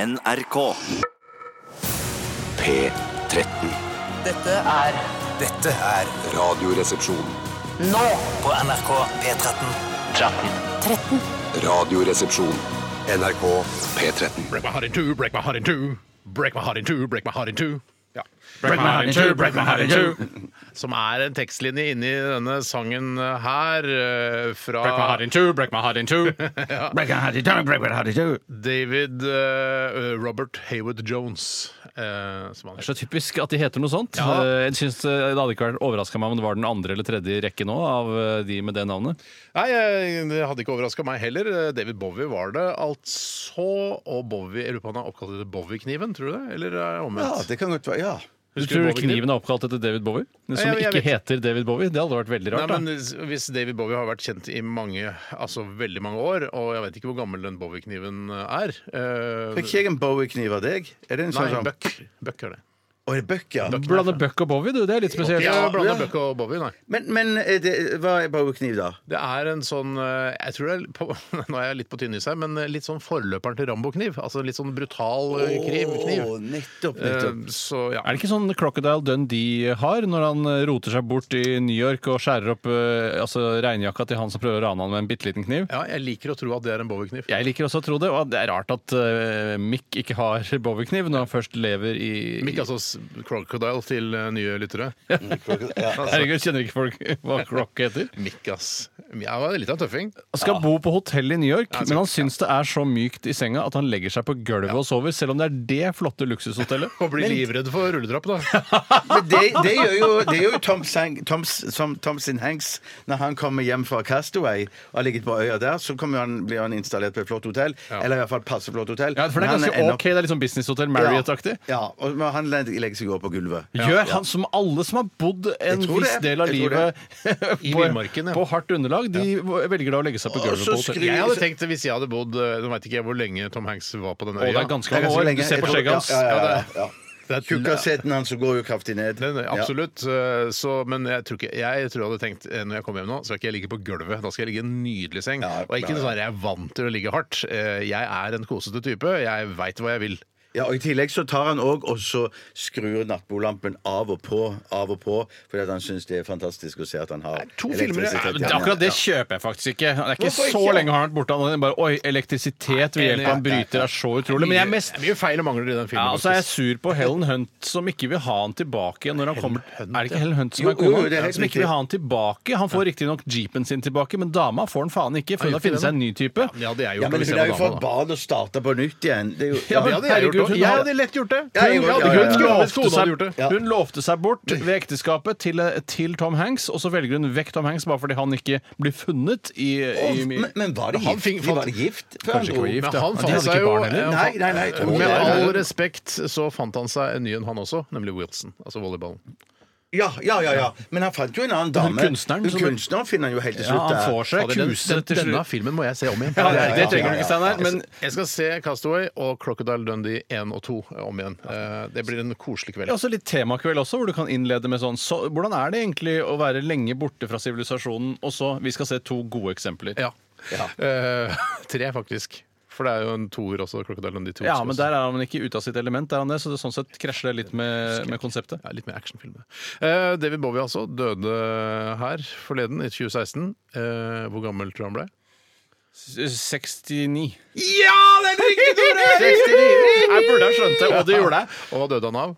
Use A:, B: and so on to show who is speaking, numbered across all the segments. A: NRK.
B: P13.
C: Dette er
D: Dette er
B: Radioresepsjon.
C: nå
D: på NRK P13.
B: Radioresepsjon. NRK P13.
E: Break my heart in two, break my heart in two. Break my heart in two, break my heart in two. Ja. Break,
F: my heart in two, break my heart in two.
E: Som er en tekstlinje inni denne sangen her eh, fra
F: Break my heart in two, break my heart in two. Break my heart in two, break my heart in two.
E: David eh, Robert Hayward Jones. eh, som han heter.
F: Det er så typisk at de heter noe sånt.
E: Ja.
F: Eh, Jeg synes eh, Det hadde ikke vært overraska meg om det var den andre eller tredje i rekke nå av eh, de med det navnet.
E: Nei, eh, det hadde ikke overraska meg heller. Eh, David Bowie var det altså. Og Bowie, jeg lurer på om han er oppkalt etter Bowie-kniven, tror du det? Eller er det
G: Ja,
E: omvendt?
G: det kan godt være. Ja.
F: Du
E: Husker
F: tror
E: Bowie-kniven?
F: kniven er oppkalt etter David Bowie? Den som
E: Ja, jeg
F: ikke
E: vet.
F: heter David Bowie? Det hadde vært veldig rart.
E: Nei, men s- Hvis David Bowie har vært kjent i mange, altså veldig mange år, og jeg vet ikke hvor gammel den Bowie-kniven er eh,
G: Fikk jeg en Bowie-kniv av deg? Er det en
E: Nei,
G: sånn sånn-
E: Buck. Buck er det.
G: Å, er det Buck, ja.
F: da. Blande Buck og Bowie, du. Det er litt spesielt.
E: Ja,
G: Ja,
E: blanda
G: ja.
E: Buck og Bowie, nei.
G: Men, men er det, hva er Bowie-kniv, da?
E: Det er en sånn eh, jeg tror det er på, Nå er jeg litt på tynn is her, men eh, litt sånn forløperen til Rambo-kniv. Altså litt sånn brutal eh, kniv. kniv.
G: Å, nettopp, nettopp.
E: Eh, Så ja.
F: Er det ikke sånn Crocodile Dundee har, når han eh, roter seg bort i New York og skjærer opp eh, altså, regnjakka til han som prøver å rane han med en bitte liten kniv?
E: ja, jeg liker å tro at det er en Bowie-kniv.
F: Jeg liker også å tro det, og det er rart at eh, Mick ikke har Bowie-kniv når han først lever i
E: Mick, altså s- Crocodile til eh, nye lyttere.
F: Herregud, kjenner ikke folk hva Croc heter?
E: Mick, ass. Jeg var litt av en tøffing.
F: Han skal bo på hotell i New York,
E: Ja,
F: men han
E: sikkert,
F: syns det er så mykt i senga at han legger seg på gulvet og sover, selv om det er det flotte luksushotellet.
E: Og blir livredd for rulletrapp, da.
G: Men det, det gjør jo, det gjør jo Tom, Sang, Tom, som, Tom sin Hanks når han kommer hjem fra Castaway og har ligget på øya der. Så kommer han, blir han installert på et flott hotell, eller i hvert fall passe flott hotell.
F: Ja, for
G: Men
F: det er
G: han
F: ganske
G: ender opp-
F: OK. Det er litt sånn businesshotell, Marriott-aktig.
G: Ja, ja, og men han legger legger seg over på gulvet.
F: Gjør han som alle som har bodd en
G: Jeg tror det.
F: viss del av
G: Jeg tror
F: livet
E: I
F: på,
E: villmarken, ja.
F: på hardt underlag, de velger da å legge seg på gulvet
G: så
F: på hotell.
G: skri-
E: Jeg hadde tenkt, Hvis jeg hadde bodd eh, Nå veit ikke jeg hvor lenge Tom Hanks var på den
F: Og det
E: øya.
F: er ganske
G: Det er
F: mange
G: ganske
F: år.
G: lenge.
F: Du ser
G: Jeg
F: på
G: tror-
F: skjegget hans.
G: Ja, ja, ja,
E: det
G: ja.
E: Det er et-
G: Tjukkaseten hans som går jo kraftig ned.
E: Nei, nei,
G: Ja.
E: absolutt. eh, Så, men jeg tror, ikke, jeg tror jeg hadde tenkt eh, når jeg kommer hjem nå, så skal ikke jeg ligge på gulvet. Da skal jeg ligge i en nydelig seng.
G: Ja,
E: og ikke
G: ja,
E: sånn at jeg er vant til å ligge hardt. Eh, Jeg er en kosete type. Jeg veit hva jeg vil.
G: Ja, og I tillegg så tar han òg og så skrur nattbordlampen av og på, av og på, fordi at han syns det er fantastisk å se at han har
E: to filmer,
G: elektrisitet
E: ja, men
G: i hendene.
F: Det er akkurat det
G: Ja.
F: kjøper jeg faktisk ikke. Det er ikke
G: Hvorfor
F: så
G: ikke?
F: lenge har han vært borte. Han bare, Oi, elektrisitet ved hjelp av en bryter er så utrolig. Men jeg er mest
E: Det er Eh, mye feil og mangler i den
F: ja,
E: filmen.
F: og så er jeg
E: faktisk.
F: sur på Helen Hunt, som ikke vil ha han tilbake igjen når han kommer Er det ikke Helen Hunt som
G: Jo,
F: er kona?
G: jo, det er helt
F: som ikke vil ha han tilbake. Han får riktignok jeepen sin tilbake, men dama får han faen ikke, for
E: gjør
F: hun har funnet
E: ikke
F: seg en ny type.
E: ja, det er jo
G: Ja, men
E: hvis
G: hun
E: jeg var
G: er jo
E: dame,
G: for
E: da.
G: barn å starte på nytt igjen. Det er jo,
F: Ja,
E: Ja, det hadde jeg
F: Herregud,
E: gjort.
F: hun
E: Jeg
F: har-
E: hadde lett gjort det.
G: Ja, jeg
E: Hun
G: gjorde-
E: hadde
G: ja,
E: kunnet gjøre det
G: ja, ja.
F: Hun
E: hvis kona hadde gjort
F: lovte
E: det.
F: seg- Hun lovte seg bort ved ekteskapet til, eh, til Tom Hanks, og så velger hun vekk Tom Hanks bare fordi han ikke blir funnet i, i
G: Å, men, men var de
E: Han
G: gift?
E: fikk-
G: de var de gift før han
F: Kanskje ikke
G: dro?
F: var gift,
E: Men
F: ja.
E: han
F: De
E: fant
F: hadde
E: seg
F: ikke
E: jo-
F: barn heller.
G: Nei, nei, nei. jeg tror
E: Med
G: ikke det.
E: all respekt så fant han seg en ny en, han også, nemlig Wilson. Altså volleyballen.
G: Ja, ja, ja, ja. Men han fant jo en annen dame.
F: kunstneren
G: Hun
F: som-
G: kunstneren finner han jo helt til
F: Ja,
G: slutt.
F: han
G: der.
F: får seg
E: Fader, den-
F: kuse
E: den-
F: til
E: Denne
F: slutt.
E: filmen må jeg se om igjen.
F: Ja,
G: ja,
F: det
G: ja,
F: trenger
G: ja,
F: du ikke,
G: ja.
F: Steinar. Men
E: Jeg skal se Castaway og Crocodile Dundee 1 og 2 om igjen. Eh, Det blir en koselig
F: Det
E: kveld.
F: er også litt temakveld også, hvor du kan innlede med sånn så, Hvordan er det egentlig å være lenge borte fra sivilisasjonen, og så Vi skal se to gode eksempler.
E: Ja. Eh, tre, faktisk. For det er jo en toer også. Crocodile Dundee 2.
F: Ja,
E: skal også.
F: men der er han ikke ute av sitt element, der er han det, så det, sånn sett krasjer det litt med, med konseptet.
E: Ja, litt mer actionfilm. Eh, David Bowie altså døde her forleden, i 2016. Eh, hvor gammel tror du han ble?
F: 69.
E: Ja, det er riktig, Tore!
F: Jeg burde ha skjønt det, og det gjorde jeg.
E: Og hva døde han av?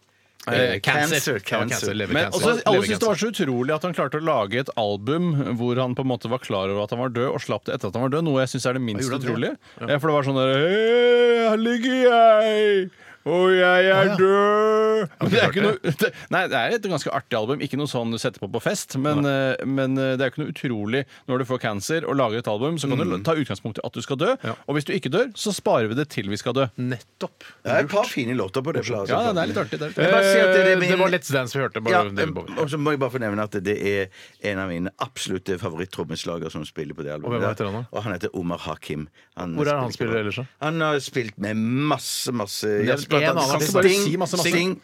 F: Eh,
E: Ja,
G: cancer,
E: cancer,
G: cancer.
F: Men
E: levercancer.
F: også, alle syntes det
E: Levercancer.
F: var så utrolig at han klarte å lage et album hvor han på en måte var klar over at han var død, og slapp det etter at han var død, noe jeg syns er det minst
E: Gjorde han det?
F: utrolige. Eh, For det var sånn der Hei, her ligger jeg, og jeg er død. Men det er ikke noe, det, nei, det er et ganske artig album. Ikke noe sånn du setter på på fest, men, eh, men eh, det er jo ikke noe utrolig når du får cancer og lager et album, så kan du ta utgangspunkt i at du skal dø, og hvis du ikke dør, så sparer vi det til vi skal dø.
E: Mm. Nettopp.
G: Det er et par fine låter på det. platet.
F: Ja, det er litt artig. Det er litt artig.
G: Jeg bare sier at det er
E: Eh,
G: min-
E: Det var Let's Dance vi hørte.
G: Ja, eh,
E: Bare David Bowie.
G: og så må jeg bare få nevne at det er en av mine absolutte favoritt-trommeslagere som spiller på det albumet.
E: Og hvem
G: der.
E: heter han da?
G: Og han heter Omar Hakim. Han
E: Hvor er han spiller
G: ikke-
E: ellers da?
G: Han har spilt med masse, masse
E: Det er-
G: jazzband.
E: en
G: blant
E: annen
G: annet
E: artist. Bare
G: Sting,
E: si masse, masse.
G: Sting,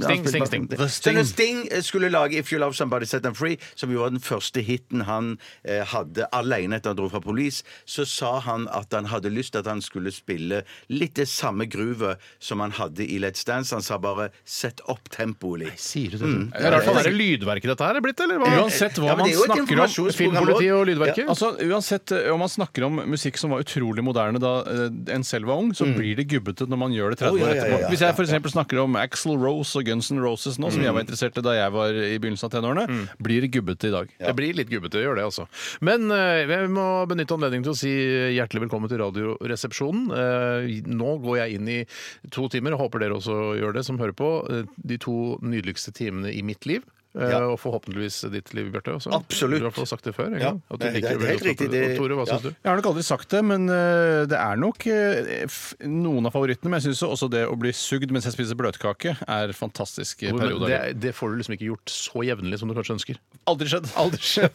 E: Sting,
G: han spilte
E: Sting, Sting.
G: bare-
E: The
G: Så når
E: Sting.
G: Sting eh, skulle lage If You Love Somebody Set Them Free, som jo var den første hiten han eh, hadde alene etter han dro fra Police, så sa han at han hadde lyst til at han skulle spille litt det samme groove som han hadde i Let's Dance. Han sa bare 'sett opp tempoet litt'.
E: Sier du det? Mm. Det er rart hva det er lydverket dette her er blitt, eller? Hva?
F: Uansett hva
G: Ja, men
F: man
G: det er jo et
F: snakker om
G: informasjonsprogram
E: Filmpolitiet og
G: også.
E: lydverket?
F: Altså, Uansett eh, om man snakker om musikk som var utrolig moderne da eh, en selv var ung, så blir det gubbete når man gjør det 30
G: Å, Mm. Oh, ja, ja, ja,
F: år etterpå.
G: ja, Mm.
F: Hvis jeg f.eks. snakker om Axl Rose og Guns N' Roses nå, som jeg var interessert i da jeg var i begynnelsen av tenårene, blir det gubbete i dag.
E: Det blir litt gubbete, gjør det altså. Men eh, jeg må benytte anledningen til å si eh, hjertelig velkommen til Radioresepsjonen. Eh, nå går jeg inn i to timer, og håper dere også gjør det som hører på, eh, de to nydeligste timene i mitt liv. eh,
G: Ja.
E: Og forhåpentligvis ditt liv, Bjarte. også.
G: Absolutt.
E: Du har i hvert fall sagt det før. en
G: Ja,
E: gang, at du
G: det-
E: liker
G: det er
E: veldig
G: helt
E: godt
G: riktig,
E: å-
G: det-
E: Og Tore, hva
G: ja.
E: syns du?
F: Jeg har nok aldri sagt det, men eh, det er nok eh, f- noen av favorittene. Men jeg syns også det å bli sugd mens jeg spiser bløtkake, er fantastiske
E: Jo, men
F: perioder.
E: det, det får du liksom ikke gjort så jevnlig som du kanskje ønsker.
F: Aldri skjedd.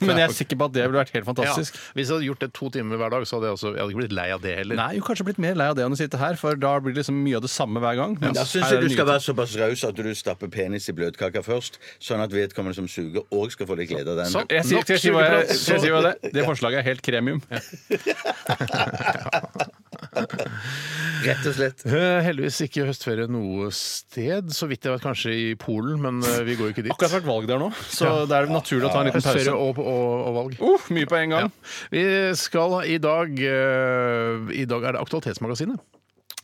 F: Men jeg er sikker på at det ville vært helt fantastisk.
E: Ja. Hvis jeg hadde gjort det to timer hver dag, så hadde jeg, også, jeg hadde ikke blitt lei av det heller.
F: Nei, jo kanskje blitt mer lei av det enn å sitte her, for da blir det liksom mye av det samme hver gang.
G: Da
F: Mens
G: syns
F: Altså, her er
G: jeg du
F: det
G: skal
F: nye
G: være såpass raus at du stapper penis i bløtkaka først, sånn at vedkommende som suger, òg skal få litt glede av den.
E: Sånn.
F: Jeg sier, skal jeg si hva jeg, skal jeg si hva det er? Det forslaget er helt kremium.
G: Rett og slett.
E: Eh, Heldigvis ikke høstferie noe sted, så vidt jeg vet kanskje i Polen, men eh, vi går jo ikke dit.
F: Akkurat vært valg der nå, så det er naturlig å ta en liten
E: Høstferie
F: pause.
E: og, og, og valg.
F: Uh, mye på en
E: Ja.
F: gang.
E: Vi skal i dag eh, I dag er det Aktualitetsmagasinet.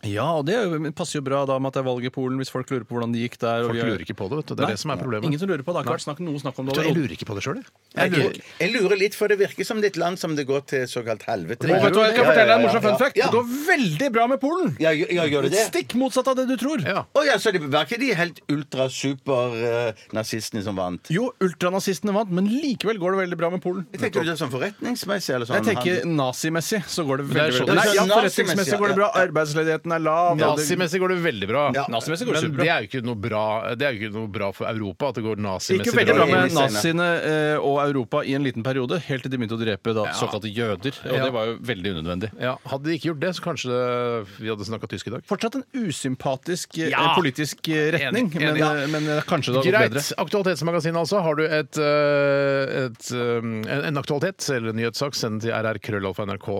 F: Ja, og det er jo- men passer jo bra da med at det er valg i Polen, hvis folk lurer på hvordan det gikk der. og
E: Folk
F: vi er-
E: lurer ikke på det, vet du. Det er
F: Nei,
E: det som er problemet.
F: Ingen som lurer på det. Det har ikke vært snakk, noe snakk om det.
E: jeg
F: overhodet.
E: lurer ikke på det sjøl, jeg.
G: Jeg lurer, jeg lurer litt, for det virker som det er et land som det går til såkalt helvete.
F: Og vet du hva,
G: Ja,
F: jeg skal
G: ja,
F: fortelle deg
G: ja,
F: en morsom
G: ja.
F: fun fact.
G: Ja.
F: Det går veldig bra med Polen!
G: Ja, gjør- ja, gjør det det?
F: Stikk motsatt av det du tror.
E: Ja.
G: Å ja, så det var ikke de helt ultra-super-nazistene som vant?
F: Jo, ultranazistene vant, men likevel går det veldig bra med Polen.
G: Jeg tenker du det er sånn forretningsmessig eller sånn?
F: Jeg tenker nazimessig så går det
E: Det er
F: veldig,
E: sånn-
F: veldig bra. Nei, ja,
G: Nazimessig,
F: forretningsmessig går det bra. Arbeidsledigheten er lav. og det-
E: Nazimessig går det veldig bra.
G: Ja.
F: Nazimessig går det
E: Men
F: superbra.
E: det er jo ikke noe bra Det er jo ikke noe bra for Europa at det går
F: Det gikk
E: nazimessig
F: jo veldig bra
G: drar inn
F: med
G: i
F: naziene eh, og Europa i en liten periode, helt til de begynte å drepe da,
E: Ja.
F: såkalte jøder. Og
E: Ja.
F: det var jo veldig unødvendig.
E: Ja, hadde de ikke gjort det, så kanskje det, vi hadde snakka tysk i dag.
F: Fortsatt en usympatisk eh,
E: Ja.
F: politisk eh, retning,
E: Enig, enig,
F: men,
E: ja.
F: eh, men eh, kanskje det hadde gått
E: Greit.
F: bedre.
E: Aktualitetsmagasinet, altså. Har du et, eh, et, eh, en- en aktualitet eller en nyhetssak, send den til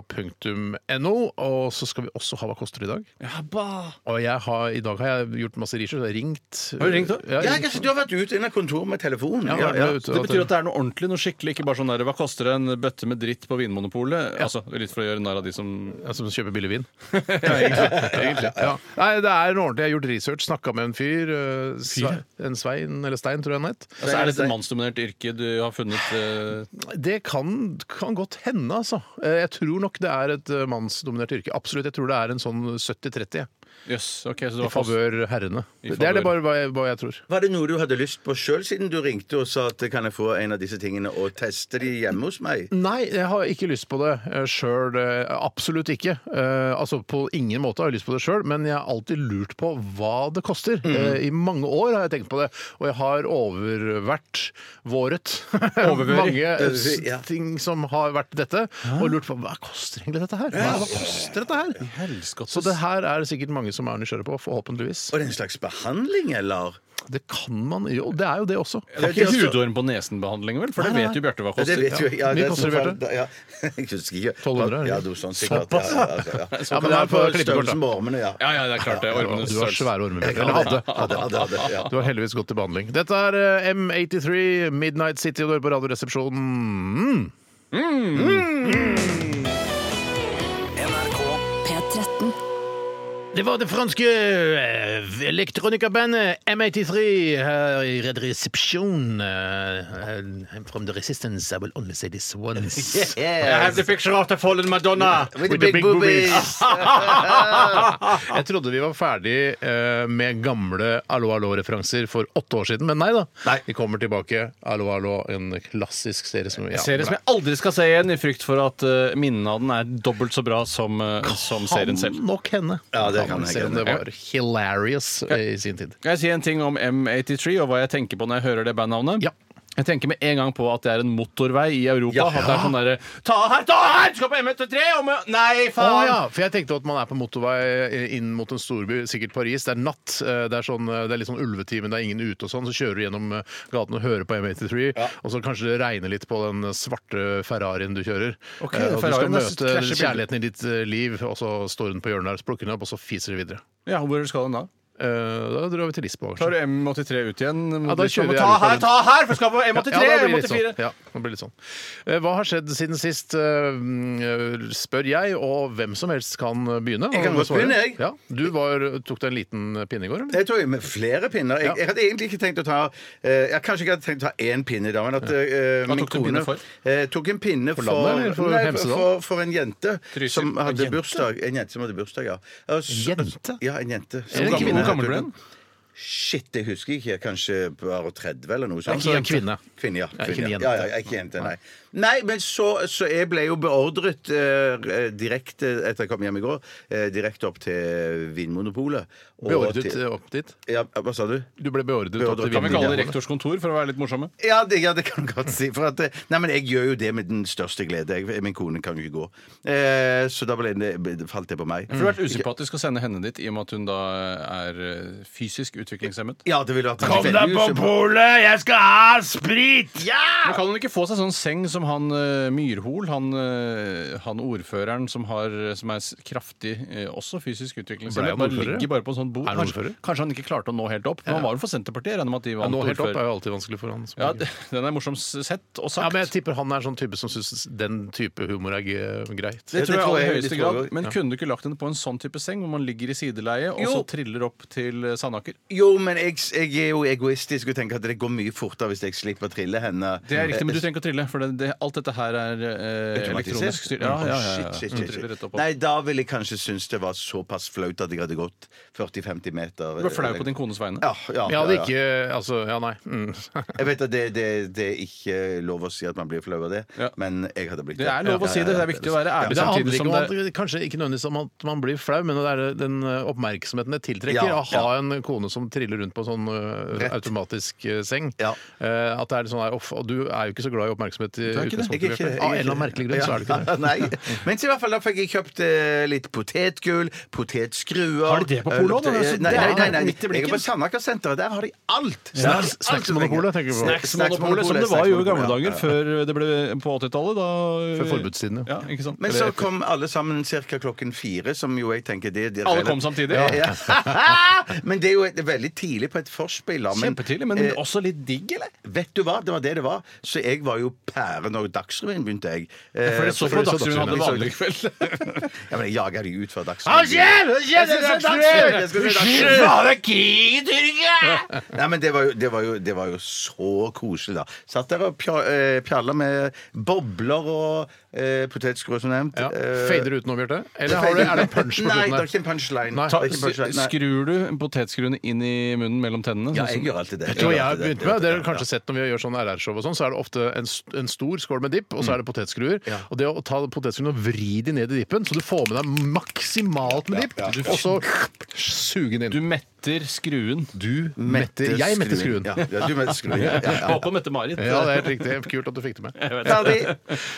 E: rrkrøllalfa.nrk.no. Og så skal vi også ha Hva koster det i dag?
F: Ja, ba.
E: Og jeg har, I dag har jeg gjort masse research. Jeg har ringt.
F: Har du ringt da?
E: Ja,
G: Ja,
E: jeg-
G: altså, du har vært ute av kontoret med telefonen.
E: Ja,
G: Ja,
E: vært
G: ja.
E: med ut-
F: Det betyr at det er noe ordentlig, noe skikkelig, ikke bare sånn der, hva koster en bøtte med dritt på Vinmonopolet? Altså, litt for å gjøre narr av de som
E: Ja, Som altså, kjøper billig vin. ja, egentlig. egentlig. Ja. Nei, det er noe ordentlig. Jeg har gjort research, snakka med en fyr. eh, Sve, en Svein, eller Stein, tror jeg han het.
F: altså, Er det et mannsdominert yrke du har funnet eh,
E: Det kan, kan godt hende, altså. Eh, Jeg tror nok det er et eh, mannsdominert yrke. Absolutt. Jeg tror det er en sånn 70-30. jeg.
F: Jøss. ok, så det
E: I
F: var fast.
E: favør herrene.
F: I
E: Det er det bare
F: favør.
E: hva jeg, hva jeg tror.
G: Var det noe du hadde lyst på sjøl, siden du ringte og sa at kan jeg få en av disse tingene og teste de hjemme hos meg?
E: Nei, jeg har ikke lyst på det eh, sjøl. Absolutt ikke. Eh, altså På ingen måte har jeg lyst på det sjøl, men jeg har alltid lurt på hva det koster.
F: Mhm.
E: Eh, I mange år har jeg tenkt på det, og jeg har overvært våret
F: Overværig.
E: mange eh, s-
G: Ja.
E: ting som har vært dette, og lurt på hva koster egentlig dette her? Hva koster dette her?
F: Helskottes.
E: Så det her er det sikkert mange som er nysgjerrige på, forhåpentligvis.
G: Var det en slags behandling, eller?
E: Det kan man jo, og det er jo det også.
F: Det er ikke hudorm på nesen-behandling, vel? For det
E: Nei, nei.
F: vet jo Bjarte hva
G: Ja, det
F: koster.
G: vet jo jeg. Ja,
E: Mye
G: det er
E: koster det,
G: sånn-
E: Bjarte?
G: Ja. Jeg husker ikke.
E: 1200, eller?
G: Ja, noe sånt sikkert. Ja, ja, altså, ja.
E: Ja, men
G: det
E: det
G: er
E: er
G: på
E: på klippekort, da.
G: størrelsen med ormene, ja.
F: Ja, ja, det er klart det. Ormenes
E: Du har
F: størrelse.
E: svære ormer. Eller hadde.
G: Hadde, hadde, hadde, ja.
E: Du har heldigvis gått til behandling. Dette er eh, M83, Midnight City, og du hører på Radioresepsjonen. Mm.
D: NRK
A: P13.
E: Det var det franske eh, elektronikabandet M83 her i Red Reception. Uh, from the resistance, I will only say this once.
G: Yeah.
F: picture of the fallen Madonna.
G: With the big boobies.
E: Jeg trodde vi var ferdig eh, med gamle Allo Allo-referanser for åtte år siden, men nei da.
G: Nei.
E: Vi kommer tilbake. Allo Allo, en klassisk serie som ja,
F: Serie som jeg aldri skal se igjen, i frykt for at eh, minnene av den er dobbelt så bra som, eh, som serien selv.
E: Kan nok hende.
G: Ja, det kan
E: man
G: jeg
E: se om
G: hende.
E: det var hilarious eh, i sin tid.
F: Kan jeg si en ting om M83 og hva jeg tenker på når jeg hører det bandnavnet?
E: Ja.
F: Jeg tenker med en gang på at det er en motorvei i Europa.
G: Ja.
F: At det er sånn derre Ta her, ta her! Du skal på M83! Og med... Nei,
E: Å
F: faen!
E: ja, for jeg tenkte at man er på motorvei eh, inn mot en storby, sikkert Paris. Det er natt, eh, det er, sånn, eh, det er litt sånn ulvetime, det er ingen ute og sånn. Så kjører du gjennom eh, gaten og hører på M83, og så kanskje det regner litt på den svarte Ferrarien du kjører.
F: Ok,
E: Eh, og du skal
F: Ferrarien er så-
E: møte
F: krasjer bildet.
E: kjærligheten i ditt eh, liv, og så står hun på hjørnet der, så plukker hun opp, og så fiser det videre.
F: Ja, Hvor skal den da?
E: Eh, Da drar vi til Lisboa,
F: Tar
E: kanskje.
F: du M83 ut igjen?
E: da
F: mot Lisboa,
E: kjører vi
F: ta
E: Europa
F: her, ta her! For jeg skal på
E: Ja,
F: M83!
E: ja, det blir litt
F: M84!
E: sånn. Ja, det blir litt sånn. Eh, Hva har skjedd siden sist, eh, mm, spør jeg, og hvem som helst kan begynne.
G: Jeg kan godt
E: Svare.
G: begynne, jeg.
E: Ja, du var, tok deg en liten eh, pinne i går, eller?
G: Ah, Jeg tror jeg med flere pinner. Jeg,
E: Ja.
G: jeg hadde egentlig ikke tenkt å ta eh, Jeg Kanskje ikke hadde tenkt å ta én pinne i dag, men at eh, min
F: tok du en pinne for?
G: eh, tok en pinne for,
E: landet, eller for
G: nei,
E: Hemsedal?
G: for, for en jente
F: Trysil.
G: som
F: En
G: hadde
F: jente?
G: bursdag. En jente som hadde bursdag, ja. Og så-
E: jente?
G: Ja, en jente.
E: det en
G: Som-
E: kvinne?
F: Hvor gammel ble hun?
G: Shit, det husker jeg ikke. Kanskje bare 30 eller noe sånt.
E: Altså, en kvinne.
G: Kvinne, ja.
E: ikke
G: Kvinne,
E: en
G: ja.
E: jente.
G: ja, ja, ikke jente, nei. nei men så, så jeg ble jo beordret eh, direkte etter jeg kom hjem i går, eh, direkte opp til Vinmonopolet. og
E: Beordret
G: til-
E: eh, opp dit?
G: ja, Hva sa du?
E: Du ble beordret opp til
G: Beordret.
F: Kan vi kalle det
E: Vinmonopolet.
F: rektors kontor, for å være litt morsomme?
G: Ja det, ja, det kan du godt si. For at, eh, nei, men jeg gjør jo det med den største glede. Jeg, min kone kan jo ikke gå. Eh, så da ble det, falt det på meg.
F: For det har vært usympatisk å sende henne dit, i og med at hun da er eh, fysisk utviklingshemmet.
G: Ja, det ville vært veldig usympa-
E: polet! Jeg skal ha sprit!
F: Men kan hun ikke få seg sånn seng som han eh, Myrhol, han, eh, han ordføreren som, har, som er s- kraftig eh, også fysisk
E: Ble
F: utviklingshemmet,
E: han
F: bare
E: ordfører?
F: ligger bare på en sånn bord.
E: Er han
F: Kanskje,
E: ordfører?
F: kanskje han ikke klarte å nå helt opp. Men han var jo for Senterpartiet, jeg regner med at de
E: Ja,
F: vant
E: nå helt opp er
F: ordfører.
E: jo alltid vanskelig for han. som
F: Ja,
E: er-
F: d- den er morsom s- sett og sagt.
E: ja, men jeg tipper han er sånn type som syns den type humor er g- greit.
G: Ja, det
F: Det tror jeg
G: tror
F: aller
G: jeg- det
F: høyeste
G: tror jeg
F: grad.
G: også.
F: Men kunne du ikke lagt henne på en sånn type seng, hvor man ligger i sideleie og så triller opp til eh, Sandaker?
G: Jo, men jeg, jeg er jo egoistisk og tenker at det går mye fortere hvis jeg slipper å trille henne.
F: Det er
G: Eh,
F: riktig, men du trenger ikke å trille, for det, det, alt dette her er eh, elektronisk styrt. Ja, ja, ja, ja.
G: Mm, Shit,
F: Hun
G: shit,
F: triller
G: shit,
F: rett
G: shit.
F: opp.
G: Nei, da ville jeg kanskje synes det var såpass flaut at jeg hadde gått 40-50 meter. eh,
F: Du ble flau på din kones vegne.
G: Ja, ja,
E: Jeg hadde
G: ja, ja.
E: ikke Altså, ja, nei. Mm.
G: Jeg vet at det, det, det er ikke lov å si at man blir flau av det,
F: Ja.
G: men jeg hadde blitt
F: Det er lov å si det. Det er viktig å være ærlig
E: Men det handler
F: samtidig
E: ikke
F: som
E: om at,
F: det
E: kanskje ikke nødvendigvis om at man blir flau, men det er den eh, oppmerksomheten det tiltrekker.
G: Ja,
E: å ha en kone som triller rundt på en sånn eh,
G: Rett.
E: automatisk eh, seng.
G: Ja.
E: Eh, at det er litt sånn her, off, og du er jo ikke så glad i oppmerksomhet i
F: Du er ikke det.
E: utgangspunktet. Bjarte.
G: Jeg er ikke det.
E: Av en eller annen merkelig grunn, så er du ikke det.
G: Ja, Nei. Men i hvert fall da fikk jeg kjøpt eh, litt potetgull, potetskruer
F: Har de det på Polo,
G: øl-
F: da? Det er så-
G: Nei, nei, nei, nei,
F: det er midt i
G: Jeg
F: blinken.
G: er på Sandaker-senteret. Der har de alt!
E: Ja,
G: Alt som
E: Snacksmonopolet,
G: trenger.
E: tenker du på.
F: Snacksmonopolet, som det var jo i
G: Snacksmonopolet,
F: gamle
G: ja.
F: dager, før det ble eh, på 80-tallet. da- eh,
E: Før forbudstiden, ja.
F: ja. ikke sant?
G: Men så kom alle sammen ca. klokken fire, som jo jeg tenker det, det
F: Alle kom samtidig?
G: Ja. men det er jo et, veldig tidlig på et forspill. da, Men,
F: Kjempetidlig, men
G: eh,
F: også litt digg, eller?
G: vet du hva? Det var det det var. Så jeg var jo pære når Dagsrevyen begynte, jeg. Eh,
F: For det så
E: for
F: på
E: det så
F: Dagsrevyen hadde
G: Dagsrevyen.
F: vanlig kveld.
G: ja, men jeg jaga de ut fra
F: Hva
G: Dagsrevyen.
F: skjer? Hva skjer? Det er Dagsrevyen!
G: Jeg skal se Dagsrevyen! Nei, men det var, jo, det, var jo, det var jo så koselig, da. Satt der og pja- eh, pjalla med bobler og eh, potetskruer, som nevnt.
E: Ja.
G: Eh,
E: Fader uten å, Bjarte? Eller har du, er det en punch på slutten
G: Nei, det er
E: her?
G: ikke en punchline.
E: Nei.
G: Det er ikke en punchline. Nei.
F: Skrur du potetskruene inn i munnen mellom tennene?
G: Ja,
F: sånn som-
G: jeg gjør alltid det.
E: Jeg tror jeg har
G: gjør alltid
E: begynt
G: det.
E: med, Dere har kanskje sett når vi gjør sånn RR-show, og sånn, så er det ofte en, st- en stor skål med dipp, og så er det potetskruer.
G: Mm. Ja.
E: Og det å ta potetskruene og vri de ned i dippen, så du får med deg maksimalt med dipp, og så suge den
F: Du
E: inn.
F: metter skruen.
E: Du metter Jeg metter skruen.
G: Ja, ja, du metter skruen. Ja, ja, ja.
F: Håper å mette Marit.
E: Ja, det er helt riktig. Kult at du fikk det med.
G: Ferdig.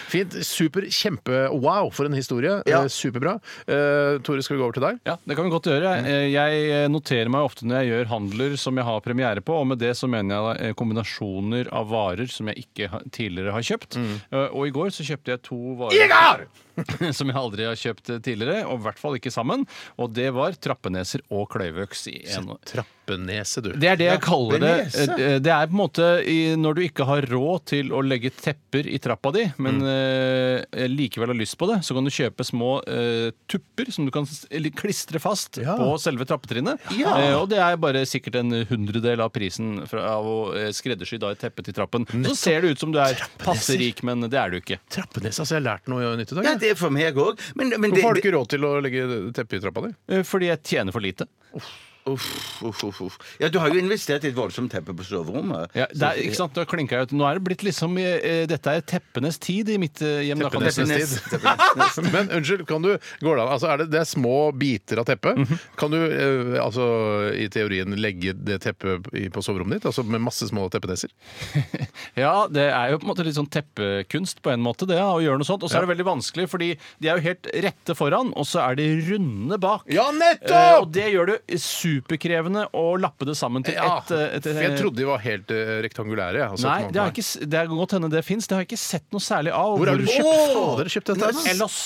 E: Fint. Super. Kjempe-wow for en historie.
G: Ja.
E: Eh, Superbra. Eh, Tore, skal vi gå over til deg?
F: Ja, det kan vi godt gjøre. Eh, Jeg noterer meg ofte når jeg gjør handler som jeg har premiere på, og med det så mener jeg eh, kombinasjoner av varer som jeg ikke ha- tidligere har kjøpt. Eh, Og i går så kjøpte jeg to varer som jeg aldri har kjøpt eh, tidligere, og i hvert fall ikke sammen. Og det var trappeneser og kløyvøks i en
E: Trappenese, du.
F: det er det jeg kaller det. Eh, Det er på en måte i- når du ikke har råd til å legge tepper i trappa di, men eh, likevel har lyst på det, så kan du kjøpe små eh, tupper som du kan s- eller klistre fast
E: Ja.
F: på selve trappetrinnet. Eh, og det er bare sikkert en hundredel av prisen fra, av å eh, skreddersy da et teppe til trappen. Så ser det ut som du er passe rik, men det er du ikke.
E: Trappenese, altså. Jeg har lært noe nytt i dag.
G: Ja,
E: jeg.
G: det er for meg òg. Men, men det,
E: Hvorfor har du ikke råd til å legge teppe i trappa di?
F: Eh, fordi jeg tjener for lite.
G: Uff, uff, uff, uff. Ja, du har jo investert i et voldsomt teppe på soverommet.
F: Ja, det er, ikke sant, du har klinka ut. Nå er det blitt liksom eh, Dette er teppenes tid i mitt eh, hjem. da kan jeg si.
G: Teppe nest, teppe nest.
E: Men unnskyld, kan du går det, an- altså er det, det er små biter av teppet.
F: Mhm.
E: Kan du eh, altså, i teorien legge det teppet i- på soverommet ditt? Altså med masse små teppenesser?
F: Ja, det er jo på en måte litt sånn teppekunst på en måte, det, å gjøre noe sånt. Og så er det veldig vanskelig, fordi de er jo helt rette foran, og så er de runde bak.
E: Ja,
F: Eh, og
E: nettopp!
F: det gjør det superkrevende å lappe det sammen til
E: Ja,
F: ett eh, et-
E: for jeg trodde de var helt eh, rektangulære. jeg, altså,
F: Nei,
E: at man-
F: det, har jeg ikke, sånn. s- det er godt hende det fins. Det har jeg ikke sett noe særlig av.
E: Hvor har du kjøpt, fader, kjøpt dette?
F: Ellos. Ellos.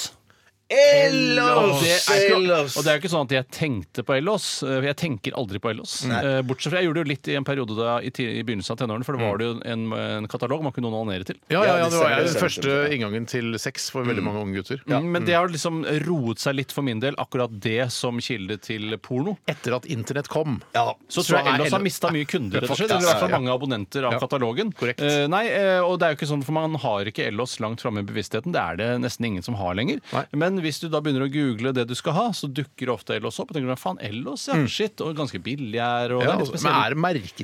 F: Og
G: Ellers!
F: det, er ikke,
G: ellers.
F: og det er jo ikke sånn at jeg tenkte på Ellos. Eh, Jeg tenker aldri på Ellos. Eh, Bortsett fra jeg gjorde det jo litt i en periode da, i, ti- i begynnelsen av tenårene,
E: Mm.
F: for det var det jo en, en katalog man kunne onanere til.
E: Ja, ja,
G: Ja,
E: ja, det
G: det
E: var
G: stemmer,
E: jo
G: det
E: den første
G: stemmer.
E: inngangen til sex for veldig mange unge gutter.
F: Mm, Men det har liksom roet seg litt for min del, akkurat det som kilde til porno.
E: Etter at internett kom.
G: Ja.
F: Så tror jeg
E: er
F: Ellos har
E: Ellos-
F: mista mye kunder, rett og slett.
E: Faktisk,
F: Eller i hvert fall
E: ja.
F: mange abonnenter av
E: Ja,
F: katalogen.
E: korrekt.
F: Eh, nei, eh, og det er jo ikke sånn, for man har ikke Ellos langt framme i bevisstheten. Det er det nesten ingen som har lenger.
E: Nei.
F: Men hvis du da begynner å google det du skal ha, så dukker ofte Ellos opp. Og tenker du, faen, Ellos, ja, shit, og ganske billig her, og
E: Mm. Ja,
F: det er litt
E: altså, men
F: spesielt.
E: er det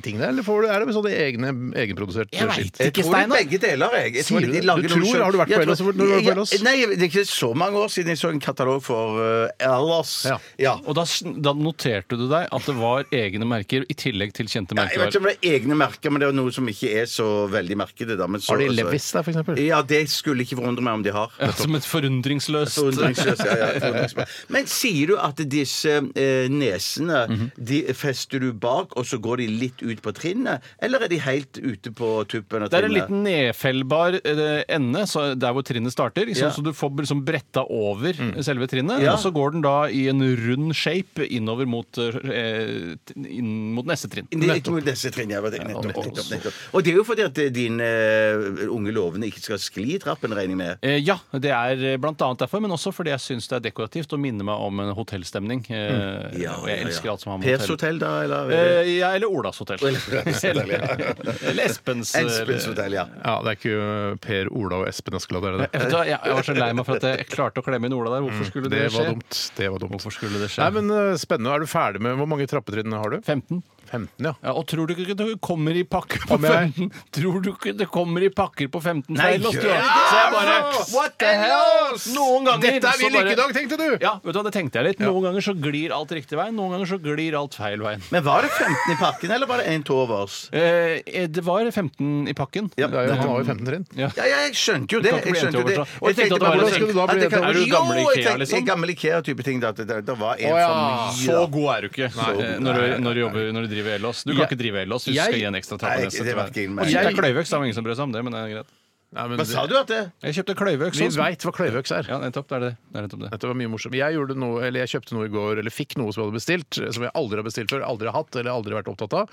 E: merketing der, eller får du, er det sånne egne, egenprodusert
F: Jeg vet
E: skitt?
G: Jeg
F: Ikke
G: tror det er
F: Steinar?
G: begge deler. Jeg. Jeg
E: Sier du
G: de
E: det?
G: lager
E: Du
G: noe
E: tror-
G: selv.
E: har du vært
G: Jeg
E: på Ellos? Når
G: tror-
E: du var på
G: Ja,
E: Ellos?
G: Nei, det er ikke så mange år siden jeg så en katalog for uh, Ellos.
E: Ja.
G: Ja.
F: Og da, da noterte du deg at det var egne merker i tillegg til kjente
G: Ja, Jeg vet
F: merkevarer.
G: ikke om det er egne merker, men det er noe som ikke er så veldig merkede. Da. Men så,
E: Har de
G: så-
E: Levis der, for eksempel?
G: Ja, det skulle ikke forundre meg om de har.
F: Ja, som et forundringsløst
G: Forundringsløs, ja, ja, forundringsløs. Men sier du at disse eh, nesene
F: Mhm.
G: de fester du bak, og så går de litt ut på trinnet? Eller er de helt ute på tuppen av trinnet?
F: Det er en liten nedfellbar eh, ende så der hvor trinnet starter, sånn
G: Ja.
F: så du får liksom bretta over selve trinnet.
G: Ja.
F: Og så går den da i en rund shape innover mot, eh, t- inn mot neste trinn.
G: Det er litt mot disse trinnene. jeg var det- Nettopp,
F: nettopp.
G: nettopp, nettopp. Og det er jo fordi at eh, dine eh, unge lovende ikke skal skli i trappen, regner jeg med.
F: Eh, ja, det er blant annet derfor, men også fordi jeg syns det er dekorativt og minner meg om en hotellstemning. Eh,
G: Mm.
F: og jeg elsker alt som har med
G: Pers hotell,
F: hotell.
G: da? Eller?
F: Eh, ja, eller Olas hotell.
G: Olas
F: eller, eller Espens. eh,
G: Espens hotell, ja.
E: Ja, det er ikke uh, Per Ola og Espen Askeladd, er det
F: Jeg,
E: det?
F: eh, vet, du hva, jeg jeg var så lei meg for at jeg klarte å klemme inn Ola der. Hvorfor skulle
E: Det
F: det,
E: var
F: skje?
E: dumt. Det var dumt.
F: Hvorfor skulle det skje?
E: Nei, men uh, Spennende. Er du ferdig med Hvor mange trappetrinn har du?
F: 15.
E: 15, ja.
F: Ja, og tror du ikke det kommer i pakker på
E: Kommer jeg?
F: 15? Tror du ikke det kommer i pakker på 15 fra
G: Nei,
F: Ellos, du?
G: gjør det ikke. altså!
F: Så jeg bare What the hell? Noen ganger
E: Dette er
F: så
E: vi
F: bare-
E: like i dag, tenkte du!
F: Ja, vet du hva, det tenkte jeg litt. Noen ganger så glir alt riktig veien, noen ganger så glir alt feil veien.
G: Men var det 15 i pakken, eller var det en to overs?
F: Eh, eh, det var 15 i pakken.
G: Ja.
E: Det er jo, han har jo 15 trinn.
G: Ja, ja, jeg skjønte jo det.
F: kan
G: Jeg
F: ikke bli
G: skjønte jo
F: en
G: det.
F: til overs, da. Og jeg tenkte at det var
G: bare
F: en
G: at
F: sånn-
G: at det kan-
F: Er du gammel
G: Jo, jeg
F: Ikea,
G: tenkte-
F: liksom?
G: Gammel Ikea-type ting. Da, at det, det var en
E: Å,
G: sånn
E: ja.
G: for mye.
F: Så
G: da.
F: god er du ikke eh, når, du, når, du jobber, når du driver Ellos. Du kan
E: Jeg-
F: ikke drive Ellos hvis du
E: jeg-
F: skal gi en ekstra
G: Nei,
F: trappenese.
G: det var ikke
F: til
G: inn meg.
F: hver. Og kjøpte kløyvøks, det var ingen som brød seg om det, men det er greit.
E: Nei, men
G: Hva sa
E: det-
G: du at det?
F: Jeg kjøpte kløyvøks.
E: Vi
F: altså.
E: veit hva kløyvøks er.
F: Ja, nettopp. Det er det. det, er nettopp det.
E: Dette var mye morsomt. Jeg, gjorde noe, eller jeg kjøpte noe i går, eller fikk noe som jeg hadde bestilt, som jeg aldri har bestilt før, aldri har hatt eller aldri vært opptatt av.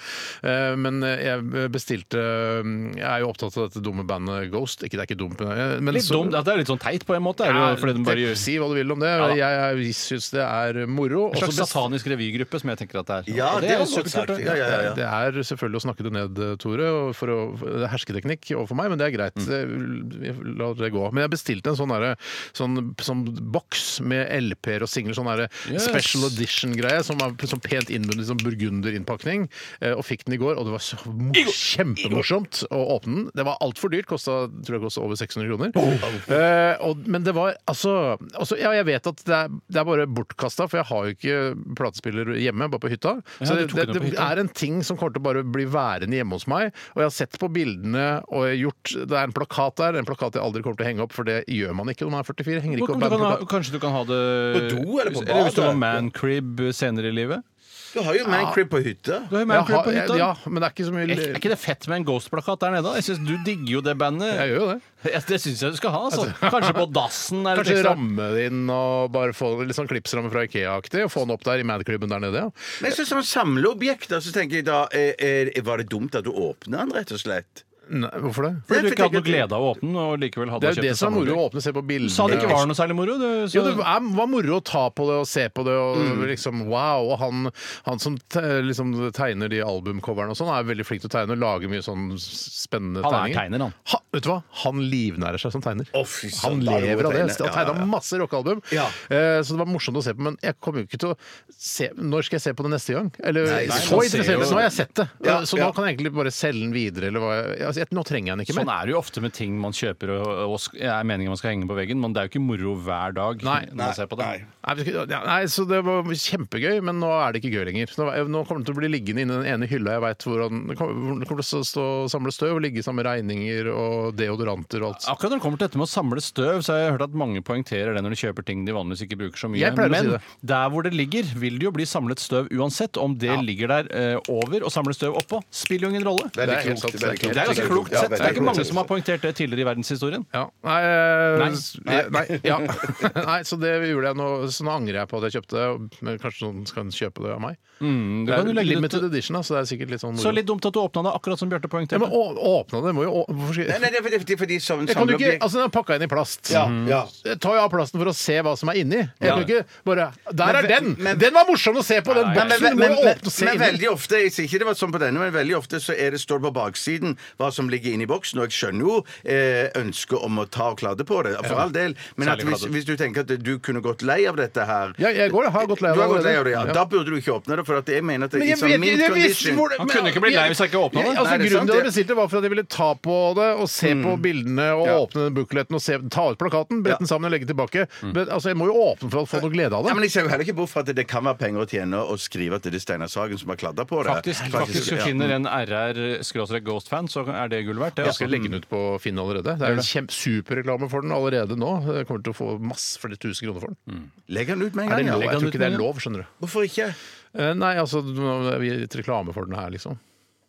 E: Eh, Men jeg bestilte Jeg er jo opptatt av dette dumme bandet Ghost. Ikke, det er ikke dumt, men
F: Litt
E: så-
F: dumt, ja, det er litt sånn teit på en måte. Er det,
E: Ja,
F: jo, fordi den bare gjør
E: Si hva du vil om det.
F: da.
E: Jeg, jeg syns det er moro.
F: En slags
E: Også best-
F: satanisk revygruppe, som jeg tenker at det er.
G: Ja,
F: Og
G: det
F: er
G: var
F: jo
G: godt sagt.
F: superkult, det.
G: Ja, ja, ja.
E: Det er selvfølgelig å snakke det ned, eh, Tore. og For å, det er hersketeknikk overfor meg, men det er greit.
F: Mm.
E: Jeg La det gå. Men jeg bestilte en sånn, derre- sånn, sånn boks med LP-er og singler. Sånn derre
F: Yes.
E: special edition-greie som er sånn pent innbundet i sånn burgunderinnpakning. eh, Og fikk den i går, og det var så mo- kjempemorsomt å åpne den. Det var altfor dyrt. Kosta tror jeg kostet over 600 kroner. Eh, og, men det var altså, altså Ja, jeg vet at det er, det er bare bortkasta, for jeg har jo ikke platespiller hjemme, bare på hytta.
F: Ja,
E: Så
F: du
E: det,
F: tok
E: det,
F: den opp på hytta.
E: er en ting som kommer til å bare bli værende hjemme hos meg. Og jeg har sett på bildene, og jeg har gjort Det er en plakat der, en plakat jeg aldri kommer til å henge opp, for det gjør man ikke når man er 44. Henger
F: Du
E: ikke opp
F: kan
E: en
F: ha,
E: plakat.
F: kanskje du kan ha det
G: På do eller på
F: hvis-
G: badet?
F: Hvis du har mancrib senere i livet?
G: Du har jo Mancrib på hytta.
F: Du har jo
E: Jeg
F: mancrib
E: har-
F: på hytta.
E: jeg- Ja, men det er ikke så mye
F: Er er ikke det fett med en Ghost-plakat der nede? da? Jeg synes Du digger jo det bandet.
E: Jeg gjør jo det.
F: Ja, det syns jeg du skal ha. altså. Kanskje på dassen. er litt
E: Kanskje
F: ekstra.
E: ramme det inn og bare få litt sånn klipsramme fra Ikea-aktig, og få den opp der i Madcriben der nede. ja.
G: Men jeg synes som samleobjekt da, så tenker jeg da eh, eh, Var det dumt at du åpna den, rett og slett?
E: Nei, hvorfor det?
F: Fordi
G: Det
F: du
G: fikk
F: ikke hadde
G: jeg
F: noe glede av å åpne den, og likevel hadde
E: Det er jo
F: kjøpt
E: det som er
F: samme
E: moro å
F: objekt.
E: åpne og se på bilder.
F: Du sa det ikke var noe særlig moro. Du, så...
E: Jo, det er, var moro å ta på det og se på det. Og
G: Mm.
E: liksom, wow, og han, han som te, liksom, tegner de albumcoverne og sånn, er veldig flink til å tegne og lage mye sånn s- spennende
F: Han er
E: tegninger.
F: tegner, han.
E: Ha, vet du hva? Han livnærer seg som tegner.
G: Å, fy
E: han
G: søren, da er det
E: lever
G: moro å
E: av det. Han
G: tegne. Ja, ja,
E: tegna
G: ja.
E: masse rockealbum,
G: Ja.
E: eh, så det var morsomt å se på. Men jeg kommer jo ikke til å se Når skal jeg se på det neste gang? Eller,
G: Nei,
E: så
F: man ser
E: interessert
F: jo-
E: Nå har jeg sett det,
G: Ja,
E: så nå
G: ja.
E: kan jeg egentlig bare selge den videre. Eller hva jeg, altså, jeg, nå trenger jeg den ikke mer.
F: Sånn er det jo ofte med ting man kjøper og, og sk- er meningen man skal henge på veggen, men det er jo ikke moro hver dag.
E: Nei,
F: når man ser på det.
E: Nei, vi skulle- ja, nei, så Det var kjempegøy, men nå er det ikke gøy lenger. Nå, nå kommer det til å bli liggende inni den ene hylla jeg veit hvor han- det kommer det kommer til å stå, samle støv og ligge sammen med regninger og deodoranter og alt.
F: Akkurat når det kommer til dette med å samle støv, så har jeg hørt at mange poengterer det når de kjøper ting de vanligvis ikke bruker så mye.
E: Jeg pleier å
F: Men
E: si det.
F: der hvor det ligger, vil det jo bli samlet støv uansett. Om det ligger der eh, over og samler støv oppå, spiller jo ingen rolle. Det
G: Veldig
E: Det er helt
G: klokt,
E: sant,
G: veldig
E: det er
F: er ganske klokt
G: Ja,
F: sett. Det
G: veldig
F: er ikke
G: klokt
F: mange
G: sett.
F: som har poengtert det tidligere i verdenshistorien.
E: Ja. Nei, eh,
F: Nei.
E: s- nei, ja. nei, så det gjorde jeg nå. Så nå angrer jeg på at jeg kjøpte det. Men kanskje noen skal kjøpe det av meg.
F: Du
E: Det er
F: kan jo legge det ut-
E: limited edition, da, så det er sikkert litt sånn
F: Så
E: moro.
F: litt dumt at du åpna det akkurat som Bjarte
E: Ja, men
F: poengterte.
E: å- åpna det, må jo å- Hvorfor skal
G: Nei,
E: jeg
G: nei, det er fordi, fordi, fordi som
E: jeg kan jo ikke,
G: samleobjekt-
E: altså Den er pakka inn i plast.
G: Ja, ja.
E: Jeg tar Eh, jo av plasten for å se hva som er inni. Jeg
F: Ja.
E: kan ikke bare Der er
G: Men-
E: den!
G: men-
E: Den var morsom å se på! Den
F: Nei,
G: Men,
E: boksen!
G: men, men,
E: du må jo
G: men,
E: åpne og se
G: men
E: inni.
G: veldig ofte jeg sier ikke det var sånn på denne, men veldig ofte så er det, står det på baksiden hva som ligger inni boksen. Og jeg skjønner jo eh, ønsket om å ta og kladde på det, for all del. Men at
F: Særlig
G: hvis,
F: kladde.
G: hvis du tenker at du kunne gått lei av dette her
E: Ja, jeg går, jeg har gått lei av
G: Du
E: det
G: har gått lei
E: allerede.
G: av det, ja.
E: Ja.
G: Da burde du ikke åpne det, for at jeg mener at det
E: Men
G: er
E: jeg
G: sånn
E: vet-
G: min
E: jeg visste
G: condition.
E: hvor det-
F: Han
E: men-
F: kunne ikke bli lei hvis jeg ikke åpna det.
E: Altså,
G: Nei, det er
E: grunnen
G: sant,
E: til at jeg
G: det.
E: bestilte, var for at jeg ville ta på det og se på bildene og
G: Ja.
E: åpne den bukletten og se, ta ut plakaten, brette den sammen og legge tilbake. Men, altså, jeg må jo åpne for å få noe glede av
G: Ja,
E: det.
G: men Jeg ser jo heller ikke bort fra at det kan være penger å tjene å skrive at det er Steinar Sagen som har kladda på det.
F: Faktisk, faktisk hvis du
G: ja.
F: finner en RR-Ghost-fan, så er det gull verdt. Det,
E: Jeg skal
F: altså.
E: legge den ut på Finn allerede. Det er en kjempe- superreklame for den allerede nå. Jeg kommer til å få masse flere tusen kroner for den.
G: Legg den ut med en
E: Er det
G: gang.
E: lov?
G: ja.
E: Mm. Jeg
F: den
E: tror
F: ut
E: ikke det
F: med
E: er
F: en
E: lov, skjønner du.
G: Hvorfor ikke?
E: Eh, Nei, altså, nå er vi gitt reklame for den her, liksom.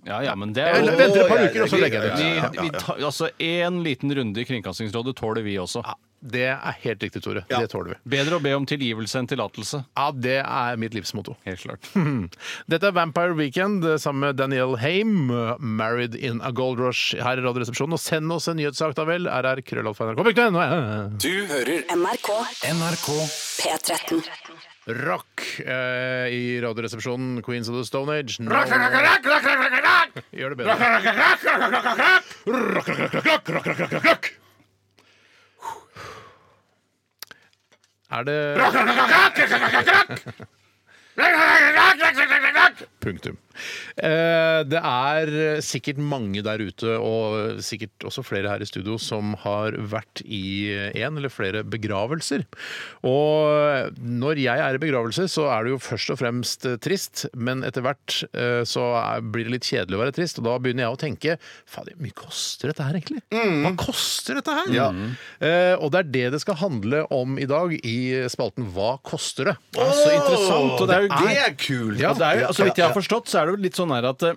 F: Ja, ja, men det er
E: Jeg
F: jo
E: venter et par
G: ja,
E: uker, og så legger jeg
F: Vi,
E: den ut.
F: vi tar, altså, En liten runde i Kringkastingsrådet tåler vi også.
E: Det er helt riktig, Tore. Det tåler vi.
F: Bedre å be om tilgivelse enn tillatelse.
E: Ja, Det er mitt livsmotto.
F: Helt klart.
E: Dette er Vampire Weekend eh, sammen med Daniel Haim, eh, 'Married in a Gold Rush', her i Radioresepsjonen. Og send oss en nyhetssak, da vel. rr.krøllalfa.nrk.no. Eh,
D: Du hører
A: NRK
D: NRK
A: P13.
E: Rock eh, i Radioresepsjonen, Queens of the Stone Age. No. Gjør det bedre. Er det Punktum. Eh, Det er sikkert mange der ute, og sikkert også flere her i studio, som har vært i en eller flere begravelser. Og når jeg er i begravelse, så er det jo først og fremst eh, trist, men etter hvert eh, så er- blir det litt kjedelig å være trist, og da begynner jeg å tenke faen, hvor mye koster dette her egentlig? Hva koster dette her? Eh, Og det er det det skal handle om i dag i spalten Hva koster det?
F: Så interessant. Og det er jo
G: Det er kult!
F: Ja, det er jo, altså, vidt jeg har forstått, så er det jo litt sånn her at eh,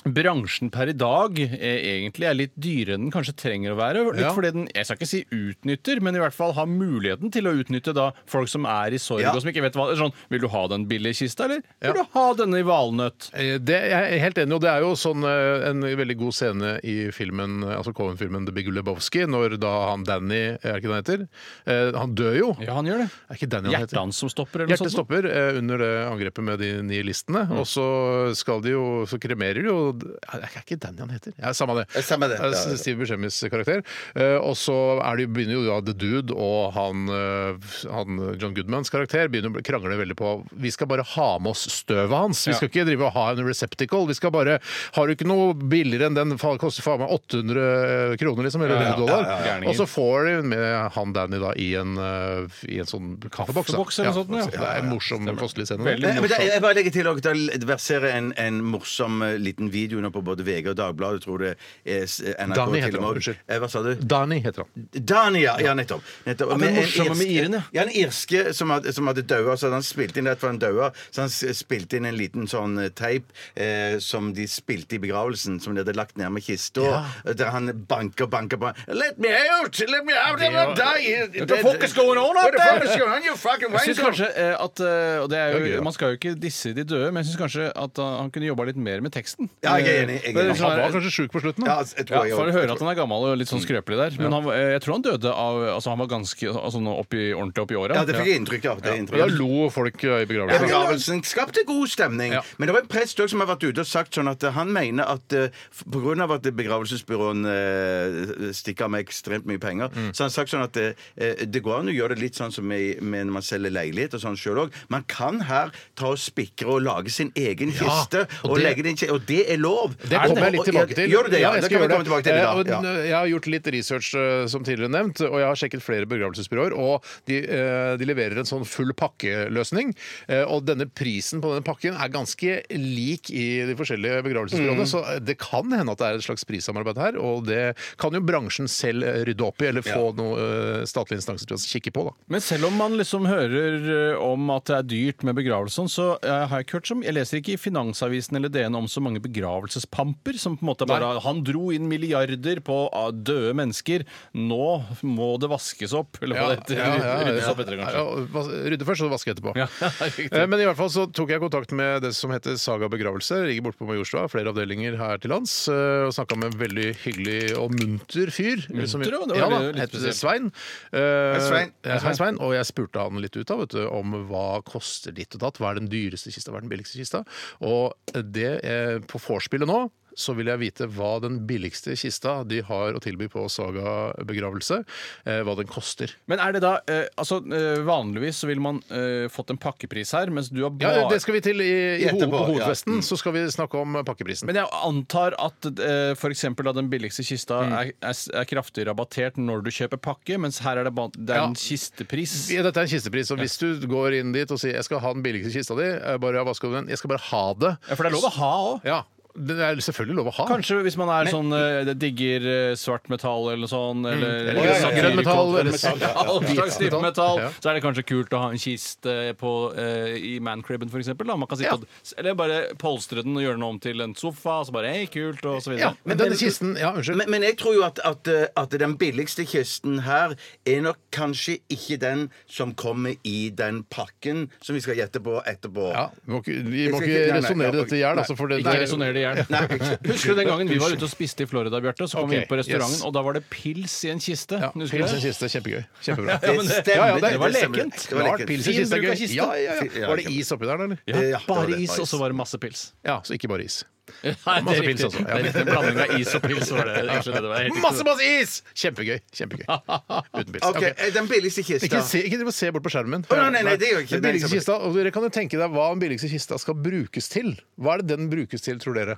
F: Bransjen per i dag eh, egentlig er litt dyrere enn den kanskje trenger å være. Litt
E: Ja.
F: fordi den, jeg skal ikke si utnytter, men i hvert fall har muligheten til å utnytte da folk som er i sorg
G: Ja.
F: og som ikke vet hva sånn, Vil du ha den billige kista, eller vil du ha denne i valnøtt?
E: Eh, Det jeg er helt enig, og det er jo sånn eh, en veldig god scene i filmen, eh, altså Cohen-filmen The Big Lebowski, når da han Danny, er det ikke det han heter? Eh, Han dør jo.
F: Ja, han gjør det.
E: Er ikke Danny han
F: Hjertet
E: heter?
F: hans som stopper, eller
E: Hjertet
F: noe sånt. Mm.
E: stopper eh, under det angrepet med de nihilistene, og så skal de jo, så kremerer de jo Er det ikke Danny han heter? Ja, samme det.
G: Ja, samme det.
E: Eh,
G: Ja, ja, ja.
E: Steve Buscemi's karakter. Eh, Og så er de, begynner jo da The Dude og han, eh, han John Goodmans karakter begynner å bli- krangle veldig på Vi skal bare ha med oss støvet hans. Vi skal ikke drive og ha en receptacle. Vi skal bare Har du ikke noe billigere enn den? Faen, Koster faen meg 800 kroner, liksom. Eller 100 dollar.
F: Gærninger.
E: Og så får de med han Danny da i en, eh, i en sånn kaffeboks. da. altså,
F: Kaffeboks eller sånt, ja.
E: Det er en morsom, kostelig scene. da.
F: Veldig
G: Men, men da, jeg bare legger til at det verserer en, en morsom eh, liten video nå på både VG og Dagbladet, tror det er s- NRK
E: Danny heter
G: til og
E: han,
G: med.
E: unnskyld.
G: Eh, Hva sa du?
E: Danny heter han.
G: Dani, ja. ja nettopp. nettopp.
F: men
G: Med en
F: morsomme med
G: irske-
F: iren, ja.
G: Ja, en irske som hadde, som hadde daua, så hadde han spilt inn rett før han daua. Så han s- spilte inn en liten sånn eh, teip eh, som de spilte i begravelsen, som de hadde lagt ned med kista, der han banker, banker på Let me out! Let me out! I'm gonna die!
F: What the fuck is going on out
G: What the fuck
F: there?
G: is going on, you fucking
F: Jeg synes
G: wanker?
F: kanskje eh, at eh, og det er
E: Det er gøy,
F: jo,
E: ja.
F: eh, Man skal jo ikke disse de døde, men jeg syns kanskje at han han kunne jobba litt mer med teksten.
G: Ja, Ja, jeg er enig, jeg er
F: Men
G: enig.
F: liksom,
E: Han var kanskje sjuk på slutten?
G: Ja,
E: da?
G: jeg
F: Ja,
G: tror jeg
F: for
G: også. Mm.
F: Jeg hører at han er gammel og litt sånn skrøpelig der. Men han, var- eh, jeg tror han døde av altså Han var ganske altså, sånn oppi, ordentlig oppi åra.
G: Ja, det fikk jeg inntrykk av. Det er
E: Da
G: inntrykk av.
E: lo folk eh, i
G: Ja,
E: begravelsen.
G: begravelsen skapte god stemning.
E: Ja.
G: Men det var en prest også som har vært ute og sagt sånn at eh, han mener at eh, f- på grunn av at begravelsesbyråen eh, stikker av med ekstremt mye penger,
E: Mm.
G: så han har sagt sånn at eh, eh, det går an å gjøre det litt sånn som i, med når man selger leilighet og sånn sjøl òg. Man kan her ta og spikre og lage sin egen kiste og,
E: og det-
G: legge det inn Og det er lov!
E: Det
G: Er
E: kommer jeg litt
G: Og-
E: tilbake til.
G: Gjør du det? Ja,
E: jeg
G: det
E: skal
G: kan vi
E: gjøre
G: komme tilbake til
E: Eh,
G: i
E: og
G: dag. Ja.
E: n- Jeg har gjort litt research, eh, som tidligere nevnt, og jeg har sjekket flere begravelsesbyråer. Og de, eh, de leverer en sånn full pakkeløsning. Eh, Og denne prisen på denne pakken er ganske lik i de forskjellige begravelsesbyråene,
G: Mm.
E: så eh, det kan hende at det er et slags prissamarbeid her. Og det kan jo bransjen selv eh, rydde opp i, eller få noen statlige instanser til å kikke på, da.
F: Men selv om man liksom hører eh, om at det er dyrt med begravelser, så eh, har jeg ikke hørt som Jeg leser ikke i Finansavisen eller DN om så mange begravelsespamper som på en måte bare Han dro inn milliarder på ah, døde mennesker. Nå må det vaskes opp. Eller hva det heter. Ryddes opp etter, kanskje.
E: Ja, vas- Rydde først, og vaske etterpå.
F: Ja, riktig.
E: Eh, Men i hvert fall så tok jeg kontakt med det som heter Saga begravelse. Ligger borte på Majorstua, flere avdelinger her til lands. eh, Og snakka med en veldig hyggelig og munter fyr. som-
F: Munter, ja, det var
E: ja, da,
F: litt
E: het
F: spesielt.
E: Svein. Eh,
G: Hei, Svein.
E: Hei, Svein. Og jeg spurte han litt ut da, vet du, om hva koster ditt og datt. Hva er den dyreste kista, hva er den billigste kista? Og det eh, på vorspielet nå så vil jeg vite hva den billigste kista de har å tilby på Saga begravelse, eh, hva den koster.
F: Men er det da eh, Altså, eh, vanligvis så ville man eh, fått en pakkepris her, mens du har bare
E: Ja, det skal vi til i, i ho
G: Etterpå,
E: på
G: ja.
E: hovedfesten. Så skal vi snakke om pakkeprisen.
F: Men jeg antar at eh, for eksempel da den billigste kista
E: Mm.
F: er, er, er kraftig rabattert når du kjøper pakke, mens her er det, ba- det er
E: Ja.
F: en kistepris.
E: Ja, dette er en kistepris, og hvis du går inn dit og sier 'jeg skal ha den billigste kista di', eh, bare ja, hva skal du med den? Jeg skal bare ha det.
F: Ja, for det er lov å ha òg.
E: Ja, det er selvfølgelig lov å ha.
F: Kanskje hvis man er sånn eh, det digger eh, svart metall eller sånn. Eller,
E: Mm. Eller grønn- grønn metall. Eller,
F: Ja, all slags type
E: Ja.
F: metall.
E: Ja.
F: Så er det kanskje kult å ha en kiste på, eh, i mancriben, f.eks. Man kan sitte
E: Ja.
F: og, eller bare polstre den og gjøre den om til en sofa, og så bare hei, kult, og så
E: ja,
F: videre.
E: men denne kisten Ja, unnskyld.
G: Men, men jeg tror jo at, at, eh, at den billigste kisten her er nok kanskje ikke den som kommer i den pakken som vi skal gjette på etterpå.
E: Ja, vi må ikke, vi
G: Jeg
E: må
G: skal
E: ikke
G: ikke- nei, nei,
E: resonnere
G: ja,
E: dette i hjel.
G: nei.
E: Altså, for det-
F: Ikke
E: det-
F: resonner det i
G: Nei,
F: hjel.
G: unnskyld.
F: Husker du den gangen vi var ute og spiste i Florida, Bjarte? Så kom vi
E: Ok,
F: inn på restauranten,
E: yes.
F: og da var det pils i en kiste.
E: Ja,
F: Husker du
E: pils i
F: det?
E: kiste. Kjempegøy. Kjempebra.
G: Det
F: men det-
G: stemmer.
E: Ja, ja, det-
F: var
G: stemmer.
F: lekent.
G: Det var
E: Klart pils i kiste er
F: Fin bruk av
E: gøy.
F: kiste.
E: Ja, ja,
G: Fin-
E: ja.
G: ja,
E: Var det
G: kjempe-
E: is oppi der, da, eller?
F: Ja,
G: Ja, det var
F: bare
G: det,
F: is,
G: bare
F: og så
G: is.
F: var det masse pils.
E: Ja, så ikke bare is.
F: Nei, det er
E: Masse
F: riktig.
E: pils også.
F: Det er riktig. En blanding av is og pils var det. det er egentlig det det var. Helt riktig.
E: Masse, masse is! Kjempegøy. Kjempegøy. Uten pils.
G: OK,
E: Ok.
G: eh, den billigste kista.
E: Ikke se, ikke drive og se bort på skjermen.
G: Å, nei, nei, nei, det gjør jeg ikke.
E: Den billigste
G: Det er
E: kista, og Dere kan jo tenke deg hva den billigste kista skal brukes til. Hva er det den brukes til, tror dere?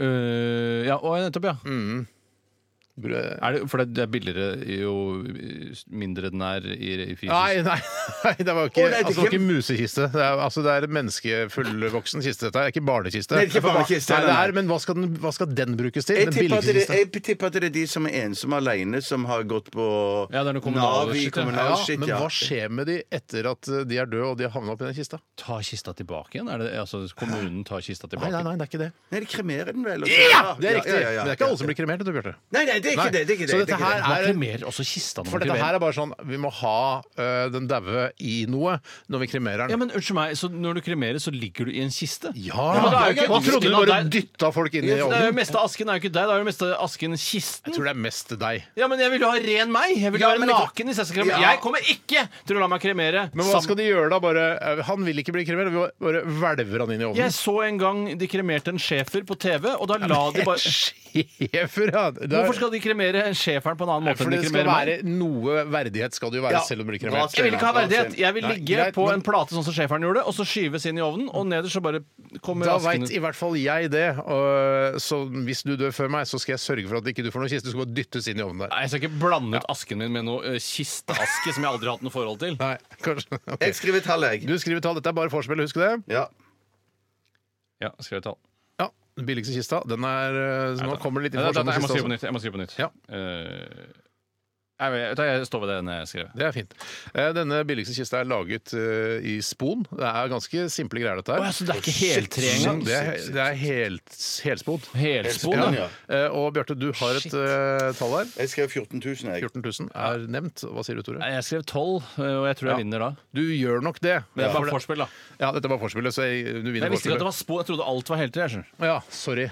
F: Øh, ja, og nettopp, ja.
E: Bru-
F: Er det, for det det er billigere jo mindre den er i, i fysisk
E: Nei, nei, nei, det var ikke,
G: Å, nei, det er
E: altså, det var
G: ikke-
E: ikke musekiste. Det er, altså, det er en menneskefullvoksen kiste. Dette er ikke barnekiste.
G: Nei, det er ikke barnekiste,
E: Nei, det
G: nei.
E: er, men hva skal, den, hva skal den brukes til?
G: Jeg
E: Den
G: tipper, at
E: billigste
G: det,
E: kista?
G: jeg tipper at det er de som er ensomme alene, som har gått på
F: Ja, det er noe kommunale
G: Nav i
F: shit, ja.
G: kommunal
E: Ja,
G: shit.
E: men
G: Ja.
E: hva skjer med de etter at eh, de er døde og de har havna oppi den kista?
F: Ta kista tilbake igjen? Er det, altså, kommunen tar kista
E: Nei,
F: tilbake?
E: nei, nei, det er ikke det.
G: Nei, de kremerer den vel? og så-
E: Ja, Det er
G: Ja,
E: riktig!
G: ja, ja, ja.
E: Men det er ikke alle som blir kremert, vet du, Bjarte.
G: Nei, nei, det er
E: Nei.
G: ikke
E: Så
G: det. det, er ikke det, det
E: dette
G: er ikke det.
E: her
F: Man
E: er-
F: kremerer også kista når
E: For
F: man
E: dette
F: kremerer.
E: her er bare sånn Vi må ha eh, den daue i noe når vi kremerer den.
F: Ja, men unnskyld meg, så når du kremerer, så ligger du i en kiste?
E: Ja!
F: men da er jo ikke
E: Man trodde
F: asken
E: du
F: av
E: bare
F: deg-
E: dytta folk inn i
F: Det er jo
E: ovnen.
F: meste asken er jo ikke deg, det er jo meste asken
E: Jeg
F: kisten.
E: tror det er mest deg.
F: Ja, men jeg vil jo ha ren meg! Jeg vil jo
G: Ja,
F: være
G: men jeg-
F: naken hvis jeg skal kremere.
G: Ja.
F: Jeg kommer ikke til å la meg kremere.
E: Men hva
F: sammen-
E: skal de gjøre da? Bare, eh, han vil ikke bli kremert, vi bare hvelver han inn i ovnen.
F: Jeg så en gang de kremerte en schæfer på TV, og da la de bare
E: Sjefer, ja! Det er-
F: Hvorfor skal de kremere schæferen på en annen måte
E: for
F: enn de
E: det skal være
F: kremerer meg?
E: noe verdighet skal det jo være
G: Ja.
E: selv om du blir
G: Hva
E: kremert.
G: skal-
F: Jeg vil ikke ha verdighet. Jeg vil
E: Nei,
F: ligge
E: greit,
F: på
E: men-
F: en plate sånn som schæferen gjorde, og så skyves inn i ovnen, og nederst så bare kommer
E: Da
F: asken
E: veit i
F: ut.
E: hvert fall jeg det. Og, så hvis du dør før meg, så skal jeg sørge for at ikke du får noen kiste. Du skal bare dyttes inn i ovnen der.
F: Nei, Jeg skal ikke blande ut asken min med noe eh, kisteaske som jeg aldri har hatt noe forhold til.
E: Nei, kanskje ok.
G: Jeg skriver tallet, jeg.
E: Du skriver tall. Dette er bare vorspiel, husk det.
G: Ja.
F: Ja, skrev et tall.
E: Ja, Den billigste kista. Den er eh, så Nå kommer det litt
F: Nei, nei, nei,
E: informasjon. om
F: Jeg må
E: kista
F: skrive på
E: også.
F: nytt. Jeg må skrive på nytt.
E: Ja.
F: Eh, Jeg, vet, du hva, jeg står ved den jeg skrev.
E: Det er fint. Eh, Denne billigste kista er laget eh, i spon. Det er ganske simple greier, dette her. Mm,
F: Å, ja, så det er ikke heltre engang?
E: Det er, det er helt, helspon.
F: Helspon, ja.
E: Eh, Og Bjarte, du har et eh, tall her.
G: Jeg skrev 14 000, jeg.
E: 14 000 er nevnt. Hva sier du, Tore?
F: Nei, Jeg skrev 12, og jeg tror jeg vinner da.
E: Du gjør nok det.
F: Men det er
E: For
F: bare forspill, da.
E: Ja, dette var forspillet, så jeg, du vinner
F: Jeg visste ikke at
E: forspillet.
F: det var spå. Jeg trodde alt var helter. jeg skjønner.
E: Ja, sorry.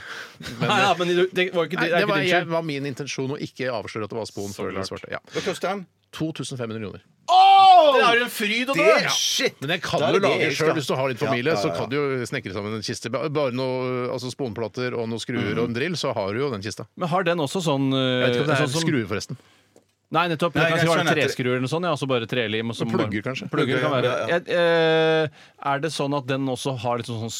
E: Men,
F: Nei, ja, men det det var jo ikke
E: Nei,
F: det.
E: det
F: er ikke
E: var,
F: din
E: jeg,
F: skyld.
E: var min intensjon å ikke avsløre at det var spon. før det svarte. Ja.
G: Hva koster den?
E: 2500 kroner.
F: Det er jo en fryd å dø!
G: Det er shit!
E: Men den kan
G: Da er
E: du
G: det
E: lage
G: det jeg
E: sjøl
G: skal.
E: hvis du har litt familie.
G: Ja, ja, ja.
E: Så kan du jo snekre sammen en kiste. Ba- Bare noe altså sponplater og noen skruer
G: Mm.
E: og en drill, så har du jo den kista.
F: Men har den også sånn
E: Jeg vet ikke om det er
F: sånn som-
E: skruer, forresten.
F: Nei, nettopp. Det
G: Nei, jeg
F: kan sikkert være
G: skjønner at det-
F: treskruer eller noe sånt. Ja, og så bare trelim. Og så
E: Men plugger,
F: bare-
E: kanskje?
F: Plugger kan
G: Plugger,
F: være.
G: ja, ja.
F: Jeg- eh, er det sånn at den også har litt sånn, sånn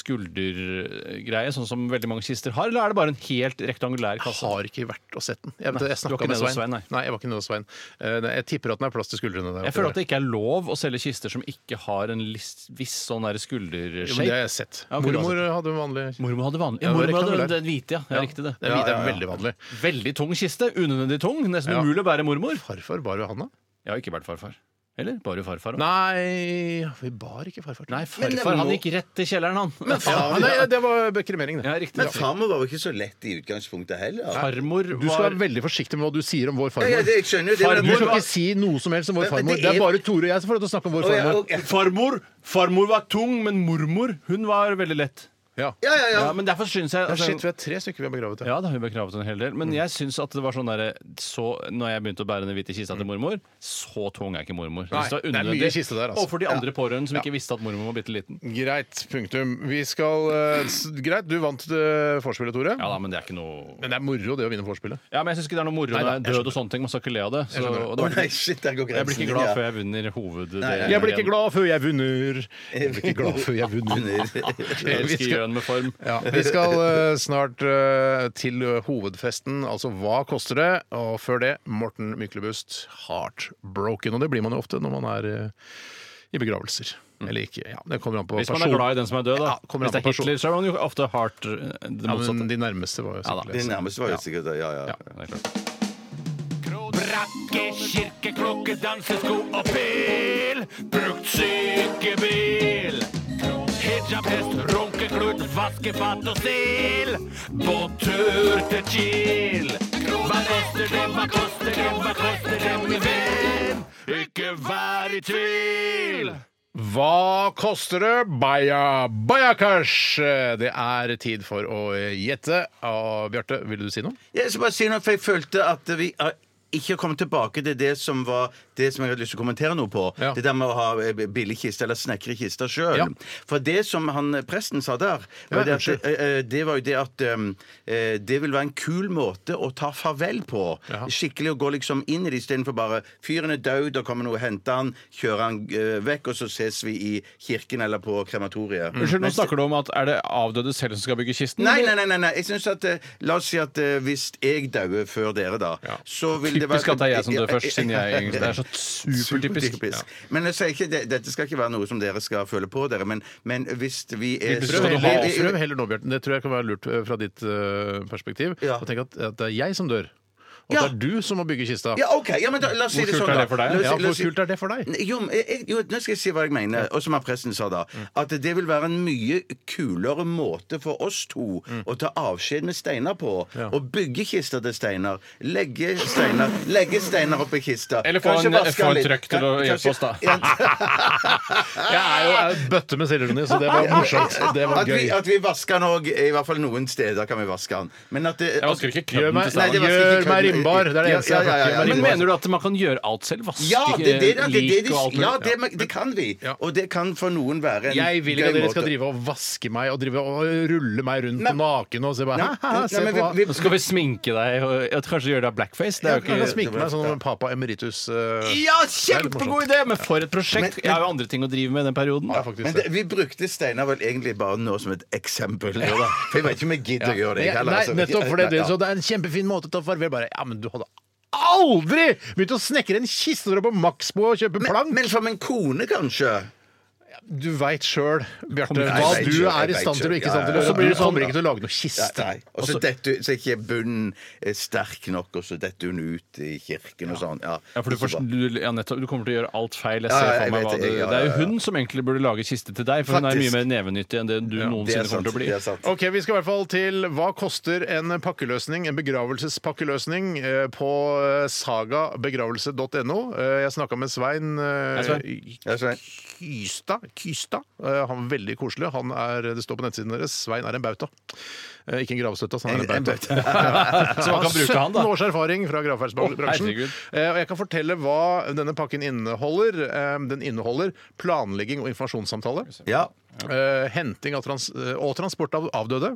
F: skuldergreie, sånn som veldig mange kister har, eller er det bare en helt rektangulær
E: Jeg
F: kasse?
E: har ikke vært og sett den. Jeg, vet, jeg
F: Nei, du var
E: snakka
F: ikke
E: med
F: nede hos
E: Svein.
F: Svein,
E: nei.
F: nei.
E: jeg var ikke nede hos Svein. Eh, nei, Jeg tipper at den er plass til skuldrene der.
F: Jeg føler at det ikke er lov å selge kister som ikke har en lis- viss sånn der
E: Jo, men det har
F: skuldershape.
E: jeg sett.
F: Ja, ok, da
E: Mormor hadde en vanlig
F: Mormor hadde vanlig.
E: Ja, det
F: Ja,
E: var
F: mormor hadde
E: rektangulær.
F: den hvite, ja. Jeg riktig det.
E: Den hvite er veldig vanlig.
F: Veldig tung kiste. Unødvendig tung. Nesten
E: Ja.
F: umulig å bære mormor.
E: Farfar bar jo han, da?
F: Jeg har ikke vært farfar. Eller bare farfar. også.
E: Nei, vi bar ikke farfar. til.
F: Nei, farfar han gikk rett til kjelleren, han.
E: Ja, nei, det var kremering, det.
F: Ja, riktig.
G: Men farmor var jo ikke så lett i utgangspunktet heller.
F: Farmor
E: Du skal
F: var
E: være veldig forsiktig med hva du sier om vår
G: Ja, ja,
E: farmor.
G: det, jeg skjønner jo det.
E: Du skal
G: men-
E: ikke si noe som helst om vår
G: Men- men
E: farmor.
G: det
E: Det er
G: er-
E: bare Tore og jeg som får lov til å snakke om vår
G: Å, ja,
E: farmor.
G: ok.
F: Farmor farmor var tung, men mormor hun var veldig lett.
E: Ja.
G: Ja, ja, ja.
F: Ja, men derfor synes jeg altså,
E: Shit, vi er tre stykker vi har begravet her.
F: Ja, da har hun bekravet en hel del.
E: Mm.
F: Men jeg syns at det var sånn derre så, Når jeg begynte å bære den hvite kista til mormor, så tung er ikke mormor.
E: Mm.
F: Jeg synes
E: Nei, det er
F: unødvendig.
E: mye kiste der, altså.
F: Og for de andre pårørende som ikke visste at mormor var bitte liten.
E: Greit, punktum. Vi skal eh, s- Greit, du vant eh, vorspielet, Tore.
F: Ja da, men det er ikke noe
E: Men det er moro, det å vinne vorspielet.
F: Ja, men jeg syns ikke det er noe moro
E: Nei, nei, jeg
F: når jeg er død og sånne ting. Man skal ikke le av det. Så,
E: skjønner det.
F: og det
G: Å
F: var,
G: nei, shit, der går grensen.
F: jeg blir ikke glad før jeg vinner hoveddelen.
E: Jeg blir ikke glad før jeg vunner. Jeg blir ikke glad før jeg vunner.
F: Jeg
E: Vi
F: elsker
E: skal-
F: gjøn med form.
E: Ja, vi skal eh, snart eh, til hovedfesten, altså hva koster det? Og før det, Morten Myklebust, 'Heartbroken'. Og det blir man jo ofte når man er eh, i begravelser. Eller ikke. Ja, det kommer an på
F: Mm. Hvis man er glad i den som er død, da.
E: Ja, kommer
F: Hvis
E: an
F: det
E: på
F: er Hitler, så er man jo ofte hardt eh, det
E: Ja,
F: motsatte.
E: men de nærmeste var jo
F: Ja da.
E: sikkert
G: Det nærmeste var jo sikkert det. Ja, ja.
F: Ja, det er klart.
D: Brakke, kirke, klokke, dansesko og pil. Brukt sykebil. Hijab, hest, runkeklut, vaskefat og stil. På tur til Kiel. Hva koster det, hva koster det, hva koster det, min venn? Ikke vær i tvil.
E: Hva koster det? Baya bayakash! Det er tid for å gjette. Og Bjarte, ville du si noe?
G: Jeg skal bare si noe, for jeg følte at vi eh, ikke har kommet tilbake til det som var det som jeg hadde lyst til å kommentere noe på.
E: Ja.
G: Det der med å ha eh, billig kiste eller snekre kista sjøl.
E: Ja.
G: For det som han eh, presten sa der,
E: Ja,
G: var det,
E: unnskyld.
G: at, eh, eh, det var jo det at eh, eh, det vil være en kul måte å ta farvel på.
E: Jaha.
G: Skikkelig å gå liksom inn i det istedenfor bare Fyren er død, da kommer noe og henter han, kjører han eh, vekk, og så ses vi i kirken eller på krematoriet.
F: Unnskyld, nå snakker du om at er det avdøde selv som skal bygge kisten?
G: Nei,
F: eller?
G: nei, nei, nei, nei. Jeg synes at eh, La oss si at eh, hvis jeg dauer før dere, da
E: Ja.
G: så vil det være
F: Typisk at det er jeg som dør først, siden jeg egentlig Det er så supertypisk.
G: Typisk. Men jeg sier ikke, det, dette skal ikke være noe som dere skal føle på dere, men, men hvis vi er
E: Prøv
F: skal du
E: heller,
F: ha-
E: prøv heller nå, Bjarte. Det tror jeg kan være lurt eh, fra ditt eh, perspektiv.
G: Ja.
E: Å tenke at, at det er jeg som dør. Og
G: Ja.
E: det er du som må bygge kista.
G: Ja, OK. Ja, men da, la oss si
F: Hvor
G: det
F: kult
G: sånn,
F: er
G: da.
F: det for deg?
G: La oss si-
E: Ja,
G: la
E: Hvor
G: oss si-
E: kult er det for deg?
G: Nei, Jo, men jeg, jeg- jo, nå skal jeg si hva jeg mener, og som har presten sa da.
F: Mm.
G: At det vil være en mye kulere måte for oss to
F: Mm.
G: å ta avskjed med Steinar på. Å bygge kister til Steinar. Legge Steinar Legge Steinar oppi kista.
F: Eller få
G: Kanskje
F: en-
G: vaske
F: få
G: han
F: en
G: litt.
F: trøkk til
G: Kan-
F: å hjelpe
G: kanskje-
F: oss, da.
G: Ja,
E: Jeg er jo en bøtte med selvironi, så det var morsomt. Det var
G: at, vi,
E: gøy.
G: at vi vasker han òg. I hvert fall noen steder kan vi vaske han. Men at det,
F: Jeg vasker ikke
E: Gjør
F: klubben
E: meg,
F: til
G: Nei, det
F: Stavanger.
G: var ikke
E: gjør
G: kødd.
E: meg rimbar! Det er det eneste
G: Ja,
E: jeg
G: ja, ja,
E: har
G: ja.
E: gjort.
F: Men
E: Gjør meg
F: mener du at man kan gjøre alt selv? Vaske
G: ja, det, det, det, det, det,
F: lik
G: de-
F: og alt
G: ja,
F: mulig?
G: det, det kan vi.
E: Ja.
G: Og det kan for noen være en
E: Jeg vil ikke
G: gøy
E: at dere skal
G: måte.
E: drive og vaske meg og drive og rulle meg rundt
G: Nei.
E: på naken og se bare
G: Nei,
E: «Haha, se
G: nei, men
E: på
G: vi-
E: hva
F: Nå skal vi sminke deg og ja, kanskje gjøre deg blackface? Det er jo
E: Jeg kan
F: ikke
E: sminke meg sånn Papa Emeritus. eh,
F: Ja,
E: kjempegod
F: kjempegod idé! Men for et prosjekt! Jeg har jo andre ting å drive med i den perioden.
E: ja, faktisk
G: Men
E: det.
G: det, vi brukte Steinar vel egentlig bare nå som et eksempel. For jeg vet ikke om jeg gidder å gjøre det.
E: Ja,
G: heller,
E: Nei,
G: altså.
E: nettopp for det,
G: Ja, ja.
E: så det er en kjempefin måte å ta farvel. Bare, ja, men du hadde aldri begynt å snekre en kiste når du er på Maxbo og kjøper plank!
G: Men som en kone, kanskje?
E: du veit sjøl, Bjarte,
G: Kommer-
E: hva
G: Jeg vet
E: du
G: selv,
E: er
G: jeg
E: i
G: vet
E: stand til
G: selv.
E: og ikke i
G: Ja,
E: stand til å
G: ja,
E: gjøre.
G: ja.
E: Du kommer ikke til å lage noe kiste.
G: Nei. Og så
F: Altså-
G: detter hun- så er ikke bunnen eh, sterk nok, og så detter hun ut i kirken og sånn. Ja,
F: Ja, for du,
G: ikke
F: forst-
G: bra.
F: du, ja, nettopp, du kommer til å gjøre alt feil. Jeg
G: Ja,
F: ser
G: ja, jeg
F: for meg
G: vet
F: hva
G: det,
F: du,
G: ja, ja,
F: Det er jo
G: ja.
F: hun som egentlig burde lage kiste til deg, for hun er
G: Faktisk.
F: mye mer nevenyttig enn det du
G: Det er
F: noensinne
G: sant.
F: kommer til å bli.
G: Det er sant.
E: Ok, Vi skal i hvert fall til hva koster en pakkeløsning, en begravelsespakkeløsning, eh, på eh, sagabegravelse.no. Eh, Jeg snakka med Svein eh,
F: Hei, Svein.
G: Ja, Svein.
E: Kystad. Kystad. Eh, Han var veldig koselig. Han er, det står på nettsiden deres Svein er en bauta. Eh, Ikke en gravstøtte, så han er
G: En- en
E: en bauta.
G: bauta.
F: Så man kan bruke han, da.
E: 17 års erfaring fra gravferdsbransjen.
F: Å, herregud.
E: Eh, og jeg kan fortelle hva denne pakken inneholder. Eh, Den inneholder planlegging og informasjonssamtale.
G: Ja.
E: Eh, henting av trans eh, og transport av avdøde.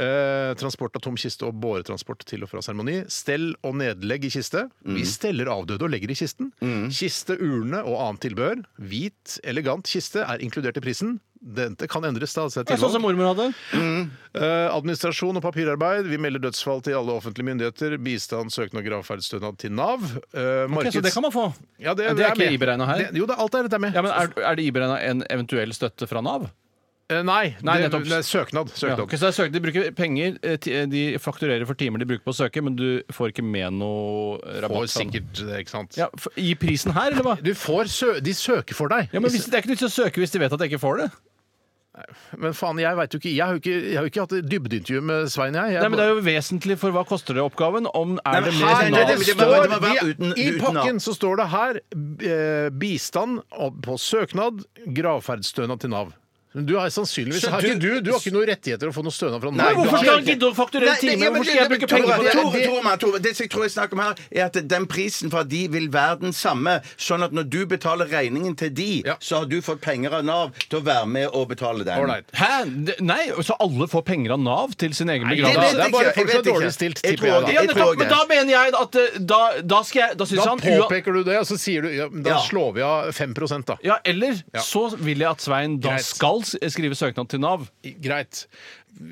E: Eh, transport av tom kiste og båretransport til og fra seremoni. Stell og nedlegg i kiste.
F: Mm.
E: Vi steller avdøde og legger i kisten. Kiste, urne og annet tilbehør. Hvit, elegant kiste er inkludert i prisen. Dette kan endres. da, sett
F: Det er sånn
E: tilvalg.
F: som mormor hadde.
E: Eh, administrasjon og papirarbeid. Vi melder dødsfall til alle offentlige myndigheter. Bistand, søknad, gravferdsstønad til Nav. Eh,
F: Ok, så det kan man få.
E: Ja, det,
F: Ja, det er ikke
E: med.
F: iberegnet her.
E: Det, jo, det, alt er dette er med.
F: Ja, men er, er det iberegna en eventuell støtte fra Nav?
E: Eh, nei,
F: Nei,
E: det,
F: nettopp.
E: det er søknad.
F: Ja,
E: søknad.
F: ok, så det er søk, de bruker penger, eh, ti- eh, de fakturerer for timer de bruker på å søke, men du får ikke med noe rabatt.
E: Får
F: fra den.
E: sikkert det, ikke sant?
F: Ja, for, I prisen her, eller hva?
E: Du får sø de søker for deg.
F: Ja, men hvis, Det er ikke nytt å søke hvis de vet at jeg ikke får det.
E: Men faen, jeg vet jo ikke Jeg har jo ikke, jeg har jo ikke hatt et dybdeintervju med Svein, jeg. jeg
F: Nei, men Det er jo vesentlig for hva koster det-oppgaven. Om er
G: men
F: det
G: her
F: mer
G: er
E: Nei, det, det
G: Nei, det
F: Nav
G: må-
E: står,
G: det må være
E: vi-
G: uten-
E: I
G: uten
E: pakken
G: Nav.
E: så står det her eh, bistand og- på søknad, gravferdsstønad til Nav. Men Du har sannsynligvis
G: Så
E: har ikke, du,
G: du-
E: du har ikke noen rettigheter å få noe stønad fra Nav.
G: Nei,
E: Du
F: Hvorfor
E: har-
F: skal han gidde å fakturere timer? Hvorfor skal jeg bruke penger på det?
G: Tore, Tore, Mann, Tore, det som jeg tror jeg snakker om her, er at den prisen fra de vil være den samme. Sånn at når du betaler regningen til de,
E: Ja.
G: så har du fått penger av Nav til å være med og betale den.
E: Ålreit.
F: Hæ? Det- Nei, så alle får penger av Nav til sin egen
E: det
F: begravelse?
E: vet jeg bare folk som er dårlig stilt, tipper jeg, da.
F: Ja, nettopp, men da mener jeg at eh, da, da skal jeg Da syns
E: Da
F: han ua-
E: påpeker du det, og så sier du ja, men Da
G: Ja.
E: slår vi av 5 da.
F: Ja, eller
E: Ja.
F: så vil jeg at Svein da
E: Greit.
F: skal s- skrive søknad til Nav.
E: Greit.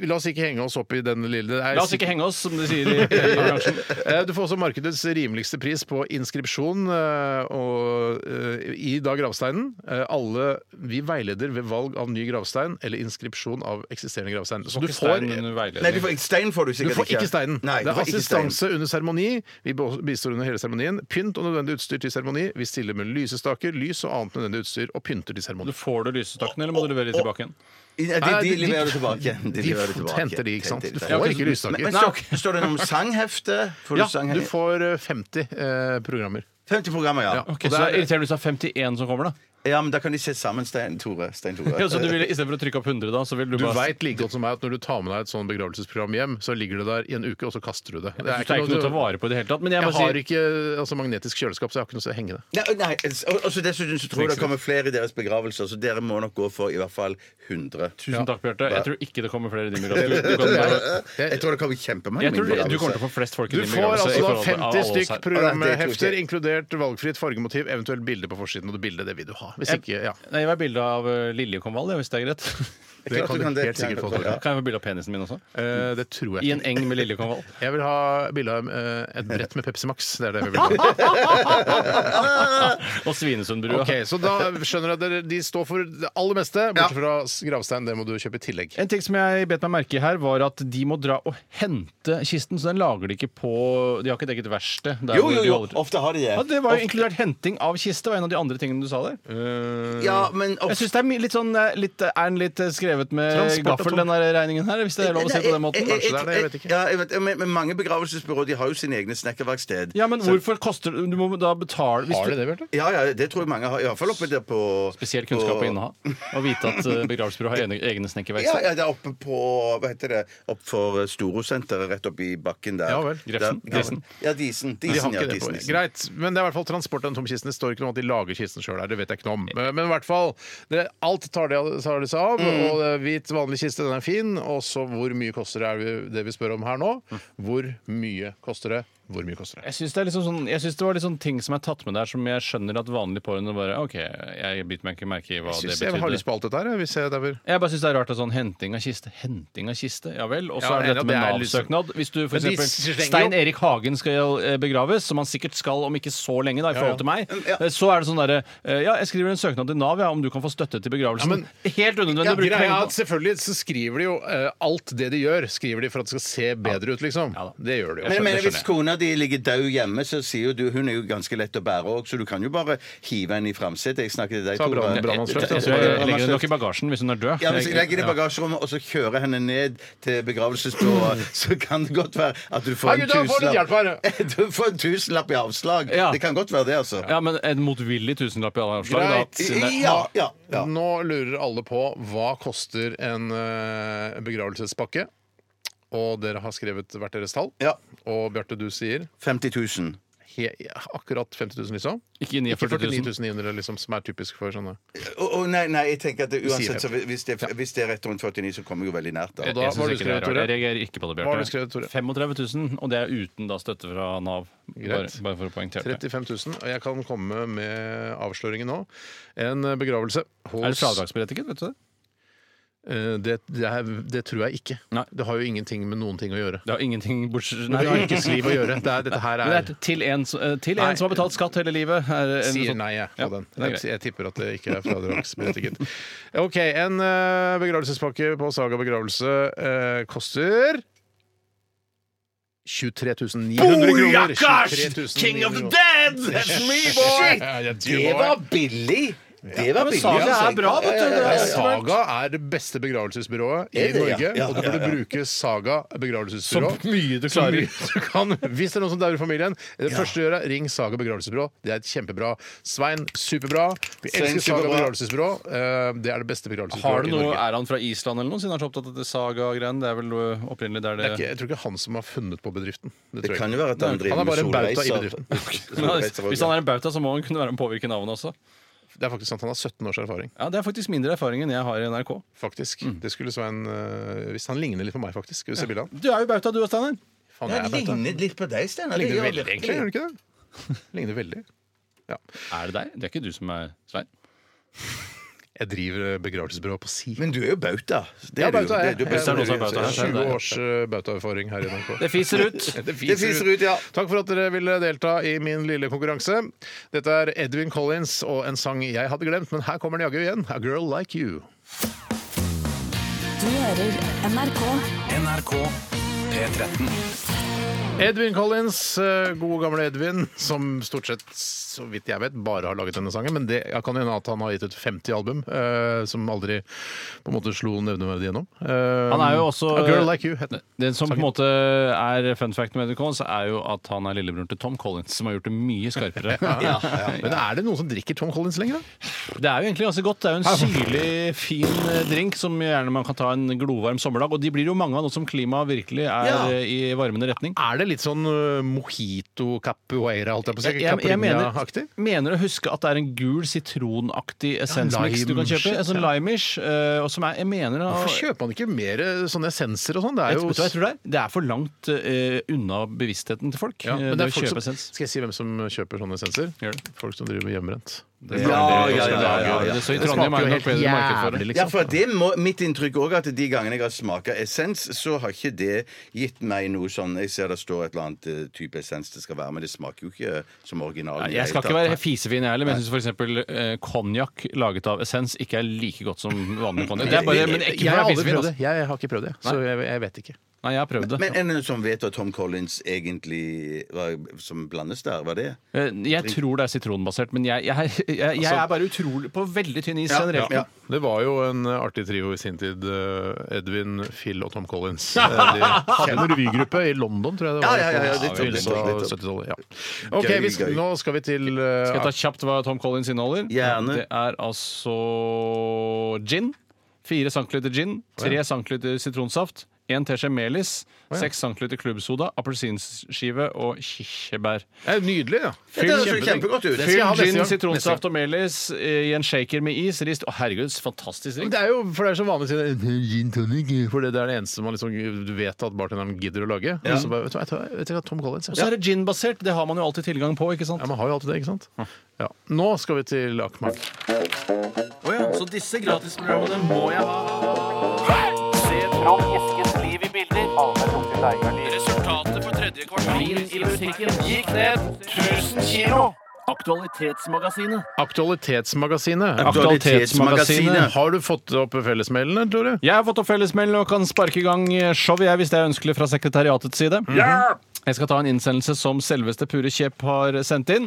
E: La oss ikke henge oss opp i den lille det er
F: La oss ikke henge oss, som de sier i, i bransjen.
E: Eh, Du får også markedets rimeligste pris på inskripsjon eh, og, eh, i da gravsteinen. Eh, Alle vi veileder ved valg av ny gravstein eller inskripsjon av eksisterende gravstein. Så du får
F: Stein under veiledning.
G: Nei, du får, stein får du
E: du
G: sikkert
E: får ikke steinen.
G: Nei,
E: det
G: du
E: er
G: får ikke stein.
E: assistanse under seremoni. Vi bistår under hele seremonien. Pynt og nødvendig utstyr til seremoni. Vi stiller med lysestaker, lys og annet nødvendig utstyr og pynter til seremoni.
F: Du får du lysestakene, eller må du levere de tilbake igjen?
G: Ja, de,
E: Nei,
G: de,
E: de-
G: leverer det tilbake.
E: de f-
G: leverer det tilbake.
E: henter de, ikke sant? Du
G: Henter de.
E: får ikke lysstaker.
G: Men, men
E: Nei,
G: står,
E: ok.
G: står det noe om sanghefte? Får du
E: Ja, du
G: sanghefte?
E: får eh, 50 eh, programmer.
G: 50 programmer, ja.
E: Ja.
G: ja.
F: Ok, så det er irriterende hvis det er 51 som kommer, da.
G: men da kan de se sammen, Stein Tore. Stein Tore.
F: Ja, så du vil, Istedenfor å trykke opp 100, da, så vil du,
E: Du
F: bare
E: veit like godt som meg at når du tar med deg et sånn begravelsesprogram hjem, så ligger det der i en uke, og så kaster du det. Det
F: Det er ikke noe å ta vare på i det hele tatt. Men jeg,
E: Jeg
F: bare
E: har
F: sier-
E: ikke altså, magnetisk kjøleskap, så jeg har ikke noe sted å henge det.
G: Eh, Nei, nei, altså, og, og så Dessuten så tror jeg det kommer flere i deres begravelser, så dere må nok gå for i hvert fall 100.
F: Tusen takk, Bjarte. Jeg tror ikke det kommer flere i din begravelse. Du, du kan bare-
G: Jeg tror det kommer kjempemange.
F: jeg tror
G: i min
F: du
G: begravelse.
F: kommer til å få flest folk i
E: Du
F: din
E: får
F: begravelse.
E: altså
F: i
E: da
F: forhold til-
E: 50
F: av alle oss
E: stykk
F: her.
E: programhefter, inkludert valgfritt fargemotiv, eventuelt bilde på forsiden. Og det bildet, det vil du ha. Hvis ikke, ja.
F: Nei, jeg vil ha bilde av eh, liljekonvall, jeg, hvis det er greit.
E: Det
G: klart
E: kan
G: du
E: du
G: kan det.
E: helt sikkert få.
G: Ja.
F: Kan jeg få bilde av penisen min også?
E: Eh, Det tror
F: I
E: jeg
F: en
E: ikke.
F: eng med liljekonvall.
E: Jeg vil ha bilde av eh, et brett med Pepsi Max. Det er det jeg vil ha.
F: Og Svinesundbrua.
E: Ok, så da skjønner jeg at dere- de står for det aller meste, bortsett fra gravstein. Det må du kjøpe i tillegg.
F: En ting som jeg bet meg merke i her, var at de må dra og hente kisten. Så den lager de ikke på De har ikke et eget verksted. der
G: Jo,
F: hvor
G: jo,
F: de
G: jo.
F: holder-
G: Ofte har de
F: Ja,
G: det.
F: det var jo inkludert henting av kiste. var en av de andre tingene du sa der.
G: Ja, men
F: Jeg
G: ofte
F: syns det er mi- litt sånn eh, litt, Er den litt eh, skrevet med
E: Transport av
F: gaffel,
E: tom-
F: den der regningen her? Hvis det er lov å si på den måten?
G: Jeg-
E: Kanskje
G: jeg-
E: det er det, jeg vet ikke.
G: Ja, jeg vet, men, men mange begravelsesbyrå de har jo sine egne snekkerverksted.
F: Ja, men hvorfor koster det Du må da betale hvis
E: Har
F: du-
E: de det, Bjarte?
G: Ja, ja, det tror jeg mange har. I hvert fall oppe der på
F: Spesiell kunnskap
G: på-
F: å inneha. Å vite at eh, begravelsesbyrå har egne, egne
G: Ja,
F: snekkerverksteder.
G: ja, det er oppe på Hva heter det? Opp for Storosenteret, rett oppi bakken der.
E: Ja vel.
F: Grefsen?
G: Der-
F: Grisen?
G: Ja, Disen.
E: De har
G: Disen, ja,
E: ikke det på.
G: Disen, Disen.
E: Greit, men det er i hvert fall transport av den tomme kisten. Det står ikke noe om at de lager kisten sjøl her, det vet jeg ikke noe om. Men i hvert fall, det, alt tar de, tar de seg av.
F: Mm.
E: Og det er hvit, vanlig kiste,
F: Mm.
E: den er fin. Og så hvor mye koster det, er vi- det vi spør om her nå. Hvor mye koster det? Hvor mye koster det?
F: Jeg syns det, er liksom sånn, jeg synes det var litt sånn ting som er tatt med der, som jeg skjønner at vanlige pårørende bare OK, jeg biter meg ikke merke i hva det
E: Syns jeg har
F: betydde.
E: lyst på alt dette her. jeg, Hvis jeg derfor
F: Jeg bare syns det er rart at sånn henting av kiste Henting av kiste, ja vel. Og så
E: Ja,
F: er det
E: enig,
F: dette med
E: det er litt sånn-
F: Nav-søknad. Hvis du
E: Men de
F: f.eks.
E: slenger jo-
F: Stein Erik Hagen skal eh, begraves, som han sikkert skal om ikke så lenge, da, i forhold til meg, eh, så er det sånn derre eh, Ja, jeg skriver en søknad til Nav, ja, om du kan få støtte til begravelsen.
E: Ja, men-
F: Helt unødvendig
E: ja,
F: å bruke
E: greia er
F: penger
E: at
F: på.
E: Selvfølgelig så skriver de jo eh, alt det de gjør, skriver de for at det skal se bedre ut, liksom.
F: Ja da.
E: Det gjør de jo.
G: Men jeg mener,
E: Skjønner,
G: hvis kona di ligger død hjemme, så sier jo du Hun er jo ganske lett å bære òg, så du kan jo bare hive henne i framsetet. Jeg snakker til deg,
E: Ta
G: Tore.
E: brann- brannmannsløft,
F: Jeg
E: altså.
F: tror jeg legger det
G: Brannmannsløft.
F: nok i bagasjen hvis hun er død.
G: Ja, Hvis jeg legger det i
F: Ja.
G: bagasjerommet og så kjører henne ned til begravelsesbyrået, så kan det godt være at du får
E: Mm. Hei,
G: en
E: gutta, få litt hjelp her!
G: tusenlapp Du får en tusenlapp i avslag.
F: Ja.
G: Det kan godt være det, altså.
F: Ja, men en motvillig tusenlapp i alle avslag, da.
E: Greit.
F: siden det-
G: Ja, ja, ja.
E: Nå lurer alle på hva koster en eh, begravelsespakke. Og dere har skrevet hvert deres tall.
G: Ja.
E: Og Bjarte, du sier
G: 50 000.
E: he akkurat 50 000, liksom.
F: Ikke
E: Ikke
F: 49 000.
E: 49 900, liksom, som er typisk for sånne.
G: Å, å, nei, nei, jeg tenker at det, uansett,
E: Sier
G: så hvis det, hvis det er rett rundt 49, så kommer jeg jo veldig nært, da.
E: Og da- hva har
F: Jeg synes
E: du
F: ikke det er
E: skrevet, Tore?
F: rart. Jeg reagerer ikke på det,
E: Hva har du skrevet, Tore?
F: Bjarte. 35 000, og det er uten da støtte fra Nav. Bare,
E: Greit.
F: bare for å poengtere det.
E: 35 000. Og jeg kan komme med avsløringen nå. En eh, begravelse hos
F: Er det fradragsberettiget, vet du det?
E: Eh, det, det, er, det tror jeg ikke.
F: Nei.
E: Det har jo ingenting med noen ting å gjøre.
F: Det har ingenting bortsett
E: Det
F: Nei,
E: har yrkesliv å gjøre. Det er, dette her
F: Men
E: er
F: det er til en, som- eh, til
E: Nei.
F: en som har betalt skatt hele livet. Er en
E: Sier
F: sånn-
E: nei, jeg, på
F: Ja,
E: den.
F: det er greit.
E: Jeg, jeg tipper at det ikke er fradragsberettiget. OK. En eh, begravelsespakke på Saga begravelse eh, koster 23 900 kroner. 23 900 kroner.
F: dead! That's me, boy!
E: Ja, ja, du
G: Det
E: var-
G: var billig! Det var
F: men
G: billig.
F: Saga
G: altså.
F: er bra, vet du.
G: Ja, ja, ja, ja.
E: Saga er det beste begravelsesbyrået i
G: Er det, ja?
E: Norge.
G: Ja,
E: Og du
G: ja,
E: burde
G: ja.
E: bruke Saga begravelsesbyrå.
F: Så mye du
E: Så
F: klarer.
E: mye du kan. Hvis det er noen som dauer i familien, det første du gjør, er ring Saga begravelsesbyrå. Det er et kjempebra. Svein, superbra. Vi
G: Svein,
E: elsker Saga
G: superbra.
E: begravelsesbyrå. Eh, Det er det beste
F: Har
E: begravelsesbyrået
F: du
E: i
F: noe,
E: Norge.
F: Er han fra Island eller noe, siden han er så opptatt av det saga-greiene? Det er vel eh, opprinnelig der
E: Det er
F: det
E: ikke, jeg tror ikke han som har funnet på bedriften. Det tror
G: Det
E: jeg
G: kan
E: ikke.
G: jo være at han driver
E: Han er
G: med
E: bare en bauta i
G: solreiser.
E: bedriften.
F: Men han-
G: Solreiser også.
F: Hvis han er en bauta, så må han kunne være med å påvirke navnet også.
E: Det er faktisk sant, Han har 17 års erfaring.
F: Ja, Det er faktisk mindre erfaring enn jeg har i NRK.
E: faktisk Det skulle Svein eh, Hvis han ligner litt på meg, faktisk. Skal vi se bildet av han?
F: Du er jo bauta, du og Steinar.
E: Faen, jeg
G: Jeg
E: er bauta.
G: ligner litt på deg, Steinar. Det
E: Ligner
G: gjør
E: veldig,
G: jeg
E: egentlig. Gjør
G: virkelig.
E: det ikke det? Ligner veldig. Ja.
F: Er det deg? Det er ikke du som er Svein?
E: Jeg driver eh, begravelsesbyrå på si.
G: Men du er jo bauta. Det
E: Ja,
G: er du jo.
E: bauta er jeg.
G: Det er du
E: Jeg
F: er også bauta her, så er det
E: 20
F: det.
E: års eh, bautaerfaring her i NRK.
F: Det fiser ut.
E: Det
G: Det fiser ut, ja.
E: Takk for at dere ville delta i min lille konkurranse. Dette er Edwin Collins og en sang jeg hadde glemt, men her kommer den jaggu igjen. A Girl Like You.
A: Du hører NRK.
B: NRK P13.
E: Edwin Collins, eh, gode gamle Edwin, som stort sett, så vidt jeg vet, bare har laget denne sangen. Men det jeg kan hende at han har gitt ut 50 album eh, som aldri på en måte slo nevneverdig gjennom. Eh,
F: Han er jo også-
E: A Girl Like You het den.
F: Det som på en måte er fun fact med Edwin Collins, er jo at han er lillebroren til Tom Collins, som har gjort det mye skarpere.
E: Men er det noen som drikker Tom Collins lenger, da?
F: Det er jo egentlig ganske godt. Det er jo en syrlig, fin eh, drink som gjerne man kan ta en glovarm sommerdag. Og de blir jo mange av nå som klimaet virkelig er
G: Ja.
F: eh, i varmende retning.
E: Er det litt sånn eh, mojito capoeira, holdt jeg på å si?
F: Jeg, jeg, jeg mener,
E: Capoeira-aktig?
F: mener å huske at det er en gul sitronaktig essensmiks du kan
E: lime-shit,
F: kjøpe. En sånn limish. eh, Og som er, jeg mener
E: Hvorfor kjøper man ikke mer eh, sånne essenser og sånn? Det er
F: Jeg,
E: jo
F: vet du hva jeg tror det er? Det er for langt eh, unna bevisstheten til folk.
E: Ja,
F: eh,
E: men det
F: det
E: er
F: å
E: folk
F: kjøpe
E: som,
F: essens.
E: skal jeg si hvem som kjøper sånne essenser?
F: Gjør det.
E: Folk som driver med hjemmebrent.
F: Det
G: Ja,
E: Ah,
F: er-
G: ja, ja, ja, ja.
F: Det- Så i
E: Det
F: Trondheim
E: smaker jo
F: er det
E: helt
F: nok bedre marked for det.
E: jævlig,
G: Ja,
E: liksom.
G: for det må, Mitt inntrykk òg at de gangene jeg har smaka essens, så har ikke det gitt meg noe sånn Jeg ser det står et eller annet eh, type essens det skal være, men det smaker jo ikke som originalen.
F: Nei, Jeg skal ikke være fisefin, jeg heller, men jeg syns f.eks. Eh, konjakk laget av essens ikke er like godt som vanlig konjakk. Det er bare, men ikke
E: jeg,
F: for
E: har
F: å være
E: aldri
F: fisefin.
E: prøvd det.
F: Altså.
E: jeg har ikke prøvd det, så jeg, jeg vet ikke.
F: Nei, jeg har prøvd det.
G: Men en som vet at Tom Collins egentlig var, som blandes der, var det?
F: Eh, Jeg tror det er sitronbasert, men jeg, jeg, jeg, jeg, er bare utrolig på veldig tynn is
G: Ja,
F: generelt.
G: ja.
E: Det var jo en eh, artig trio i sin tid. eh, Edvin, Phil og Tom Collins. Eh, De hadde en revygruppe i London, tror jeg det var.
G: Ja, ja, ja, ja,
E: på
G: litt opp, litt opp, litt opp.
E: 70-tallet, ja. Ok, vi, skal-
G: Gøy, gøy.
E: Nå skal vi til eh,
F: Skal jeg ta kjapt hva Tom Collins inneholder?
G: Gjerne.
F: Det er altså gin. 4 centiliter gin, 3 centiliter sitronsaft, én teskje melis, seks centiliter klubbsoda, appelsinskive og kirsebær.
E: Det er jo eh, nydelig, ja.
G: Det høres jo kjempegodt ut.
E: Det skal jeg ha
F: Fyll
E: neste
F: gin,
E: gang.
F: sitronsaft
E: Neste
F: og melis i en shaker med is, rist Å, herregud, fantastisk drink.
E: Det er jo for det er så vanlig å si det, gin tonic, for det er det eneste man liksom vet at bartenderen gidder å lage. Og så bare, vet du hva, jeg tar- vet du hva, Tom Collins.
F: Og
E: Ja.
F: så er det ginbasert. Det har man jo alltid tilgang på, ikke sant?
E: Ja, man har jo alltid det, ikke sant? Ja. Nå skal vi til Akmark.
F: Så disse gratisprogrammene må jeg ha.
D: Resultatet for tredje kvartal i musikken gikk ned 1000 kilo. Aktualitetsmagasinet.
E: Aktualitetsmagasinet.
G: Aktualitetsmagasinet.
E: Har du fått opp fellesmailene, Tore?
F: Jeg har fått opp fellesmelding og kan sparke i gang showet jeg, hvis det er ønskelig fra sekretariatets side. Jeg skal ta en innsendelse som selveste Pure Kjepp har sendt inn.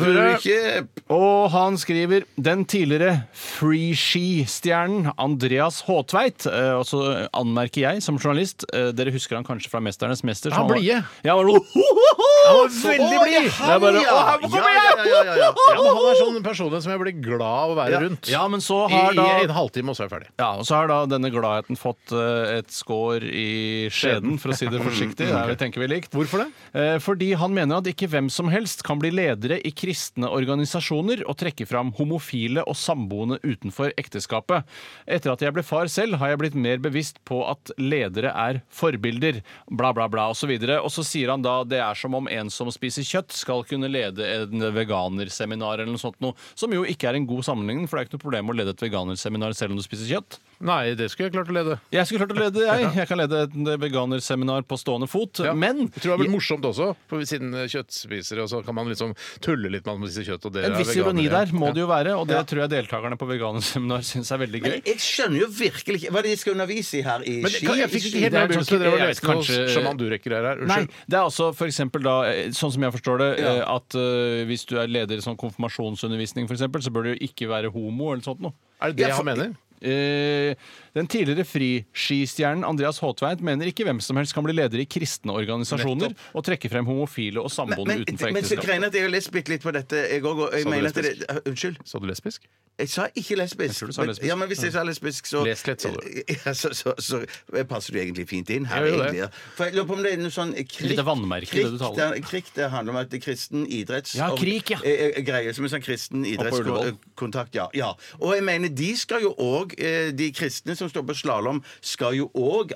G: Pure kjepp!
F: Og han skriver den tidligere freeski-stjernen Andreas Håtveit. eh, Og så anmerker jeg som journalist. eh, Dere husker han kanskje fra 'Mesternes mester'? så
E: Han
F: var-
E: blide.
F: Ja, han var noe- Han var
E: veldig blid.
F: Det er bare, å, her må komme
G: Ja, ja, ja, ja,
E: Ja, men han er sånn person som jeg blir glad av å være rundt.
F: Ja, men så
E: I,
F: har
E: I
F: da
E: en halvtime, og så er jeg ferdig.
F: ja, og så har da denne gladheten fått eh, et skår i skjeden, for å si det forsiktig. Der vi tenker vi likt.
E: Hvorfor det?
F: Eh, Fordi han mener at ikke hvem som helst kan bli ledere i kristne organisasjoner og trekke fram homofile og samboende utenfor ekteskapet. Etter at jeg ble far selv, har jeg blitt mer bevisst på at ledere er forbilder, bla, bla, bla, osv. Og så sier han da det er som om en som spiser kjøtt, skal kunne lede en veganerseminar eller noe sånt noe, som jo ikke er en god sammenligning, for det er ikke noe problem å lede et veganerseminar selv om du spiser kjøtt.
E: Nei, det skulle jeg klart å lede.
F: Jeg skulle klart å lede, jeg. Jeg kan lede et veganerseminar på stående fot,
E: Ja.
F: men
E: jeg tror det har blitt morsomt også, for siden eh, kjøttspisere og så kan man liksom tulle litt med at man spiser kjøtt. Og dere
F: En
E: er
F: viss
E: veganere.
F: ironi der må
E: Ja.
F: det jo være, og det tror jeg deltakerne på veganerseminar syns er veldig gøy.
G: Men jeg skjønner jo virkelig ikke Hva er det de skal undervise i her? I
E: Men det,
G: ski?
E: kan, jeg fikk ikke helt med
F: Det er
E: meg
F: sånn-
E: begynnelsen. Dere var
F: jeg vet
E: leste noe
F: kanskje-
E: sjaman Durek-greier her.
F: Nei,
E: Unnskyld.
F: det er altså for eksempel da, eh, sånn som jeg forstår det, eh, at eh, hvis du er leder i sånn konfirmasjonsundervisning for eksempel, så bør du jo ikke være homo eller sånt noe.
E: Er det det
G: Ja, for-
E: han mener?
F: Eh, Den tidligere friskistjernen Andreas Håtveit mener ikke hvem som helst kan bli leder i kristne organisasjoner og trekke frem homofile
G: Men,
F: og samboende
G: men,
F: utenfor
G: men så
F: ekteskap.
G: greiene at jeg har lest bitt litt på dette, jeg òg. Og jeg
E: Sa du
G: mener at det,
E: lesbisk?
G: unnskyld?
E: Så du lesbisk?
G: Jeg sa ikke lesbisk.
F: tror du sa lesbisk. Mm.
G: Men, ja, men hvis jeg sa lesbisk, så
E: Les litt, sa du.
G: Ja, så, så, så, passer du egentlig fint inn her.
E: Jeg gjør det.
G: egentlig, ja. For jeg lurer på om det er noe sånn krik,
F: Litt av vannmerke,
G: krik,
F: det du taler om.
G: der- krik, det handler om at det er kristen idretts...
F: Ja, krik, ja.
G: og- eh, eh, Greie som en sånn kristen
F: Ullevål.
G: idrettskontakt. Ja, ja. Og jeg mener, de skal jo òg De kristne som står på slalåm, skal jo òg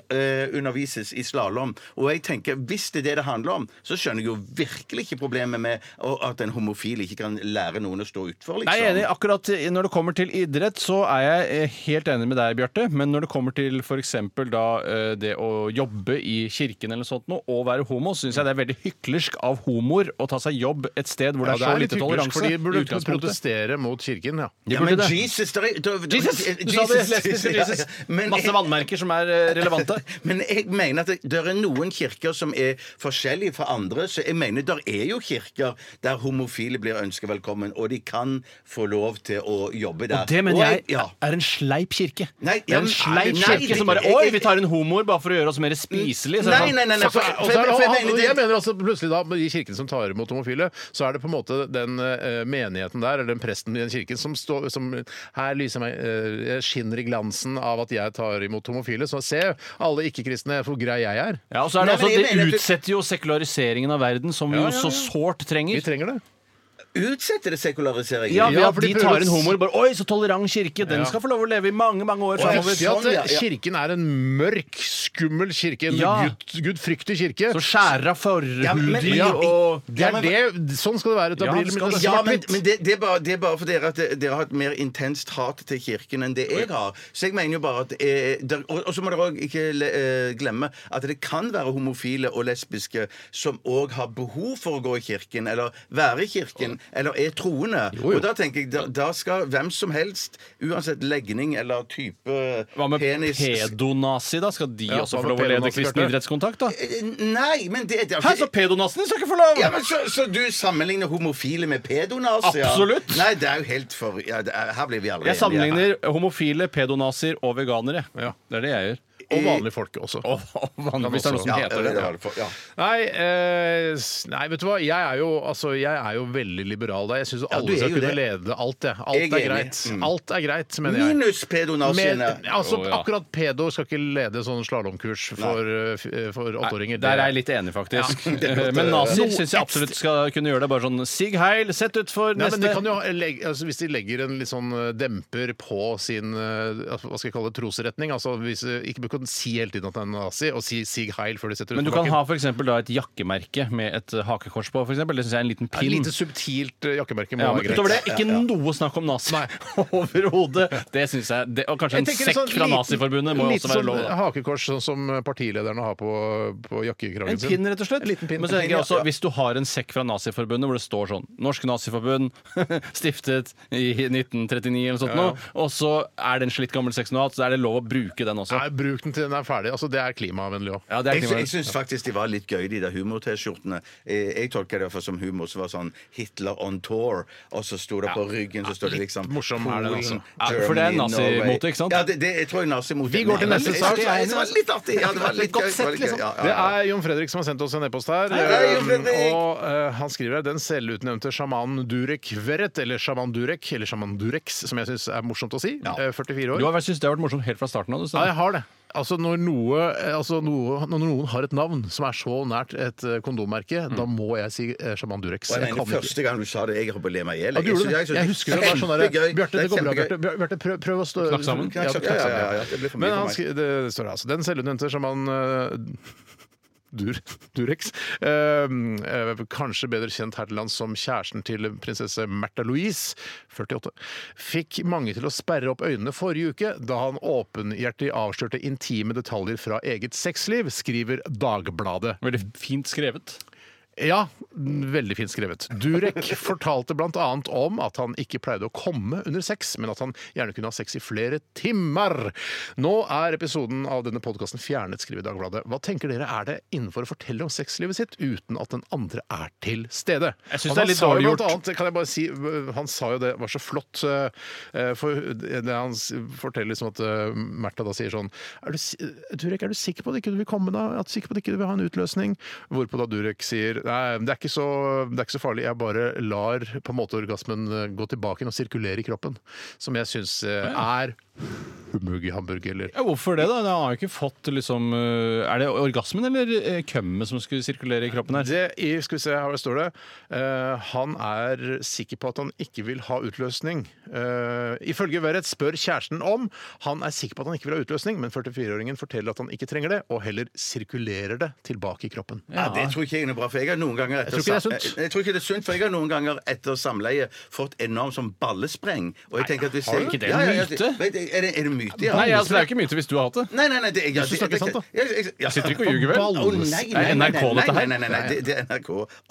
G: undervises i slalåm. Og jeg tenker, hvis det er det det handler om, så skjønner jeg jo virkelig ikke problemet med å- at en homofil ikke kan lære noen å stå utfor, liksom.
F: Nei, jeg er enig. Akkurat når det kommer til idrett, så er jeg eh, helt enig med deg, Bjarte. Men når det kommer til f.eks. da eh, det å jobbe i kirken eller sånt noe, og være homo, syns jeg det er veldig hyklersk av homoer å ta seg jobb et sted hvor det er så
E: litt
F: lite
E: hyklersk,
F: toleranse.
E: for de burde liksom
F: i utgangspunktet.
E: protestere mot kirken, ja.
F: De
G: Ja, men
F: burde det.
G: Jesus, der, er- der, der,
F: Jesus! Du sa det! Lesbisk Jesus. Masse vannmerker som er eh, relevante.
G: Men jeg mener at det, der er noen kirker som er forskjellige fra andre. Så jeg mener der er jo kirker der homofile blir ønsket velkommen, og de kan få lov til å jobbe der.
F: Og det mener jeg
G: ja.
F: er en sleip kirke.
G: Nei,
F: det er
G: ja,
F: en sleip
G: nei,
F: kirke
G: det-
F: som bare
G: jeg-
F: Oi,
G: jeg-
F: vi tar en homoer bare for å gjøre oss mer spiselige. så
G: Nei,
F: er det sånn,
G: nei, nei, nei for,
E: Og
G: for,
E: så er
G: for,
E: det-
G: jeg mener
E: Jeg
G: det
E: mener altså plutselig da, I kirken som tar imot homofile, så er det på en måte den eh, menigheten der, eller den presten i den kirken, som står som Her lyser meg eh, Jeg skinner i glansen av at jeg tar imot homofile. Så se, alle ikke-kristne, hvor grei jeg er.
F: Ja, og så er det
G: Nei, men
F: også,
G: jeg
F: Det
G: mener at du-
F: utsetter jo sekulariseringen av verden, som vi
E: Ja,
F: jo
E: ja, ja.
F: så sårt
E: Vi
F: trenger.
E: trenger det.
G: Utsetter det sekulariseringen?
F: Ja, ved
E: Ja,
F: at
E: for
F: de
E: de prøver
F: tar
E: å
F: inn
E: s-
F: homoer bare Oi, så tolerant kirke! Den
E: Ja.
F: skal få lov å leve i mange, mange år
E: Og jeg
F: framover.
E: vil si
G: Sånn, ja,
E: at
G: ja.
E: Kirken er en mørk, skummel kirke. En
F: Ja.
E: gud, gudfryktig kirke.
F: Så skjærer av forhud
G: Ja, men-
F: i,
E: ja,
F: og
E: det er det, sånn skal det være. Da
F: Ja,
E: blir det
F: skal
E: litt
F: Altså, det-
G: Ja, men,
E: svart-hvitt.
G: men det, det, er bare, det er bare for dere at det- dere har et mer intenst hat til kirken enn det jeg har. Så jeg mener jo bare at eh, der, og, og så må dere òg ikke le, eh, glemme at det kan være homofile og lesbiske som òg har behov for å gå i kirken, eller være i kirken, eller er troende.
E: jo.
G: Og da tenker jeg da, da skal hvem som helst, uansett legning eller type
F: Hva med
G: penis
F: pedonazi, da? Skal de
E: Ja, hva
F: også få
E: med
F: lov å lede
E: pedonazi,
F: kristen
E: Bjarte?
F: idrettskontakt, da?
G: Eh, Nei, men det, det er
F: Hæ, så pedonazien skal ikke få lov!
G: ja, men så, så du sammenligner homofile med pedonazier?
F: Absolutt.
G: Nei, det er jo helt for ja, det er, Her blir vi aldri
F: Jeg
G: enige.
F: sammenligner homofile, pedonazier og veganere.
E: Ja.
F: Det er det jeg gjør.
E: Og vanlige folk også.
F: Å, vanlig, hvis det er noe som
G: Ja,
F: heter det.
G: det var det for- ja.
E: Nei, eh, s- nei, vet du hva. Jeg er jo, altså, jeg er jo veldig liberal der. Jeg syns
G: du
E: alle
G: er
E: skal
G: jo
E: kunne
G: det.
E: lede alt, jeg.
G: Jeg
E: Alt
G: er
E: er
G: enig.
E: greit.
G: Mm.
E: Alt er greit, mener jeg.
G: Minus pedonaziene.
E: Med, altså,
F: Å, ja.
E: Akkurat pedo skal ikke lede sånn slalåmkurs for, eh, f- eh, for åtteåringer.
F: Der er jeg litt enig, faktisk. Eh,
E: eh,
F: Men nazier syns jeg absolutt skal kunne gjøre det. Bare sånn Sig heil, sett ut for
E: Nei, men de
F: neste
E: kan jo ha- legge, altså Hvis de legger en litt sånn eh, demper på sin eh, altså, hva skal jeg kalle det, trosretning altså hvis, eh, Ikke bruk å si hele tiden at det er en nazi, og si 'sig heil' før de setter
F: Men
E: ut
F: du
E: på
F: kan
E: bakken.
F: ha for eksempel da et jakkemerke med et eh, hakekors på. For eksempel. det syns jeg er en liten
E: Et
F: pin.
E: lite subtilt eh, jakkemerke må
F: Ja, men
E: være greit.
F: utover det, ikke noe snakk om nazi overhodet. Det syns jeg det, Og kanskje en
E: Jeg tenker
F: sekk
E: sånn
F: fra
E: liten-
F: Naziforbundet må jo
E: liten
F: også være
E: sånn
F: lov. da.
E: Hakekors sånn som partilederne har på, på jakkekragen
F: En pinn, rett og slett.
E: En liten pinn.
F: Men så tenker
G: Ja,
F: jeg også,
G: ja.
F: hvis du har en sekk fra Naziforbundet hvor det står sånn Norsk Naziforbund stiftet i 1939 eller noe sånt, nå, og så er det en slitt gammel sekk som du har hatt, så er det lov å bruke den også.
E: Nei, bruk den til den er ferdig. Altså, det er klimavennlig òg.
F: Ja, det er
G: Jeg, sy- jeg
F: klima-
G: syns faktisk de var litt gøye, de der humor-T-skjortene. Jeg, jeg tolker det i hvert fall som humor. Så var det sånn Hitler on tour, og så sto det på ryggen så står det liksom
E: morsom er den, altså.
F: Ja, for det er
G: Germany, Norway.
F: nazimote, ikke sant?
G: Ja, det, det, jeg tror jeg er nazimote.
E: Vi går til
G: Men-
E: neste
G: men-
E: sak.
G: Det, det var litt artig! Ja, det var litt gøy. det var litt gøy. Ja, ja,
E: Det
G: ja.
E: er Jon Fredrik som har sendt oss en e-post her.
G: hei, Jon
E: Um,
G: Fredrik!
E: og eh, han skriver her den selvutnevnte sjamanen Durek Verret, eller sjaman Durek, eller sjaman Durex, som jeg syns er morsomt å si. eh, 44 år.
F: Du har vel syntes det har vært morsomt helt fra starten av? du,
E: Ja,
F: Steinar.
E: jeg har det. Altså når, noe, eh, altså noe, når noen har et navn som er så nært et eh, kondommerke, da må jeg si eh, sjaman Durex.
G: Mm. Og jeg
E: Jeg
G: mener,
E: kan ikke.
G: første gang du sa det, jeg holdt på å le meg i hjel.
E: Ja, du gjorde
G: synes-
E: det.
G: synes-
E: Jeg husker det var sånn der,
G: Kjempegøy.
E: Bjarte, det går bra,
G: kjempegøy.
E: Bjarte. Bjør- Bjarte, prøv, prøv å stå
F: Knakk sammen.
E: Ja, knakk
G: Ja,
E: sammen,
G: ja,
E: ja.
G: ja, ja, det ble for mye
E: Men
G: for
E: han
G: meg.
E: skri- det står her altså. Den selvutnevnte sjaman eh, Dur, Durex. eh, eh, kanskje bedre kjent her til lands som kjæresten til prinsesse Märtha Louise, 48, fikk mange til å sperre opp øynene forrige uke da han åpenhjertig avslørte intime detaljer fra eget sexliv, skriver Dagbladet.
F: Veldig fint skrevet.
E: Ja, veldig fint skrevet. Durek fortalte bl.a. om at han ikke pleide å komme under sex, men at han gjerne kunne ha sex i flere timer. Nå er episoden av denne podkasten fjernet, skriver Dagbladet. Hva tenker dere er det innenfor å fortelle om sexlivet sitt uten at den andre er til stede?
F: Jeg synes
E: Og
F: det er
E: han
F: litt
E: sa jo
F: dårlig
E: blant Annet, kan jeg bare si, øh, han sa jo det var så flott, eh, for det han s- forteller liksom at eh, Märtha da sier sånn er du, si- Durek, er du sikker på at ikke du vil komme da? Er du sikker på at ikke du vil ha en utløsning? Hvorpå da Durek sier nei, det er ikke så, det er ikke så farlig, jeg bare lar på en måte orgasmen eh, gå tilbake og sirkulere i kroppen. Som jeg syns er humug i hamburger, eller
F: Ja, hvorfor det, da? Det har jo ikke fått liksom eh, Er det orgasmen eller eh, kømmet som skulle sirkulere i kroppen her?
E: Det i, skal vi se, her står det eh, Han er sikker på at han ikke vil ha utløsning. Eh, ifølge Verrett spør kjæresten om. Han er sikker på at han ikke vil ha utløsning, men 44-åringen forteller at han ikke trenger det, og heller sirkulerer det tilbake i kroppen.
G: Ja, det tror ikke jeg er noe bra, for jeg har noen ganger etter
E: Jeg tror ikke det er sunt.
G: sam- Jeg, jeg tror ikke det er sunt, for jeg har noen ganger etter samleie fått enormt sånn ballespreng. Og jeg tenker at hvis
F: har du
G: jeg-
F: ikke det?
G: Ja, ja, ja,
F: Myte?
G: Vet du, Er det, er det myte, ja?
F: Nei, altså, det er jo ikke myte hvis du har hatt det.
G: Nei, nei, nei, det, ja,
E: Du synes
G: det-
E: det er
G: det-
E: sant, da?
G: Jeg, jeg, ja.
F: Sitter ikke og ljuger, vel?
G: Å, nei, nei,
F: Er
G: nei,
F: NRK
G: nei,
F: dette her?
G: Nei, nei, nei, nei, det, det er NRK.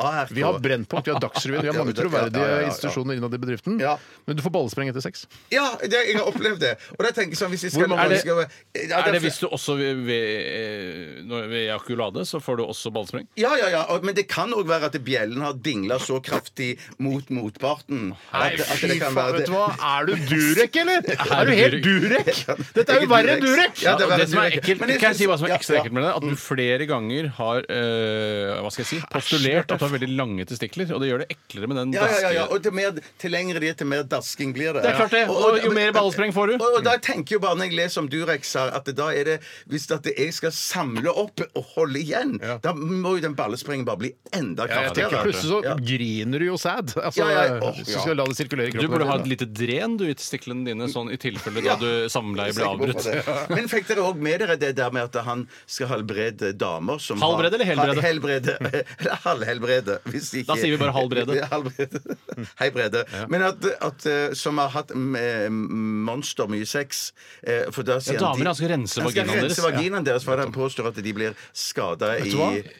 G: ARK.
E: Vi har Brennpunkt, vi har Dagsrevyen, vi har mange
G: Ja, ja, ja, ja, ja.
E: troverdige institusjoner innad i bedriften.
G: Ja.
E: Men du får ballespreng etter sex.
G: Ja, det, jeg har opplevd det. Og da tenker jeg sånn hvis jeg skal,
F: mange- er det-
G: skal- ja, det
F: Er det hvis du også ved, ved, eh, når- ved ejakulade, så får du også ballspreng?
G: Ja, ja, ja, og- men det kan òg være at bjellen har dingla så kraftig mot motparten. at- at altså, det kan være det.
E: vet du hva? Er du Durek, eller? Er du helt Durek? Dette er
G: Jeg
E: jo verre enn
G: Durex.
E: Durek!
G: Ja, det
F: Og
G: var
F: det som er
G: Durek.
F: ekkelt,
G: Men
F: kan
G: jeg
F: jeg
G: synes-
F: si hva som er
G: ja,
F: ekstra
G: ja. Mm.
F: ekkelt med det? At du flere ganger har eh, hva skal jeg si, postulert at du har veldig lange testikler, og det gjør det eklere med den
G: Ja, ja, ja, ja.
F: daske-
G: Og til, mer, til lengre de er, til mer dasking blir det.
F: Det er klart det.
G: Ja.
F: Og jo mer ballespreng får du.
G: Og, og da tenker jeg bare når jeg leser om Durex her, at det da er det Hvis at jeg skal samle opp og holde igjen, da må jo den ballesprengen bare bli enda
E: Ja, jeg tenker
G: kraftigere.
E: Plutselig så
G: Ja.
E: griner du jo sæd. Altså,
G: Ja, ja, åh,
E: hvis du skal la det sirkulere i
F: Du
E: kroppen.
F: burde ha et lite dren du, i testiklene dine, sånn i tilfelle da du samleie ble avbrutt.
G: Jeg er sikker på det. Men fikk dere òg med dere det der med at han skal halvbrede damer som
F: Halvbrede eller helbrede?
G: Ha- helbrede. Eller halvhelbrede. Hvis ikke
F: Da sier vi bare halvbrede.
G: Ja, halvbrede. Hei, Brede. Men at, at eh, som har hatt eh, monster mye sex eh, For da sier
F: Ja, damer, han skal rense vaginaen
G: Han
F: deres.
G: skal rense vaginaen deres, for han påstår at de blir skada i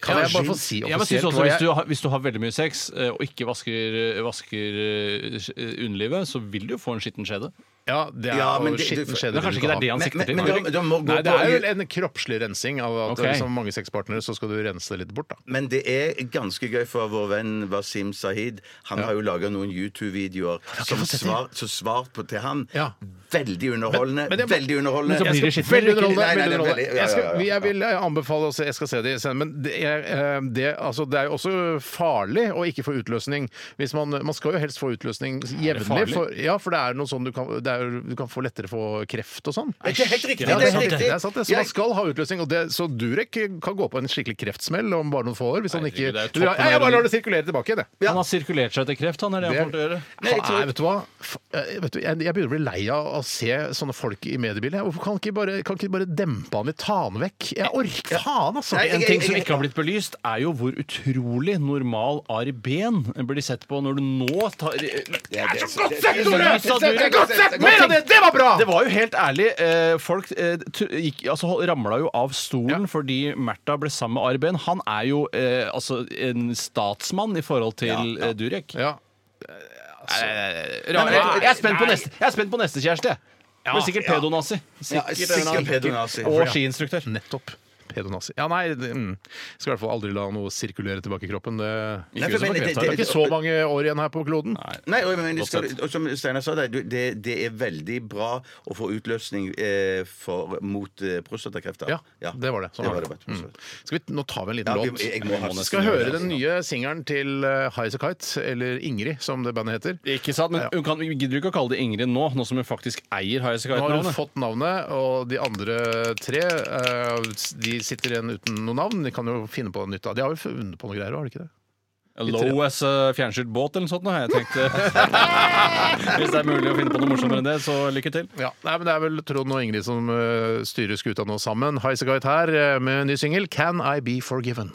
E: Kan jeg bare få si
F: Jeg bare synes
E: offisielt
F: også,
E: hva
F: hvis,
E: jeg
F: du har, hvis du har veldig mye eh, sex eh, og ikke vasker, vasker eh, underlivet, så vil du jo få en skitten skjede.
E: Ja, det er
G: Ja, men
E: jo
G: det-
E: skitten
G: det-
E: skjede
F: Men
E: du
F: kanskje
E: kan
F: ikke det
E: ha.
F: er det han
G: Men-
F: sikter
G: men-
F: til?
G: men
F: Bjørk?
G: da- da må gå
E: Nei, det
G: på-
E: er jo en kroppslig rensing av at
F: Ok.
E: liksom, mange sexpartnere, så skal du rense det litt bort, da.
G: Men det er ganske gøy for vår venn Wasim Sahid. Han har jo laga noen YouTube-videoer som svar, så svar på til han.
E: Ja.
G: Veldig underholdende.
E: men det må-
G: veldig underholdende.
F: Men så blir det
E: Jeg skal-
F: skitten,
E: Veldig
F: eller ikke?
E: underholdende.
G: Nei, nei,
E: veldig
G: det er
E: underholdende.
G: veldig- ja,
E: Jeg skal-
G: ja, ja,
E: vi-
G: ja.
E: Jeg vil eh, anbefale også, jeg skal se det senere, men det er, eh, det, altså, det er jo også farlig å ikke få utløsning. Hvis man, man skal jo helst få utløsning jevnlig.
F: farlig?
E: For, ja, for det er noe sånn du kan, det er, jo- du kan få lettere få kreft og sånn.
G: Det er helt riktig!
E: Ja,
G: det er
E: sant,
G: helt riktig.
E: Det er sant, det. Så
G: Jeg-
E: man skal ha utløsning. Og det, så Durek kan gå på en skikkelig kreftsmell om bare noen få år. Hvis han ikke
F: Herregud, det er jo
E: Nei,
F: toppen
E: Jeg
F: av
E: bare lar det sirkulere tilbake igjen, jeg.
F: Han har sirkulert seg til kreft, han er det han kommer til å gjøre.
E: Nei, vet du hva? F- eh, Vet du, jeg, jeg begynner å bli lei av å se sånne folk i mediebildet. jeg. Hvorfor kan ikke bare, kan ikke bare dempe han litt, ta han vekk? Jeg orker faen, altså!
G: Nei,
F: En ting som ikke har blitt belyst, er jo hvor utrolig normal Ari Behn blir sett på når du nå tar Det
G: er så
E: Godt sett, Tore!
F: Sa du-
E: Det er Godt sett! Mer av det! Det var bra!
F: var jo helt ærlig. eh, Folk eh, tu- gikk, altså, hold- ramla jo av stolen fordi Märtha ble sammen med Ari Behn. Han er jo eh, altså en statsmann i forhold til eh, Durek.
E: Ja.
F: Nei, men jeg, Eh, jeg, er spent på
E: Nei.
F: neste, jeg er spent på neste kjæreste. Ja, Men sikkert Mm. pedonazi.
G: Ja, sikkert pedonazi.
F: Og skiinstruktør.
E: Nettopp. Pedonazi. Ja, nei, det, mm. skal i hvert fall aldri la noe sirkulere tilbake i kroppen. Det,
G: Nei, for
E: det,
G: men- det-
E: er ikke så mange år igjen her på kloden.
G: Nei, og, men, det skal, og som Steinar sa, det, det, det er veldig bra å få utløsning eh, for, mot eh, prostatakreft. da.
E: Ja, det var det. Sånn
G: det, var
E: var
G: det,
E: det.
G: vet du.
E: Mm. Skal vi, nå tar vi en liten
G: Ja, vi-
E: låt.
G: jeg må ha-
E: vi skal høre den nye singelen til eh, High As A Kite, eller Ingrid, som det bandet heter.
F: Ikke sant, men hun kan, vi gidder jo ikke å kalle det Ingrid nå, nå som hun faktisk eier High
E: Nå har hun
F: Skype-navnet.
E: fått navnet, og de andre tre eh, de sitter igjen uten noe navn. De kan jo finne på noe nytt. da. De har jo funnet på noe greier, har de ikke det?
F: Low as a fjernstyrt eh, båt eller noe sånt. nå har Jeg tenkt Hvis det er mulig å finne på noe morsommere enn det, så lykke til.
E: Ja, nei, men Det er vel Trond og Ingrid som eh, styrer skuta nå sammen. Highasakite her eh, med en ny singel 'Can I Be Forgiven'.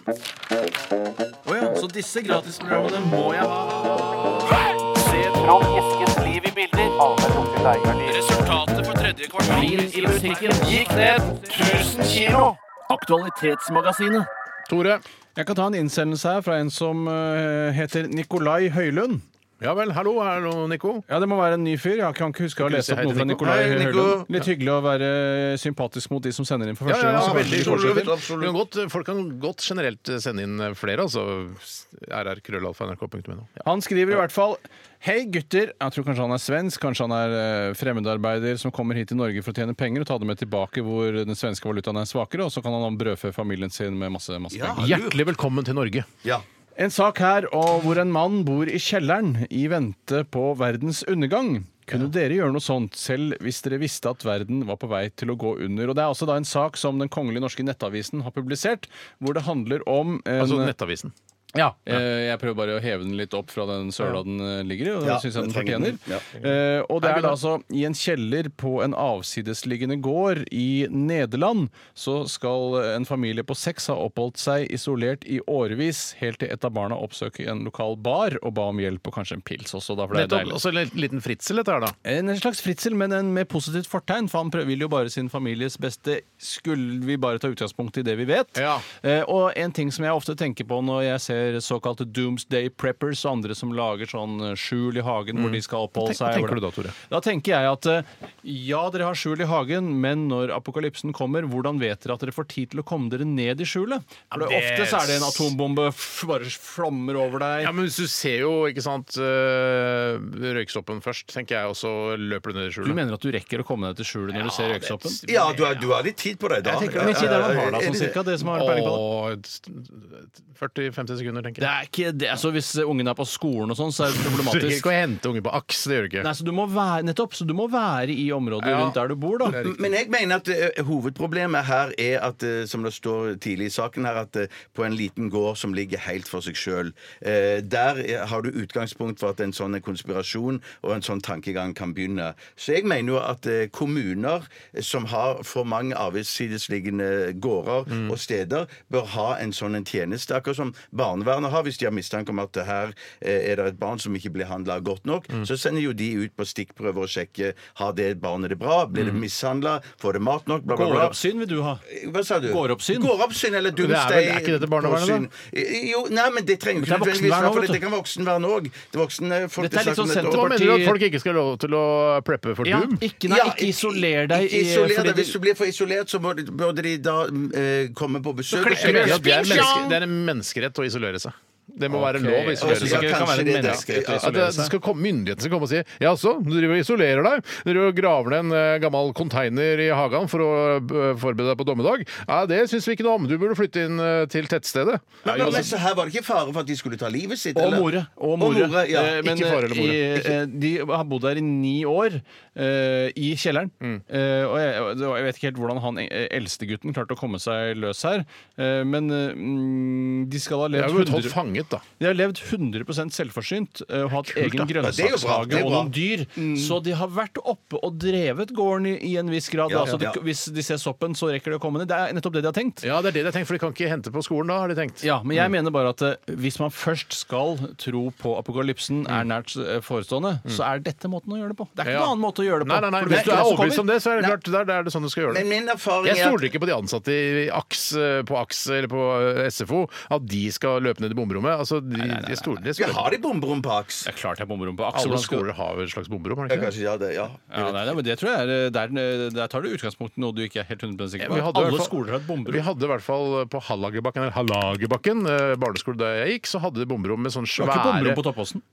F: Så disse gratisprogrammene må jeg ha.
E: Tore.
F: Jeg kan ta en innsendelse her fra en som eh, heter Nikolai Høylund.
E: Ja vel, hallo, hallo, Nico.
F: Ja, Det må være en ny fyr. Jeg kan ikke huske å ha
E: Skal vi
F: lest
E: si
F: opp
E: hei
F: noe
E: til
F: fra
E: Nico?
F: Nikolai
G: Hei, Nico.
F: Høylund. Litt hyggelig å være sympatisk mot de som sender inn for første gang. så kanskje vi fortsetter.
E: absolutt. Vi Kan godt, folk kan godt generelt sende inn flere, altså. rr.krøllalfa.nrk.no. Ja.
F: Han skriver i hvert fall Hei gutter, jeg tror kanskje han er svensk, kanskje han er eh, fremmedarbeider som kommer hit til Norge for å tjene penger og ta det med tilbake hvor den svenske valutaen er svakere, og så kan han brødfø familien sin med masse, masse
G: Ja.
F: penger.
E: Hjertelig velkommen til Norge.
G: Ja.
F: En sak her og hvor en mann bor i kjelleren i vente på verdens undergang. Kunne dere gjøre noe sånt, selv hvis dere visste at verden var på vei til å gå under? Og Det er også da en sak som Den kongelige norske nettavisen har publisert, hvor det handler om en,
E: Altså Nettavisen.
F: ja, eh, jeg prøver bare å heve den litt opp fra den søla den eh, ligger i, og det
G: Ja,
F: syns jeg
G: det
F: den
G: trenger
F: fortjener.
G: den. Ja.
F: Eh, og det er da altså i en kjeller på en avsidesliggende gård i Nederland, så skal en familie på seks ha oppholdt seg isolert i årevis, helt til et av barna oppsøker en lokal bar og ba om hjelp og kanskje en pils også, da, for det er
E: Nettopp.
F: deilig.
E: Også en liten fritzel, dette her, da.
F: En slags fritsel, men en med positivt fortegn, for han prøver- vil jo bare sin families beste. Skulle vi bare ta utgangspunkt i det vi vet?
E: Ja.
F: Eh, og en ting som jeg ofte tenker på når jeg ser såkalte doomsday preppers og andre som lager sånn eh, skjul i hagen hvor de skal
E: Hva
F: oppholde
E: tenker- Mm. hva
F: seg.
E: tenker
F: hvordan-
E: du da, Tore?
F: Da tenker jeg at eh, ja, dere har skjul i hagen, men når apokalypsen kommer, hvordan vet dere at dere får tid til å komme dere ned i skjulet? For det, ofte så er det en atombombe f bare flommer over deg.
E: Ja, men hvis du ser jo, ikke sant, øh, røyksoppen først, tenker jeg, og så løper du ned i
F: Du
E: skjulet.
F: mener at du rekker å komme deg til skjulet når du ser røyksoppen?
G: ja, du har, du har litt tid på deg da.
F: Jeg tenker Hvor mye tid er det man har da, sånn
G: Er det-
F: cirka? Det som har peiling på det.
E: Og 40-50 sekunder, tenker
F: Det
E: jeg.
F: er ikke det. Altså, hvis ungen er på skolen og sånn, så er det
E: Du trenger
F: problematisk.
E: ikke å hente ungen på aks, det gjør du ikke.
F: Nei, så du må være, nettopp, så du må være i området
E: Ja.
F: rundt der du bor, da.
G: Men jeg mener at eh, hovedproblemet her er at, eh, som det står tidlig i saken her, at eh, på en liten gård som ligger helt for seg sjøl, der eh, har du utgangspunkt for at en sånn konspirasjon og en sånn tankegang kan begynne. Så jeg mener jo at eh, kommuner som har for mange avsidesliggende gårder og steder, bør ha en sånn en tjeneste, akkurat som barnevernet har, hvis de har mistanke om at her eh, er det et barn som ikke blir handla godt nok, så sender jo de ut på stikkprøver og sjekker har det barnet det bra, blir det mishandla, får det mat nok, bla, bla, bla.
F: Gårdoppsyn vil du ha.
G: Hva sa du?
F: Gårdoppsyn.
G: Gårdoppsyn eller
E: vel-
G: doomsday.
E: er ikke dette barnevernet,
G: da? Jo, nei, men det trenger jo
F: Men
G: ikke
F: det er
G: nødvendigvis være
F: voksenvern også,
G: for
F: vet
G: det kan voksenvern òg. Det voksne folk
F: Dette er litt sånn
G: snakker om
E: Hva
G: dette også.
F: Senterparti-
E: mener du at folk ikke skal ha lov til å preppe for
F: Ja,
E: Doom?
F: ikke, nei,
G: Ja,
F: ikke isoler deg.
E: eh,
G: Ikke
F: i-
G: isoler
F: fordi
G: deg. Hvis du blir for isolert, så må de- burde de da eh, komme på besøk. og
F: klikker du.
G: sjekke-
E: Ja, det, er
F: Sping,
E: menneske,
F: spang!
E: det er en menneskerett å isolere seg. Det må være
F: Ok.
E: lov å
F: Jeg
E: isolere
F: synes
E: seg.
F: ikke det kan
G: Kanskje
F: være en
G: det er det.
F: menneskerett å
E: At
F: isolere
E: det
F: seg.
E: skal komme Myndighetene skal komme og si Jaså, du driver og isolerer deg? Du driver og graver ned en eh, gammel konteiner i hagen for å eh, forberede deg på dommedag? Nei, det syns vi ikke noe om. Du burde flytte inn eh, til tettstedet.
G: Men, men, men
E: altså.
G: så her var det ikke fare for at de skulle ta livet sitt?
F: Og
G: eller?
F: more. Og
G: Og
F: more.
G: more, ja.
F: Eh, Men
E: Ikke far eller more.
F: eh, i, eh, de har bodd der i ni år, eh, i kjelleren. Eh, og jeg, og det var- jeg vet ikke helt hvordan han eh, eldste gutten klarte å komme seg løs her. Eh, men eh, mm, de skal ha
E: Jeg
F: levd
E: har blitt holdt
F: 100,
E: fanget, da.
F: de har levd 100 selvforsynt eh, og hatt
E: Kult,
F: egen
E: da.
G: Ja, det er jo bra, det
F: grønnsakshage
G: er
F: og
G: bra.
F: noen dyr. Så de har vært oppe og drevet gården i, i en viss grad.
G: Ja,
F: altså,
G: ja.
F: de, hvis de ser soppen, så rekker de å komme ned. Det er nettopp det de har tenkt.
E: Ja, det er det de har tenkt, for de kan ikke hente på skolen da, har de tenkt.
F: Ja, men jeg mener bare at eh, hvis man først skal tro på apokalypsen er nært eh, forestående, så er dette måten å gjøre det på. Det er ikke
E: Ja.
F: noen annen måte å gjøre det på.
E: Nei, nei, nei.
F: For
E: Hvis du er
F: ikke
E: overbevist om
F: kommer-
E: det, så er det klart, der, der er det sånn du skal gjøre
G: Men
E: det.
G: min erfaring
E: Jeg
G: er at
E: stoler ikke på de ansatte i AKS, eh, på AKS eller på eh, SFO, at de skal løpe ned i bomberommet. Altså, de, jeg stoler, det
G: Vi
E: stoler.
G: har de bomberom på Aks.
F: Det er klart jeg bomber om på
E: Alle
F: aksel.
E: skoler har jo et slags bomberom, har de
G: Ja,
E: ikke det?
G: kanskje ja, det, ja.
F: Ja, nei, nei, men det tror jeg er, eh, der, eh, der tar du utgangspunkt i noe du ikke er helt 100 sikker på.
E: Vi hadde i hvert
F: Alle
E: fall-
F: skoler har et bomberom.
E: Vi hadde i hvert fall eh, på Hallagerbakken, eller Hallagerbakken, eh, barneskole der jeg gikk, så hadde de bomberom med sånn
F: Det var
E: svære
F: ikke bomberom på Toppåsen.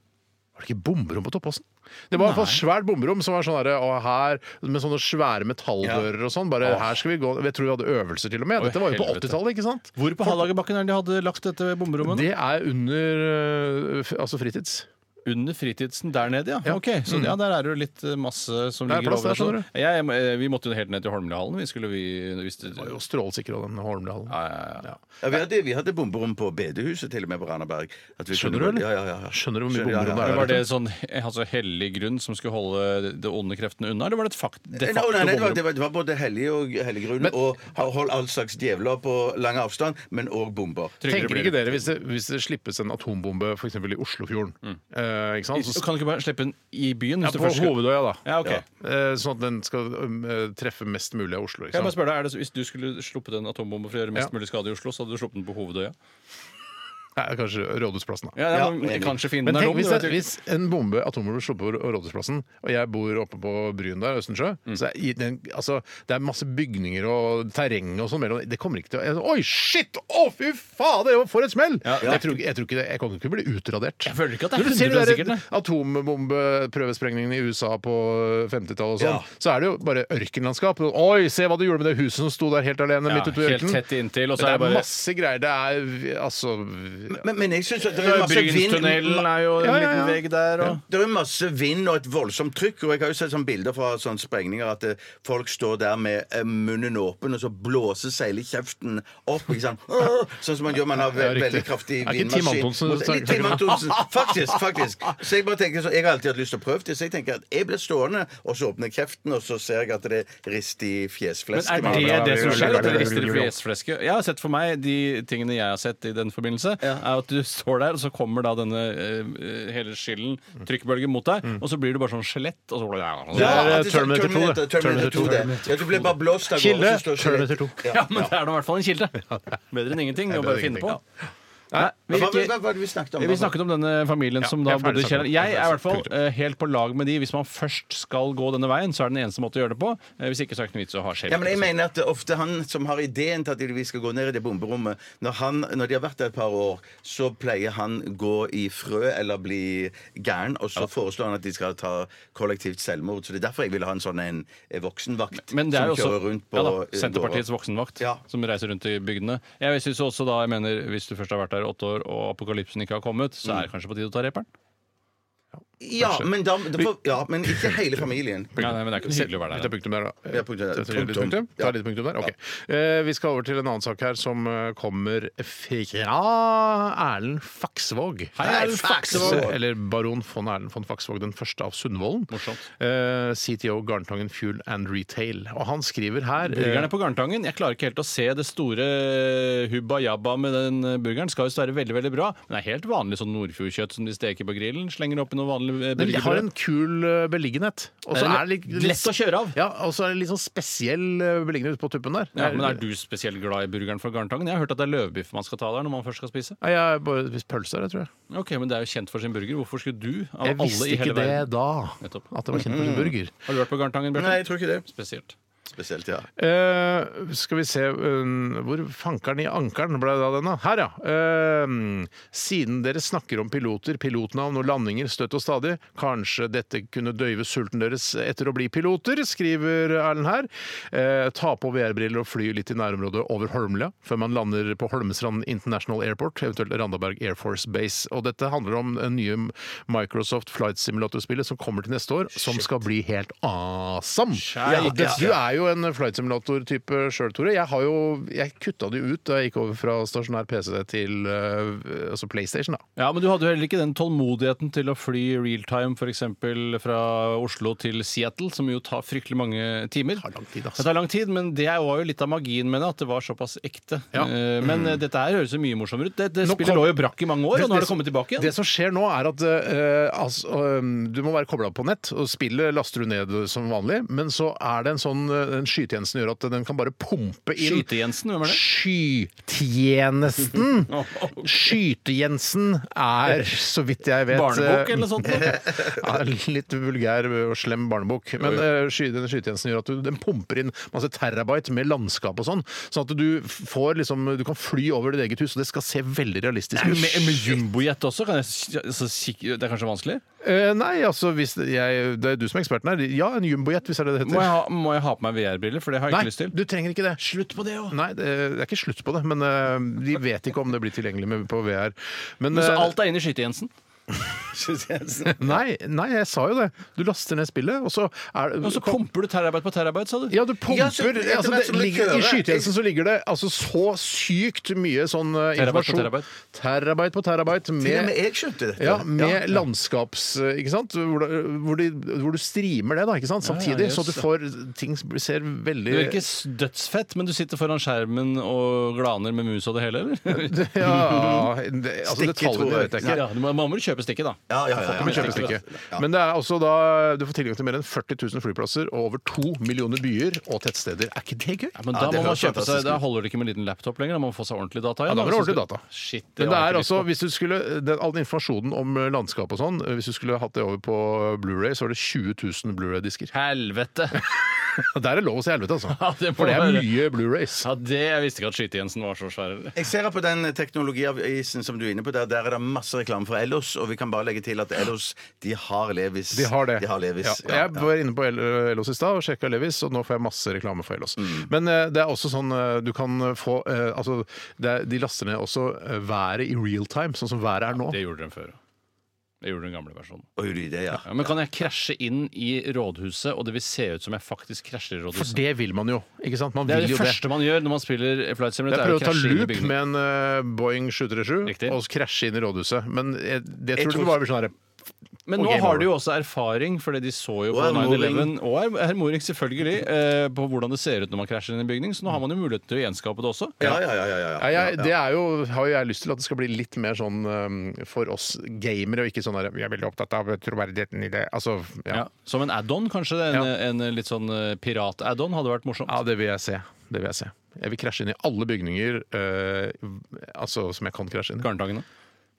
E: Var det ikke bomberom på Toppåsen? Det var i hvert fall svært bomberom som var sånn her, og her med sånne svære metalldører og sånn. Bare her skal vi gå Jeg tror vi hadde øvelser til og med.
F: Oi,
E: Dette var jo på
F: helvete.
E: 80-tallet, ikke sant?
F: Hvor på Hallagerbakken er det de hadde lagt dette bomberommet? nå?
E: Det er under eh, f- altså fritids.
F: Under fritidsen der nede, ja.
E: Ja.
F: Ok, Så ja, der er det jo litt eh, masse som
E: Det er
F: ligger
E: plass der,
F: over.
E: skjønner
F: og sånn. Jeg, eh, vi måtte jo helt ned til Holmlia-hallen. Vi skulle vi hvis det,
E: Det var jo strålsikker av den Holmdalen.
F: Ja, ja, ja.
G: Ja, vi, hadde, vi hadde bomberom på bedehuset til og med på Randaberg. At vi
E: Skjønner du,
G: kunne-
E: eller?
G: Ja, ja, ja.
E: Skjønner du hvor mye
G: Skjønner, ja,
E: bomberom
G: ja,
E: det
G: ja.
E: er?
F: Var det sånn altså, hellig grunn som skulle holde de onde kreftene unna, eller var det et fakt, de
G: Nei,
F: facto
G: nei, nei, det, var,
F: bomberom?
G: det, var, det var både hellig og hellig grunn, og har holdt all slags djevler på lang avstand, men òg bomber.
F: Tryggere
E: Tenker
F: blir
E: ikke
F: det.
E: dere hvis det, hvis det slippes en atombombe f.eks. i Oslofjorden? Eh, ikke sant? Så
F: Mm. Kan du ikke bare slippe den i byen?
E: Ja,
F: Hvis du
E: på
F: først skal...
E: Hovedøya, da.
F: Ja, ok.
E: Eh, Sånn at den skal um, eh, treffe mest mulig av Oslo.
F: Kan jeg
E: Liksom.
F: bare spørre deg, er det, så- Hvis du skulle sluppet en atombombe for å gjøre
E: Ja.
F: mest mulig skade i Oslo, så hadde du sluppet den på Hovedøya?
E: Nei, Kanskje Rådhusplassen, da.
F: Ja,
G: Ja,
F: men
G: enig.
F: Kanskje
E: Men
F: fienden er
E: tenk
F: dum?
E: hvis,
F: du
E: det,
F: vet jo ikke.
E: hvis en bombe atombombe slo på Rå- Rådhusplassen, og jeg bor oppe på Bryn der, Østensjø
F: Mm.
E: så er, i den, altså, Det er masse bygninger og terreng og sånn mellom Det kommer ikke til å jeg, Oi, shit! Å, fy fader! For et smell! Jeg, tror, jeg tror ikke det Jeg kommer ikke til å bli utradert.
F: Jeg føler ikke at det er
E: Når du ser
F: 100%
E: de
F: sikkert,
E: der
F: nei.
E: Atombombeprøvesprengningene i USA på 50-tallet og sånn,
G: Ja.
E: så er det jo bare ørkenlandskap. Oi, se hva du gjorde med det huset som sto der helt alene midt ute i
F: Ja, helt
E: ørkenen.
F: tett inntil, og
E: det
F: så er
E: er
F: det bare
E: masse greier. Det er altså
G: Men, men jeg syns det er masse vind
F: Brynstunnelen er jo en
E: Ja, ja, ja.
F: liten vegg der, og
G: Det er masse vind og et voldsomt trykk. Og jeg har jo sett sånne bilder fra sånne sprengninger at eh, folk står der med eh, munnen åpen, og så blåser seilkjeften opp. Ikke sant? Åh! Sånn som man gjør man har ve
E: Ja, riktig.
G: veldig kraftig
E: Er ikke Tim
G: vindmaskin.
E: Antonsen
G: Mot-
E: snakker-
G: Litt Tim Antonsen. Faktisk, faktisk. Så jeg bare tenker så, jeg har alltid hatt lyst til å prøve det, så jeg tenker at jeg blir stående, og så åpner jeg kjeften, og så ser jeg at det rister i
F: Men
G: fjesflesket.
F: er det det som skjer? At det rister i fjesflesket? Jeg har sett for meg de tingene jeg har sett i den forbindelse, er at du står der, og så kommer da denne eh, hele skylden, trykkbølgen, mot deg, og så blir du bare sånn skjelett, og så
E: Det
F: ja.
E: er, eh,
G: at det-
E: Terminator 2, det.
G: altså, Terminator 2, det.
E: Terminator
G: Ja, du blir bare blåst av
E: Kilde,
G: gårde. så står
E: Terminator
G: skjelettet-
E: 2.
F: ja, men det er da i hvert fall en kilde. Bedre enn ingenting.
E: bedre
F: å bare
E: enn
F: finne på.
E: ingenting,
F: Nei, vi,
G: Hva
F: ikke,
G: hva- hva var det vi snakket om?
F: vi snakket om denne familien som da
E: jeg er
F: bodde
E: ferdig
F: i kjelleren.
E: snakket.
F: Jeg er i hvert fall
E: Punktum.
F: eh, helt på lag med de. Hvis man først skal gå denne veien, så er det den eneste måten å gjøre det på. Eh, Hvis ikke så er det ikke noe vits å ha skjelett. liksom.
G: Ja, men jeg mener at ofte han som har ideen til at vi skal gå ned i det bomberommet Når, han, når de har vært der et par år, så pleier han gå i frø eller bli gæren, og så foreslår han at de skal ta kollektivt selvmord. Så det er derfor jeg vil ha en sånn en voksenvakt
F: Men det er
G: som
F: jo også
G: kjører rundt på
F: ja da,
G: eh,
F: Senterpartiets
G: gårder.
F: voksenvakt
G: Ja.
F: som reiser rundt i bygdene. Jeg synes jo også da, jeg mener, Hvis du først har vært der i åtte år og apokalypsen ikke har kommet, så er det kanskje på tide å ta reperen?
G: Ja, men, da, da får- ja, men ikke hele familien.
F: Ja, nei, men det er ikke så hyggelig å
E: Vi
F: være
E: tar
F: der. da.
E: punktum der, da.
G: Ja, punktum der.
E: Skal jeg gjøre litt
G: Punktum.
E: punktum? Ta
G: Ja.
E: litt punktum der? Ok. Eh, vi skal over til en annen sak her som eh, kommer fra Erlend Faksvåg.
F: Hei, Erlend Faksvåg!
E: Eller baron von Erlend von Faksvåg, den første av Sundvolden.
F: Morsomt.
E: Eh, CTO Garntangen Fuel and Retail. Og han skriver her eh,
F: Burgerne på Garntangen. Jeg klarer ikke helt å se det store hubba jabba med den eh, burgeren. Skal visst være veldig veldig bra, men det er helt vanlig sånn Nordfjordkjøtt som de steker på grillen. Slenger oppi noe vanlig eh,
E: Den har en
F: burgerbrød.
E: kul eh, beliggenhet. Og så
F: Det er
E: er det litt,
F: lett å kjøre av.
E: Ja, og så er det litt sånn spesiell eh, beliggenhet ute på tuppen der.
F: Ja, men Er du spesielt glad i burgeren fra Garntangen? Jeg har hørt at det er løvbiff man skal ta der når man først skal spise.
E: Nei, Jeg har bare spist pølse der, jeg tror jeg.
F: Ok, Men det er jo kjent for sin burger. Hvorfor skulle du, av
E: Jeg
F: alle
E: visste
F: i hele
E: ikke det
F: verden
E: da,
F: Nettopp.
E: at det var kjent for sin burger.
F: Har du vært på Garntangen, Bjarte?
G: Nei, jeg tror ikke det.
F: Spesielt.
G: Spesielt, ja.
E: Eh, skal vi se eh, Hvor fankeren i ankeren ble det av denne? Her, ja. Eh, siden dere snakker om piloter, pilotnavn og landinger støtt og stadig, kanskje dette kunne døyve sulten deres etter å bli piloter, skriver Erlend her. Eh, ta på VR-briller og fly litt i nærområdet over Holmlia før man lander på Holmestrand International Airport, eventuelt Randaberg Air Force Base. Og dette handler om det nye Microsoft Flight Simulator-spillet som kommer til neste år, som skal bli helt awesome. Ja, det, du er jo en flight simulator-type sjøl, Tore. Jeg, har jo, jeg kutta det jo ut da jeg gikk over fra stasjonær PC til eh, altså PlayStation. da.
F: Ja, men du hadde jo heller ikke den tålmodigheten til å fly realtime f.eks. fra Oslo til Seattle, som jo tar fryktelig mange timer.
E: tar lang tid, ass.
F: Det tar lang tid, men det var jo litt av magien med det, at det var såpass ekte.
E: Ja.
F: Eh, Men eh, dette her høres jo mye morsommere ut. Det, det
E: Nå
F: spillet
E: kom-
F: lå jo brakk i mange år, og nå har det
E: som-
F: kommet tilbake
E: Det
F: igjen.
E: som skjer nå, er at eh, altså, eh, du må være kobla på nett, og spillet laster du ned som vanlig, men så er det en sånn eh, den skytjenesten gjør at den kan bare pumpe inn
F: Skyte-Jensen, hvem Oh. er det?
E: Skytjenesten! Skyte-Jensen er, så vidt jeg vet
F: Barnebok
E: eh,
F: eller noe sånt? da?
E: Ja, en litt vulgær og slem barnebok. Men eh, sky, denne skytjenesten gjør at du, den pumper inn masse terabyte med landskap og sånn. Sånn at du får liksom Du kan fly over ditt eget hus, og det skal se veldig realistisk ut.
F: Med, med jumbojet også? Kan jeg, s- så, kik- det er kanskje vanskelig?
E: Eh, nei, altså hvis jeg, Det er du som er eksperten her. Ja, en jumbojet, hvis det er det det heter.
F: Må jeg ha, må jeg ha på meg VR-briller? For det har jeg
E: Nei,
F: ikke lyst til.
E: du trenger ikke det. Slutt på det òg. Nei, det er ikke slutt på det, men eh, de vet ikke om det blir tilgjengelig med, på VR. Men,
F: Men så
E: eh,
F: alt er inne i Skyte-Jensen?
E: nei, nei, jeg sa jo det. Du laster ned spillet, og så er
F: Og så pumper du terabyte på terabyte, sa du?
E: Ja, du pumper
G: Ja, så- etter
E: altså,
G: hvert
E: det
G: som du
E: ligger, I
G: kjører-
E: skytjenesten så ligger det altså, så sykt mye sånn eh,
F: Terabyte på
E: informasjon.
F: terabyte.
E: Terabyte på terabyte
G: Til og
E: med
G: med jeg skjønte dette.
E: ja, med landskaps... eh, Ikke sant? Hvor, det- hvor, de, hvor du streamer det, da, ikke sant? samtidig.
F: jøss.
E: så du får ting som ser veldig
F: Du er ikke s- dødsfett, men du sitter foran skjermen og glaner med mus og det hele, eller?
E: Ja, det, altså
G: Stikke, tror
E: Detaljene
G: jeg.
E: vet jeg ikke.
F: Ja, du må, man må jo kjøpe stikket, da.
G: Ja, ja, ja,
E: Du må
G: ja.
E: kjøpe stykket. Men det er altså da du får tilgang til mer enn 40 000 flyplasser og over to millioner byer og tettsteder. Er ikke det gøy?
F: Ja, men
G: Ja,
F: da,
G: det
F: må man
G: høres
F: kjøpe seg,
G: fantastisk
F: da
G: ut.
F: holder det ikke med en liten laptop lenger. Da må man få seg ordentlig data. igjen,
E: Ja, da må du
F: hvis
E: ha
F: du
E: ordentlig
F: skal-
E: data.
F: Shit, det
E: Men det
F: har
E: er
F: jeg ikke lyst
E: altså,
F: på.
E: hvis du skulle, den, all den informasjonen om eh, landskap og sånn, eh, hvis du skulle hatt det over på Blu-ray, så er det 20 000 Blu-ray-disker.
F: Helvete!
E: Der er lov å si helvete, altså.
F: Ja, det må
E: For det er
F: være.
E: mye Blu-rays.
F: Ja, det, Jeg visste ikke at Skyte-Jensen var så svær. eller?
G: Jeg ser her på den teknologiavisen som du er inne på, der, der er det masse reklame for Ellos, og vi kan bare legge til at Ellos, de har Levis.
E: De har det.
G: Levis.
E: Ja.
G: Ja,
E: Jeg
G: ja.
E: var inne på eh, El- Ellos i stad og sjekka Levis, og nå får jeg masse reklame for Ellos. Men eh, det er også sånn eh, du kan få eh, Altså, det er, de laster ned også eh, været i real time, sånn som været er nå.
F: Det gjorde de før. Det gjorde den gamle versjonen.
G: Oi, de- det, ja.
F: Ja, men kan jeg krasje inn i rådhuset, og det vil se ut som jeg faktisk krasjer i
E: For
F: rådhuset?
E: det vil man jo, ikke sant? Man
F: Det er
E: vil
F: det
E: jo det.
F: første man gjør når man spiller Flight
E: Jeg
F: Simulator. er
E: prøvde å ta
F: krasje inn i
E: loop
F: bygningen.
E: med en eh, Boeing 737
F: Riktig.
E: og krasje inn i rådhuset. Men jeg, det
G: Jeg
E: tror
G: tror-
E: du bare blir sånn her
F: Men
E: Og
F: nå
E: game
F: har
E: over.
F: du jo også erfaring, fordi de så jo
G: Og
F: på
G: herr Moring.
F: 9-11 og herr- herr Moring selvfølgelig, eh, på hvordan det ser ut når man krasjer inn i en bygning, så nå har man jo mulighet til å gjenskape det også.
G: Ja, ja, ja, ja, ja,
E: ja,
G: ja.
E: jeg, Det er jo, har jo jeg lyst til at det skal bli litt mer sånn eh, for oss gamere, og ikke sånn her Vi er veldig opptatt av troverdigheten i det. Altså, ja.
F: Ja. Som en add-on, kanskje? det, En,
E: Ja.
F: en litt sånn eh, pirat-add-on hadde vært morsomt.
E: ja, det vil jeg se. Det vil jeg se. Jeg vil krasje inn i alle bygninger eh, altså, som jeg kan krasje inn i.
F: Garntagene.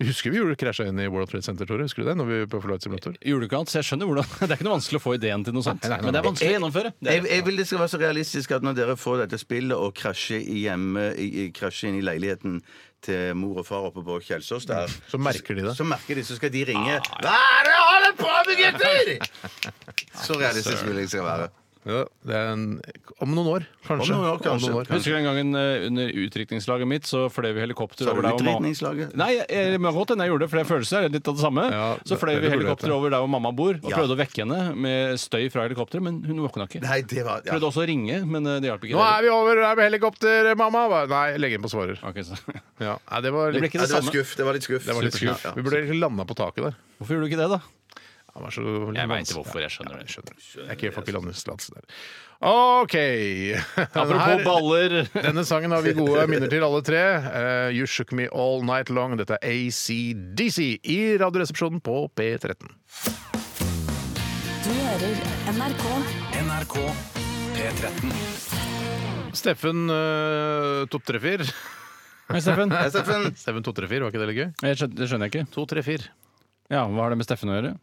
E: Husker vi gjorde krasja inn i World Trade Center, Tore? Husker du det? Når vi var på Flight Simulator?
F: Gjorde du ikke annet, så jeg skjønner hvordan Det er ikke noe vanskelig å få ideen til noe sånt,
E: Nei, nei, nei,
F: men det er
E: nei.
F: vanskelig å gjennomføre. Det
G: Jeg,
F: er,
G: jeg vil det skal være så realistisk at når dere får dette spillet og krasjer i hjemme, i, i, krasjer inn i leiligheten til mor og far oppe på Kjelsås der
E: Mm. Så merker de det. Ah,
G: Så merker de, så skal de ringe Hva er det jeg holder på med, gutter?! Så realistisk vil jeg skal være.
E: Ja, det er en, om noen år, kanskje.
G: Om noen år, kanskje.
E: Husk-
F: Husker du den gangen eh, under utrykningslaget mitt, så fløy vi helikopter
G: Sa
F: over
G: du
F: der hvor mamma-
G: utrykningslaget?
F: Nei, jeg, jeg, men godt hende jeg gjorde det, for det følelsen er litt av det samme.
E: Ja,
F: så fløy
E: det- det
F: vi
E: burde
F: helikopter
E: jeg.
F: over der hvor mamma bor, og
G: Ja.
F: prøvde å vekke henne med støy fra helikopteret, men hun våkna ikke.
G: Nei, det var ja.
F: Prøvde også å ringe, men eh, det hjalp ikke.
E: Nå er vi over her med helikopter, mamma! Hva- Nei, legg inn på svarer.
F: Ok, så.
E: Ja. Nei, det var
F: Det ble
E: litt,
F: ikke
G: ja, det
F: det
G: var
F: samme.
G: skuff. Det var litt skuff.
E: det var litt skuff.
G: Ja,
E: Vi burde egentlig landa på taket der.
F: Hvorfor gjorde du ikke det, da?
E: Det var så litt
F: Jeg vet
E: vanskelig.
F: hvorfor, jeg skjønner det.
E: Jeg skjønner. Jeg er ikke jeg får ikke landetillatelse der. OK. Her-
F: Apropos baller.
E: Denne sangen har vi gode minner til alle tre. Eh, you Shook Me All Night Long. Dette er ACDC i Radioresepsjonen på P13.
A: Du hører NRK.
B: NRK P13.
E: Steffen uh, Topptreffer.
F: Hei, Steffen.
G: ja. Steffen,
E: Steffen Topptreffer, var ikke det litt gøy?
F: Jeg skjønner, det skjønner jeg ikke.
E: Topptreffer.
F: Ja, Hva har det med Steffen å gjøre?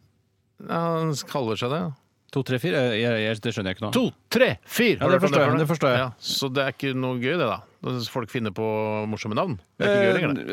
E: Ja, han kaller seg det.
F: To, tre, fire? Jeg- jeg- jeg- Det skjønner jeg ikke nå.
E: To, tre, fire!
F: Ja,
E: Har du
F: det
E: hørt om
F: forstår
E: før
F: jeg,
E: nå?
F: det forstår jeg.
E: Ja, så det er ikke noe gøy, det, da. Folk finner på morsomme navn. Det er ikke gøy lenger, det.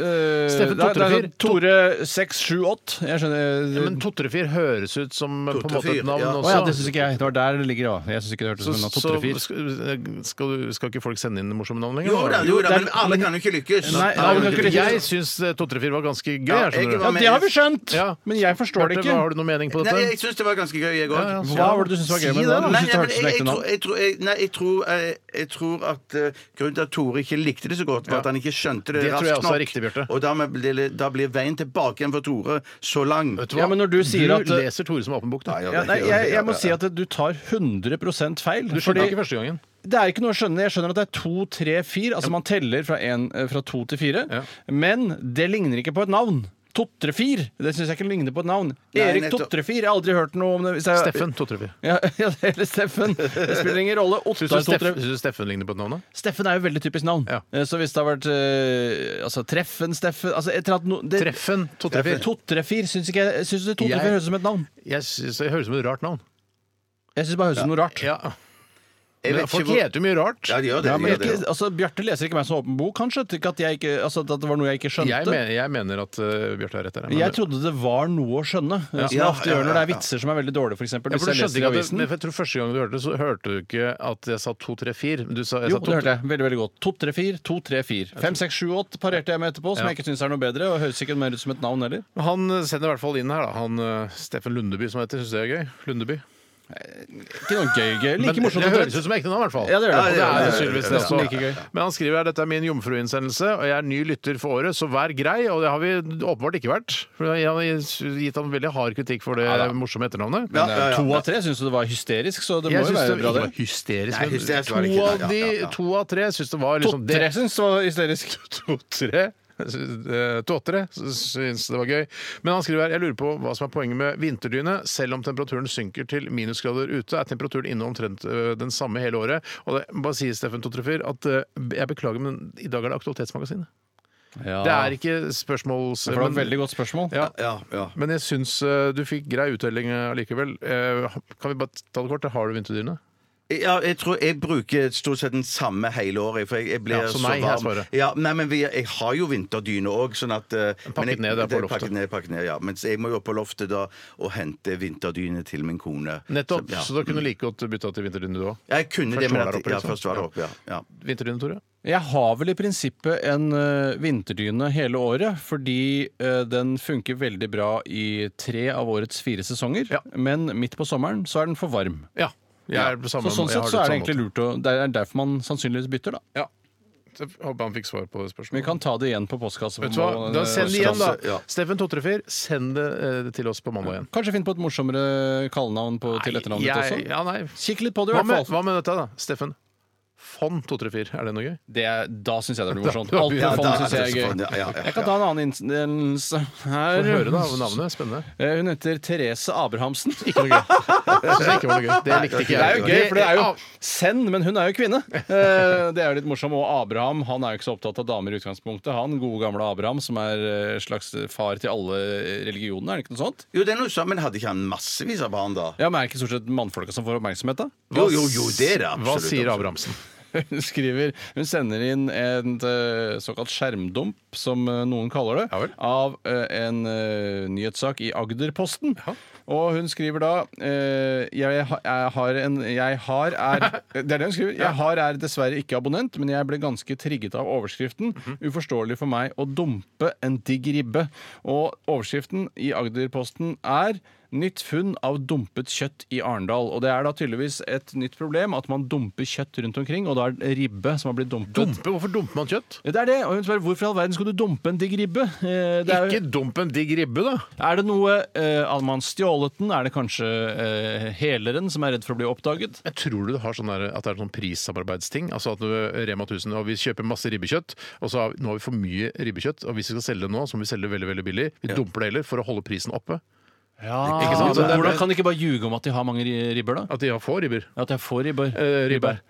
E: Steffen,
F: Steffen
E: to, tre, fire.
F: Tore 678. Jeg skjønner
E: Ja, men Totrefir høres ut som eh, på en måte
G: Totrefyr,
E: et navn
G: ja.
E: også.
F: Å ja, det syns ikke jeg. Det var der det ligger òg. Jeg syns ikke det hørtes
E: så,
F: ut som en
E: så
F: totrefyr.
E: skal, eh, skal, du- skal ikke folk sende inn morsomme navn lenger?
G: Jo da, jo da,
F: det
G: men
F: er-
G: alle kan jo ikke lykkes. Alle
F: Nei, alle
G: kan
F: kan
G: ikke
F: ikke
G: lykkes.
E: Jeg syns Totrefir var ganske gøy.
G: Ja,
E: jeg skjønner
G: jeg
E: du.
G: var-
F: Ja, det har vi skjønt!
E: Ja.
F: Men jeg forstår det
E: Bjarte,
F: ikke.
E: hva, Har du noe mening på dette?
G: Nei, jeg syns det var ganske gøy, jeg
E: Ja, ja.
G: òg.
F: Hva var det du syntes var gøy
E: Si
F: med
E: det,
F: det?
E: da.
F: Du
G: Nei,
F: synes det hørtes
G: jeg,
F: som ekte
G: tror,
F: navn?
G: jeg, tror, jeg, nei, jeg, tror, jeg, jeg tror at eh, grunnen til at Tore ikke likte det så godt, var at han ikke skjønte det,
E: Det tror
G: raskt
E: jeg
G: nok.
E: også er riktig, Bjarte.
G: og da, blir, da blir veien tilbake igjen for Tore så lang.
E: Vet
F: Ja, men når du sier at- eh,
E: leser Tore som åpen bok, da.
G: Ja,
F: Ja,
G: det er
F: nei,
G: ikke-
F: jeg,
G: ja,
F: jeg må
G: ja,
F: si at du tar 100 feil.
E: Du skjønte
F: fordi
E: ikke første gangen.
F: det er ikke noe å skjønne. Jeg skjønner at det er to, tre, fire. Altså man teller fra, en, eh, fra to til fire.
E: Ja.
F: Men det ligner ikke på et navn. Totrefir. Det syns jeg ikke ligner på et navn.
G: Nei,
F: Erik
G: nettopp.
F: Totrefir. Jeg har aldri hørt noe om det. Hvis jeg-
E: Steffen Totrefir.
F: Ja, ja, eller Steffen. Det spiller ingen rolle.
E: Syns
F: Ottar
E: du, Steff,
F: Totrefir.
E: syns du Steffen ligner på et navn? da?
F: Steffen er jo veldig typisk navn.
E: Ja.
F: Eh, Så hvis det har vært eh, altså, Treffen, Steffen altså, et eller annet no, det,
E: Treffen Totrefir.
F: Totrefir syns ikke jeg Syns du Totrefir
E: Jeg-
F: høres ut som et navn?
E: Jeg syns det høres ut som et rart navn.
F: Jeg syns det bare høres ut som noe rart.
E: Ja.
G: Jeg
E: Men
G: vet
E: folk
G: ikke hvor-
E: heter jo mye rart.
G: Ja, de gjør det.
F: Ja,
G: de
F: men
G: gjør det.
F: ikke, altså, Bjarte leser ikke meg som åpen bok, kanskje? Ikke at, jeg ikke, altså, at det var noe jeg ikke skjønte?
E: Jeg mener, jeg mener at uh, Bjarte har rett der. men-
F: jeg trodde det var noe å skjønne, som jeg
G: Ja,
F: ofte
G: ja,
F: gjør når det
G: ja,
F: er
G: ja.
F: vitser som er veldig dårlige, f.eks.
E: Ja, for
F: Hvis
E: du
F: jeg
E: skjønte ikke at
F: leser i
E: det,
F: avisen.
E: men jeg tror Første gang du hørte det, så hørte du ikke at jeg sa to, tre, fire. Du sa, jeg
F: Jo,
E: sa
F: det hørte jeg. Veldig veldig godt. 2, 3, 4, 2, 3, 4. 5, 6, 7, 8 parerte jeg med etterpå, som
E: Ja.
F: jeg ikke syns er noe bedre. Og høres ikke mer ut som et navn heller.
E: Han uh, sender i hvert fall inn her, da. Han uh, Steffen Lundeby, som han heter. Syns det er gøy? Lundeby.
F: Ikke noe gøy, gøy. Like
E: Men
F: morsomt
E: det
F: at
E: høres ut som ekte navn, i hvert fall.
F: Ja, det
E: Og
F: gjør det.
E: det
F: Ja,
E: er det
F: det gjør det.
E: sannsynligvis det
F: Nesten
E: også.
F: like gøy.
E: Men han skriver her dette er min jomfruinnsendelse, og jeg er ny lytter for året, så vær grei. Og det har vi åpenbart ikke vært. For jeg har gitt ham veldig hard kritikk for det morsomme etternavnet.
G: Ja, ja, ja.
F: eh, To av tre syns du det var hysterisk, så det må
E: Jeg
F: jo
E: syns det
F: være
E: ikke
F: bra,
E: var
F: det.
E: hysterisk.
G: Nei,
E: men
G: hysterisk var det
E: to,
G: ikke.
E: av
G: Nei,
E: de,
G: ja, ja, ja.
E: to av tre syns det var liksom
F: To-tre syns det var hysterisk.
E: To-tre Tåtere syns det var gøy. Men han skriver her jeg lurer på hva som er poenget med vinterdyne. Selv om temperaturen synker til minusgrader ute, er temperaturen inne omtrent ø, den samme hele året. Og det må bare si, Steffen Totrefyr, at ø, jeg beklager, men i dag er det Aktualitetsmagasinet.
F: Ja.
E: Det er ikke spørsmåls...
F: For det var et
E: men-
F: veldig godt spørsmål.
E: Ja.
G: Ja, ja.
E: Men jeg syns ø, du fikk grei uttelling ø, allikevel. Eh, Kan vi bare ta det kort? Har du vinterdyne?
G: Ja, jeg tror jeg bruker stort sett den samme hele året. For jeg, jeg blir
E: Ja, så
G: så,
E: nei, er
G: varm.
E: svaret.
G: Ja, nei, men vi, jeg har jo vinterdyne òg, sånn at eh,
E: Pakket
G: men jeg,
E: ned der på
G: det er
E: loftet.
G: Pakket ned, pakket ned, ja. Mens jeg må jo opp på loftet da og hente vinterdyne til min kone.
E: Nettopp.
G: Så, ja.
E: Så da kunne du like godt bytta til vinterdyne, du òg.
G: Jeg kunne
E: Først
G: det, men
E: var der
G: at,
E: oppe,
G: ja,
E: liksom.
G: først var det
E: Ja.
G: oppe, ja. ja.
E: Vinterdyne, Tore?
F: Jeg har vel i prinsippet en ø, vinterdyne hele året, fordi ø, den funker veldig bra i tre av årets fire sesonger.
E: Ja.
F: Men midt på sommeren så er den for varm.
E: Ja. Jeg er på samme,
F: så sånn
E: jeg har
F: sett så er det
E: samme måte.
F: egentlig lurt å Det er derfor man sannsynligvis bytter, da.
E: Ja. Så jeg håper han fikk svar på det
F: Vi
E: spørsmålet.
F: kan ta det igjen på eh, postkassa.
E: Vet du hva? Da send det igjen, da.
G: Postkasse, ja.
E: Steffen Totrefyr, send det eh, til oss på mandag igjen.
F: Kanskje finn på et morsommere kallenavn på, til etternavnet ditt
E: Jeg-
F: også?
E: Ja, nei.
F: Kikk litt på det, i
E: Hva med,
F: hvert fall.
E: hva med dette, da? Steffen Fond 234, er det noe gøy?
F: Det er, da syns jeg det blir morsomt.
E: Da- da-
F: Alt med
E: ja,
F: fond
G: da-
F: syns jeg er
G: ja,
F: gøy.
G: ja, ja, ja.
F: Jeg kan ta en annen innsendelse her.
E: Få høre da, navnet. Spennende.
F: Eh, Hun heter Therese Abrahamsen.
E: Ikke noe gøy. Jeg synes ikke det var noe gøy. Det likte ikke
F: Det
E: jeg.
F: er jo gøy, for det er jo
E: av-
F: Send, men hun er jo kvinne. Eh, Det er jo litt morsomt. Og Abraham han er jo ikke så opptatt av damer i utgangspunktet. Han gode gamle Abraham, som er eh, slags far til alle religioner, er det ikke noe sånt?
G: Jo, det er noe sånn, men hadde ikke han massevis av barn da?
F: Ja, men Er det ikke stort sett mannfolka som får oppmerksomhet, da?
G: Jo, jo, jo, det er det absolutt.
E: Hva sier
G: absolutt.
E: Abrahamsen?
F: Hun skriver Hun sender inn en eh, såkalt skjermdump, som eh, noen kaller det,
E: Ja vel.
F: av eh, en eh, nyhetssak i Agderposten. Og hun skriver da eh, jeg, ha, jeg har en Jeg har er Det er det hun skriver. Jeg har er dessverre ikke abonnent, men jeg ble ganske trigget av overskriften. Uforståelig for meg å dumpe en digg ribbe. Og overskriften i Agderposten er Nytt funn av dumpet kjøtt i Arendal. Og det er da tydeligvis et nytt problem at man dumper kjøtt rundt omkring, og da er det ribbe som har blitt dumpet.
E: Dumpe? Hvorfor dumper man kjøtt?
F: Ja, Det er det, og hun spør Hvorfor i all verden skulle du dumpe en digg ribbe? Eh, Det er,
E: Ikke dump en digg ribbe, da.
F: er det noe eh, Har man stjålet den? Er det kanskje eh, heleren som er redd for å bli oppdaget?
E: Jeg tror du har sånn der, at det er sånn prissamarbeidsting. Altså at du, Rema 1000 og vi kjøper masse ribbekjøtt, og så har, vi- nå har vi for mye ribbekjøtt. Og hvis vi skal selge det nå, så må vi selge det veldig veldig billig. Vi dumper det heller for å holde prisen oppe.
F: Ja,
E: Ikke sant?
F: men
E: Så det er-
F: Hvordan kan de ikke bare ljuge om at de har mange ri- ribber, da?
E: At de har få ribber.
F: At jeg får ribber?
E: Eh, ribber.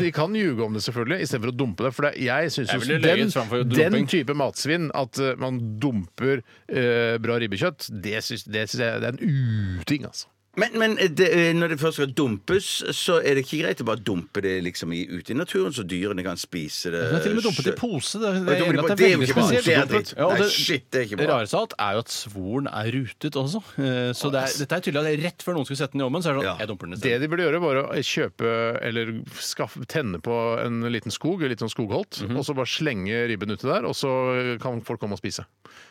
E: De kan ljuge om det, selvfølgelig, istedenfor å dumpe det. For det, jeg syns
F: Jeg
E: jo
F: ville løyet
E: den,
F: framfor dumping.
E: den type matsvinn, at eh, man dumper eh, bra ribbekjøtt, det syns det syns jeg det er en uting, altså.
G: Men, men det, eh, når det først skal dumpes, så er det ikke greit å bare dumpe det liksom i, ute i naturen, så dyrene kan spise det.
F: Hun har til og med dumpet i
G: sjø-
F: pose. Det,
G: Nei,
F: jeg
G: dumpet i-
F: enig i at det er veldig
G: det er jo ikke bra.
F: spesielt.
G: Det er
F: Dumpet.
G: dritt.
F: Ja, og
G: Nei, shit, det er ikke bra.
F: Det rareste av alt er jo at svoren er rutet også. Eh, Så det er, dette er tydelig at det er rett før noen skulle sette den i ovnen, så er det sånn
G: Ja.
F: Jeg dumper den i
E: Det
F: stedet.
E: de burde gjøre, var å kjøpe eller skaffe, tenne på en liten skog, en liten skogholt,
F: Mhm.
E: og så bare slenge ribben uti der, og så kan folk komme og spise.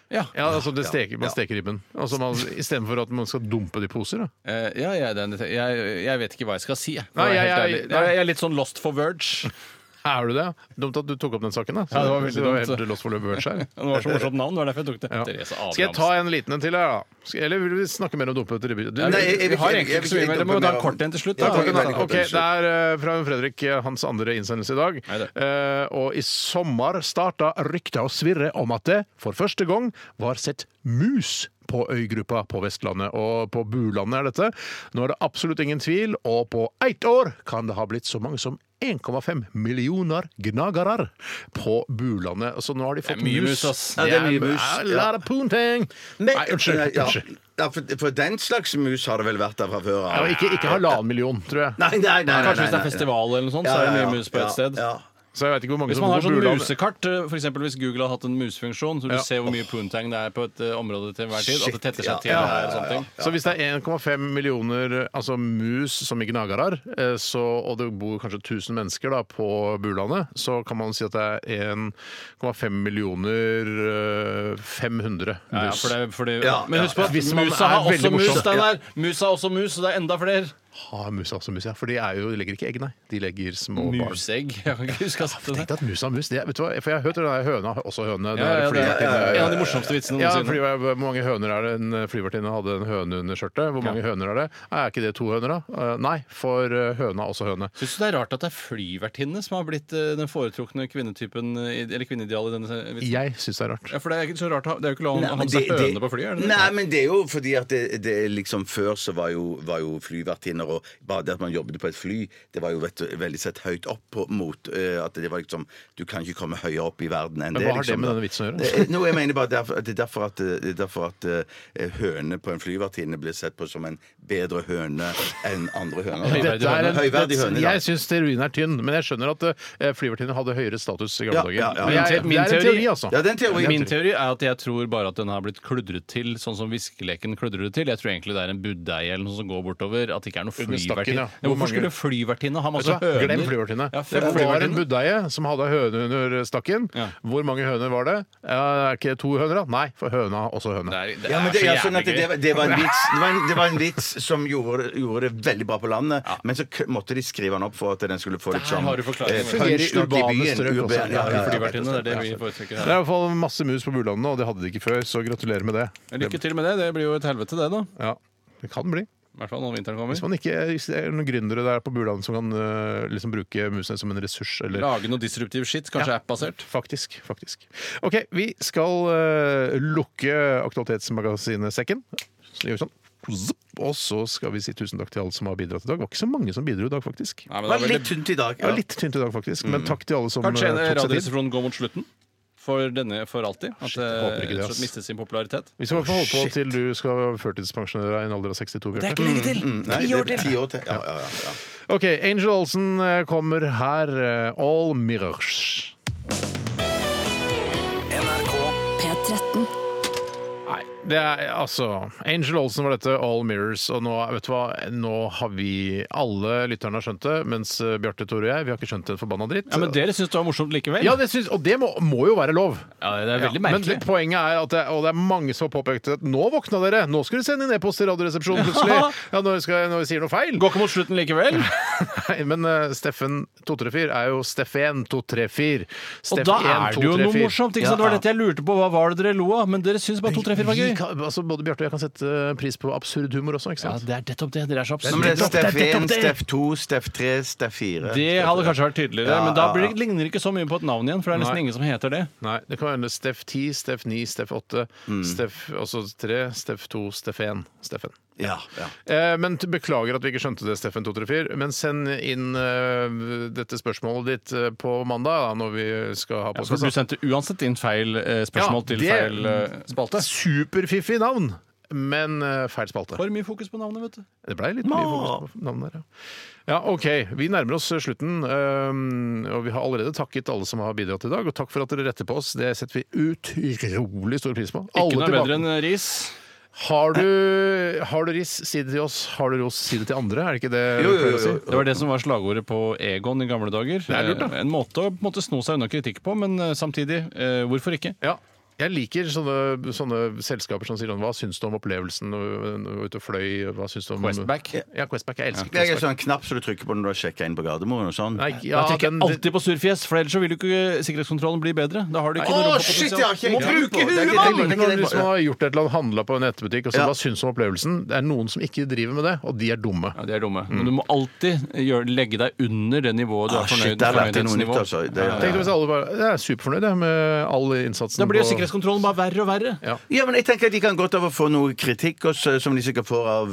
F: Ja.
E: Ja, altså det steker, Man steker ribben. Altså man, Istedenfor at man skal dumpe det i poser. Da.
F: Eh, ja, jeg, den, jeg, jeg vet ikke hva jeg skal si. Jeg,
E: Nei,
F: for å være
E: jeg-
F: helt
E: jeg-
F: ærlig.
E: nei.
F: jeg, jeg er litt sånn lost for verge.
E: Er du det? Dumt at du tok opp den saken, da. Så-
F: Ja, det var veldig
E: så
F: dumt.
E: helt lost for words her.
F: Det var så morsomt navn, det var derfor jeg tok det.
E: Ja.
F: Therese
E: Skal jeg
F: Abrahamsen.
E: ta en liten en til her, da? Skal- Eller vil vi snakke mer om dumpet ribbe? Du-
F: Ja,
G: Nei, jeg- jeg vil
F: vi- Vi
G: ikke-
F: har
G: jeg
F: egentlig
G: vil
F: ikke så mye
G: ikke
F: mer. Vi må
G: dumpe
F: ta en
G: mer.
F: kort en til slutt.
G: Ja,
F: Da.
G: takk,
F: Vi
G: takk,
F: tar en
G: takk.
F: kort.
E: Ok, Det er eh, fra Fredrik, eh, hans andre innsendelse i dag.
F: Hei, det.
E: Eh, og i sommer starta rykta å svirre om at det for første gang var sett mus på øygruppa på Vestlandet. Og på Bulandet er dette. Nå er det absolutt ingen tvil, og på ett år kan det ha blitt så mange som 1,5 millioner gnagere på Bulandet. Så nå har de fått
F: mye mus, ass.
G: Ja, det er mye mus,
E: A lot of poontang.
G: Men-
E: Nei, unnskyld.
G: Nei, ja.
E: unnskyld.
G: Ja, for, for den slags mus har det vel vært der fra før
E: Ja,
G: av?
E: ikke ikke halvannen million, tror jeg.
G: Nei, nei, nei, nei,
F: Kanskje hvis det
G: nei,
F: er
G: nei.
F: festival eller noe sånt, så er det mye mus på
G: ja,
F: ett sted.
G: Ja.
E: Så jeg vet ikke hvor mange
F: Hvis
E: som
F: man har
E: bor på
F: sånn
E: Bulandet.
F: musekart, eh, for eksempel hvis Google har hatt en musefunksjon, så du ser hvor mye poontang det er på et eh, område til hver tid, at det tetter seg
G: Shit,
F: til
G: ja.
F: her og sånne ting.
E: Så hvis det er 1,5 millioner altså mus som er gnagere, eh, så, og det bor kanskje 1000 mennesker da, på Bulandet, så kan man si at det er 1,5 millioner eh, 500 mus.
F: Ja, ja, for det, for det,
G: Ja,
F: men husk på
E: ja.
F: at
E: Hvis man
F: musa
E: er
F: har også
E: veldig
F: mus,
E: morsom.
F: Steinar. Musa har også mus, så det er enda flere.
E: Har mus altså mus, ja. For de, er jo, de legger ikke egg, nei. De legger små barn.
F: Musegg. Jeg kan ikke huske å ha sett det.
E: Tenk deg at mus har mus. Det, er- vet du hva? For jeg har hørt det der høna har også høne. Den
F: Ja,
E: der
F: ja, det
E: flyvertinne-
F: er en av de morsomste vitsene
E: Ja, fordi
F: noensinne.
E: hvor mange høner er det en flyvertinne hadde en høne under skjørtet? Hvor mange høner er det? Er ikke det to høner, da? Eh, Nei, for eh, høna er også høne.
F: Syns du det er rart at det er flyvertinne som har blitt eh, den foretrukne kvinnetypen, eh, i- eller kvinneidealet i denne vitsen?
E: Jeg syns det er rart.
F: Ja, for det er ikke så rart. å ha- Det er jo ikke lov å
G: Nei,
F: ha
G: men
F: med seg
G: det- det-
F: høne på flyet, er det det?
G: Nei, men det er jo fordi at det, det er liksom Før så var jo, var jo flyvertinner og bare det at man jobbet på et fly, det var jo vet, du, veldig sett høyt opp på, mot eh, at det var liksom Du kan ikke komme høyere opp i verden enn
E: Men
G: det.
E: hva har det
G: liksom,
E: med
G: da.
E: denne vitsen å gjøre?
G: Eh, No, jeg mener bare derfor, at det er derfor at, eh, det er derfor at eh, høne på en flyvertinne blir sett på som en bedre høne enn andre høner. da.
F: Høyverdig
E: Dette er en,
G: høyverdig høne. da.
E: jeg syns teorien er tynn, men jeg skjønner at eh, flyvertinner hadde høyere status i gamle
G: Ja,
E: dager.
G: ja, ja.
E: Men jeg,
F: Min
E: det er en
F: teori-
E: teori, altså.
G: Ja, den teorien.
F: Min teori er at jeg tror bare at den har blitt kludret til, sånn som viskeleken kludrer det til. Jeg tror egentlig det er en budeie eller noe som går bortover. At det ikke er noe
E: Under stakken, ja.
F: flyvertinne.
E: Hvor
F: Men Hvorfor
E: mange-
F: skulle flyvertinne ha
E: Vet du
F: masse
E: hva?
F: høner?
E: Glem flyvertinne.
F: Ja,
E: det var en
F: flyvertinne.
E: budeie som hadde høne under stakken.
F: Ja.
E: Hvor mange høner var det? Ja, er ikke det to høner, da? Nei, for høna har også høne.
F: Det er, det
G: Ja, men
F: er
G: det,
F: så
G: jeg skjønner
F: jævlig
G: at det,
F: gøy.
G: var- det, var en vits, det, var en, det var en vits som gjorde, gjorde det veldig bra på landet, men så k måtte de skrive den opp for at den skulle få litt
F: Der
G: sånn
F: har du forklaringen.
G: eh,
E: Fungerer i
G: punch nok i
E: urbane
G: byen.
E: strøk også.
G: Urban- ja, ja, ja.
F: Flyvertinne, det er det vi foretrekker
E: Det er i
F: her.
E: hvert fall masse mus på Bulandet, og det hadde de ikke før, så gratulerer med det.
F: Lykke til med det. Det blir jo et helvete, det, da.
E: Ja, det kan bli.
F: I hvert fall når vinteren kommer.
E: Hvis man ikke hvis det er noen gründere der på Bulandet som kan eh, liksom bruke musene som en ressurs, eller
F: Lage noe disruptiv shit, kanskje app-basert.
E: Faktisk. faktisk. OK, vi skal eh, lukke Aktualitetsmagasinet Sekken. Så gjør vi sånn. Zopp. Og så skal vi si tusen takk til alle som har bidratt i dag. Det var ikke så mange som bidro i dag, faktisk.
F: Nei,
G: Det
F: men det
G: var
F: er veldig-
G: litt tynt i dag.
E: Det var litt tynt i dag, faktisk,
A: Mm.
E: men takk til alle som
F: Kanskje en
E: eh, tok seg tid.
F: radioresepsjon går mot slutten? For denne for alltid? At
E: Shit, jeg håper ikke det,
F: det
E: ass.
F: mister sin popularitet?
E: Vi skal i hvert fall holde på til du skal førtidspensjonere deg i en alder av 62,
A: Det er
E: Bjarte.
F: Mm.
A: ikke lenge til.
G: Nei,
A: Ti år
G: det er
A: til.
G: ti år til. Ja, ja, ja, ja.
E: OK, Angel Olsen eh, kommer her. eh, All Mirrors.
B: NRK
A: P13.
E: Nei, det er altså Angel Olsen var dette, All Mirrors. Og nå, vet du hva, nå har vi Alle lytterne har skjønt det, mens eh, Bjarte, Tore og jeg, vi har ikke skjønt en forbanna dritt.
F: Ja, Men dere syns det var morsomt likevel?
E: Ja, det syns, og det må, må jo være lov.
F: Ja, det er veldig
E: Ja,
F: merkelig.
E: Men poenget er at det, og det er mange som har påpekt at nå våkna dere, nå skulle dere sende inn e-post til Radioresepsjonen plutselig. Ja, når vi, skal, når vi sier noe feil.
F: Går ikke mot slutten likevel.
E: Nei, men eh, Steffen 234 er jo Steffen 234.
F: Og
E: Steff
F: da
E: 1,
F: er det jo
E: 234.
F: noe morsomt. ikke sant? Det var dette jeg lurte på. Hva var det dere lo av? Men dere syns bare to, tre, fire var
E: Vi
F: gøy.
E: kan- Altså, både Bjarte og jeg kan sette eh, pris på absurd humor også, ikke
F: Ja,
E: sant?
F: det er nettopp det. Dere er så
G: Ja, men det er
F: absurde.
G: Steff 1, Steff 2, Steff 3, Steff 4.
F: Det hadde kanskje vært tydeligere,
G: Ja,
F: men da
G: ja,
F: blir
G: ja.
F: det, ligner det ikke så mye på et navn igjen, for det er nesten
E: Nei.
F: ingen som heter det.
E: Nei, det kan være Steff 10, Steff 9, Steff 8, Steff også 3, Steff 2, Steff 1, Steffen.
G: Ja, ja.
E: Eh, men t- Beklager at vi ikke skjønte det, Steffen 234. Men send inn eh, dette spørsmålet ditt eh, på mandag, da, når vi skal ha
F: Ja, for
E: postkassa.
F: du sendte uansett inn feil eh, spørsmål til
E: det-
F: feil eh, spalte.
E: Superfiffig navn, men eh, feil spalte.
F: For mye fokus på navnet, vet du.
E: Det blei litt mye fokus på navnet der, ja. ja. OK, vi nærmer oss eh, slutten. øhm, Og vi har allerede takket alle som har bidratt i dag. Og takk for at dere retter på oss. Det setter vi utrolig stor pris på.
F: Ikke noe
E: tilbake-
F: bedre enn ris.
E: Har du, har du ris, si det til oss. Har du ros, si det til andre. Er det ikke det vi pleier å si?
F: Det var det som var slagordet på Egon i gamle dager.
E: er lurt, da.
F: Eh, En måte å på en måte, sno seg unna kritikk på, men eh, samtidig, eh, hvorfor ikke?
E: Ja. Jeg liker sånne, sånne selskaper som sier sånn Hva syns du om opplevelsen når når du var ute og fløy? Hva syns du om
F: Westback.
E: Ja, Questback. Jeg elsker
G: Det er
E: Questback.
G: en sånn knapp som du trykker på når du har sjekka inn på Gardermoen og sånn.
E: Nei,
F: Da
E: ja,
F: tenker
E: den-
F: jeg alltid på surfjes, for ellers så vil jo ikke sikkerhetskontrollen bli bedre. Da har du
G: Å,
F: ikke noe
G: shit, jeg
F: råpotensial.
G: har ikke
F: Må
G: tenkt på det.
F: bruke
G: Det er
F: huet,
G: ikke-
E: Jeg
F: mann!
E: liker
G: Men
E: når
G: det-
E: hvis man har gjort et eller annet, handla på en nettbutikk og så
G: Ja.
E: hva syns du om opplevelsen. Det er noen som ikke driver med det, og de er dumme.
F: Ja, de er dumme. Men du må alltid gjøre, legge deg under det nivået du
G: Ah,
F: er
G: shit,
F: fornøyd
G: der lærte jeg noe nytt,
F: fornøydhetsnivå.
G: altså. Det,
E: Tenk deg hvis alle bare Jeg er superfornøyd jeg, med all innsatsen.
F: Da blir jo
E: på-
F: sikkerhetskontrollen bare verre og verre.
G: Ja, men jeg tenker at De kan godt av å få noe kritikk også, som de sikkert får av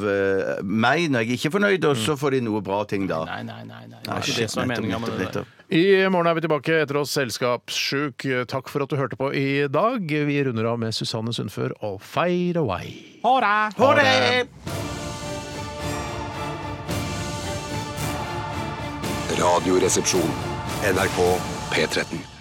G: eh, meg når jeg ikke er fornøyd, og så får de noe bra ting da.
F: Mm. Nei, nei, nei. nei. Det
G: Ah,
F: er ikke
G: shit,
F: det som er
G: nettopp,
F: meninga med
G: nettopp,
F: det der.
G: nettopp.
E: I morgen er vi tilbake etter oss Selskapssjuk. Takk for at du hørte på i dag. Vi runder av med Susanne Sundfør og Fade Away.
F: Ha det!
G: Ha det!
B: Radioresepsjon. NRK P13.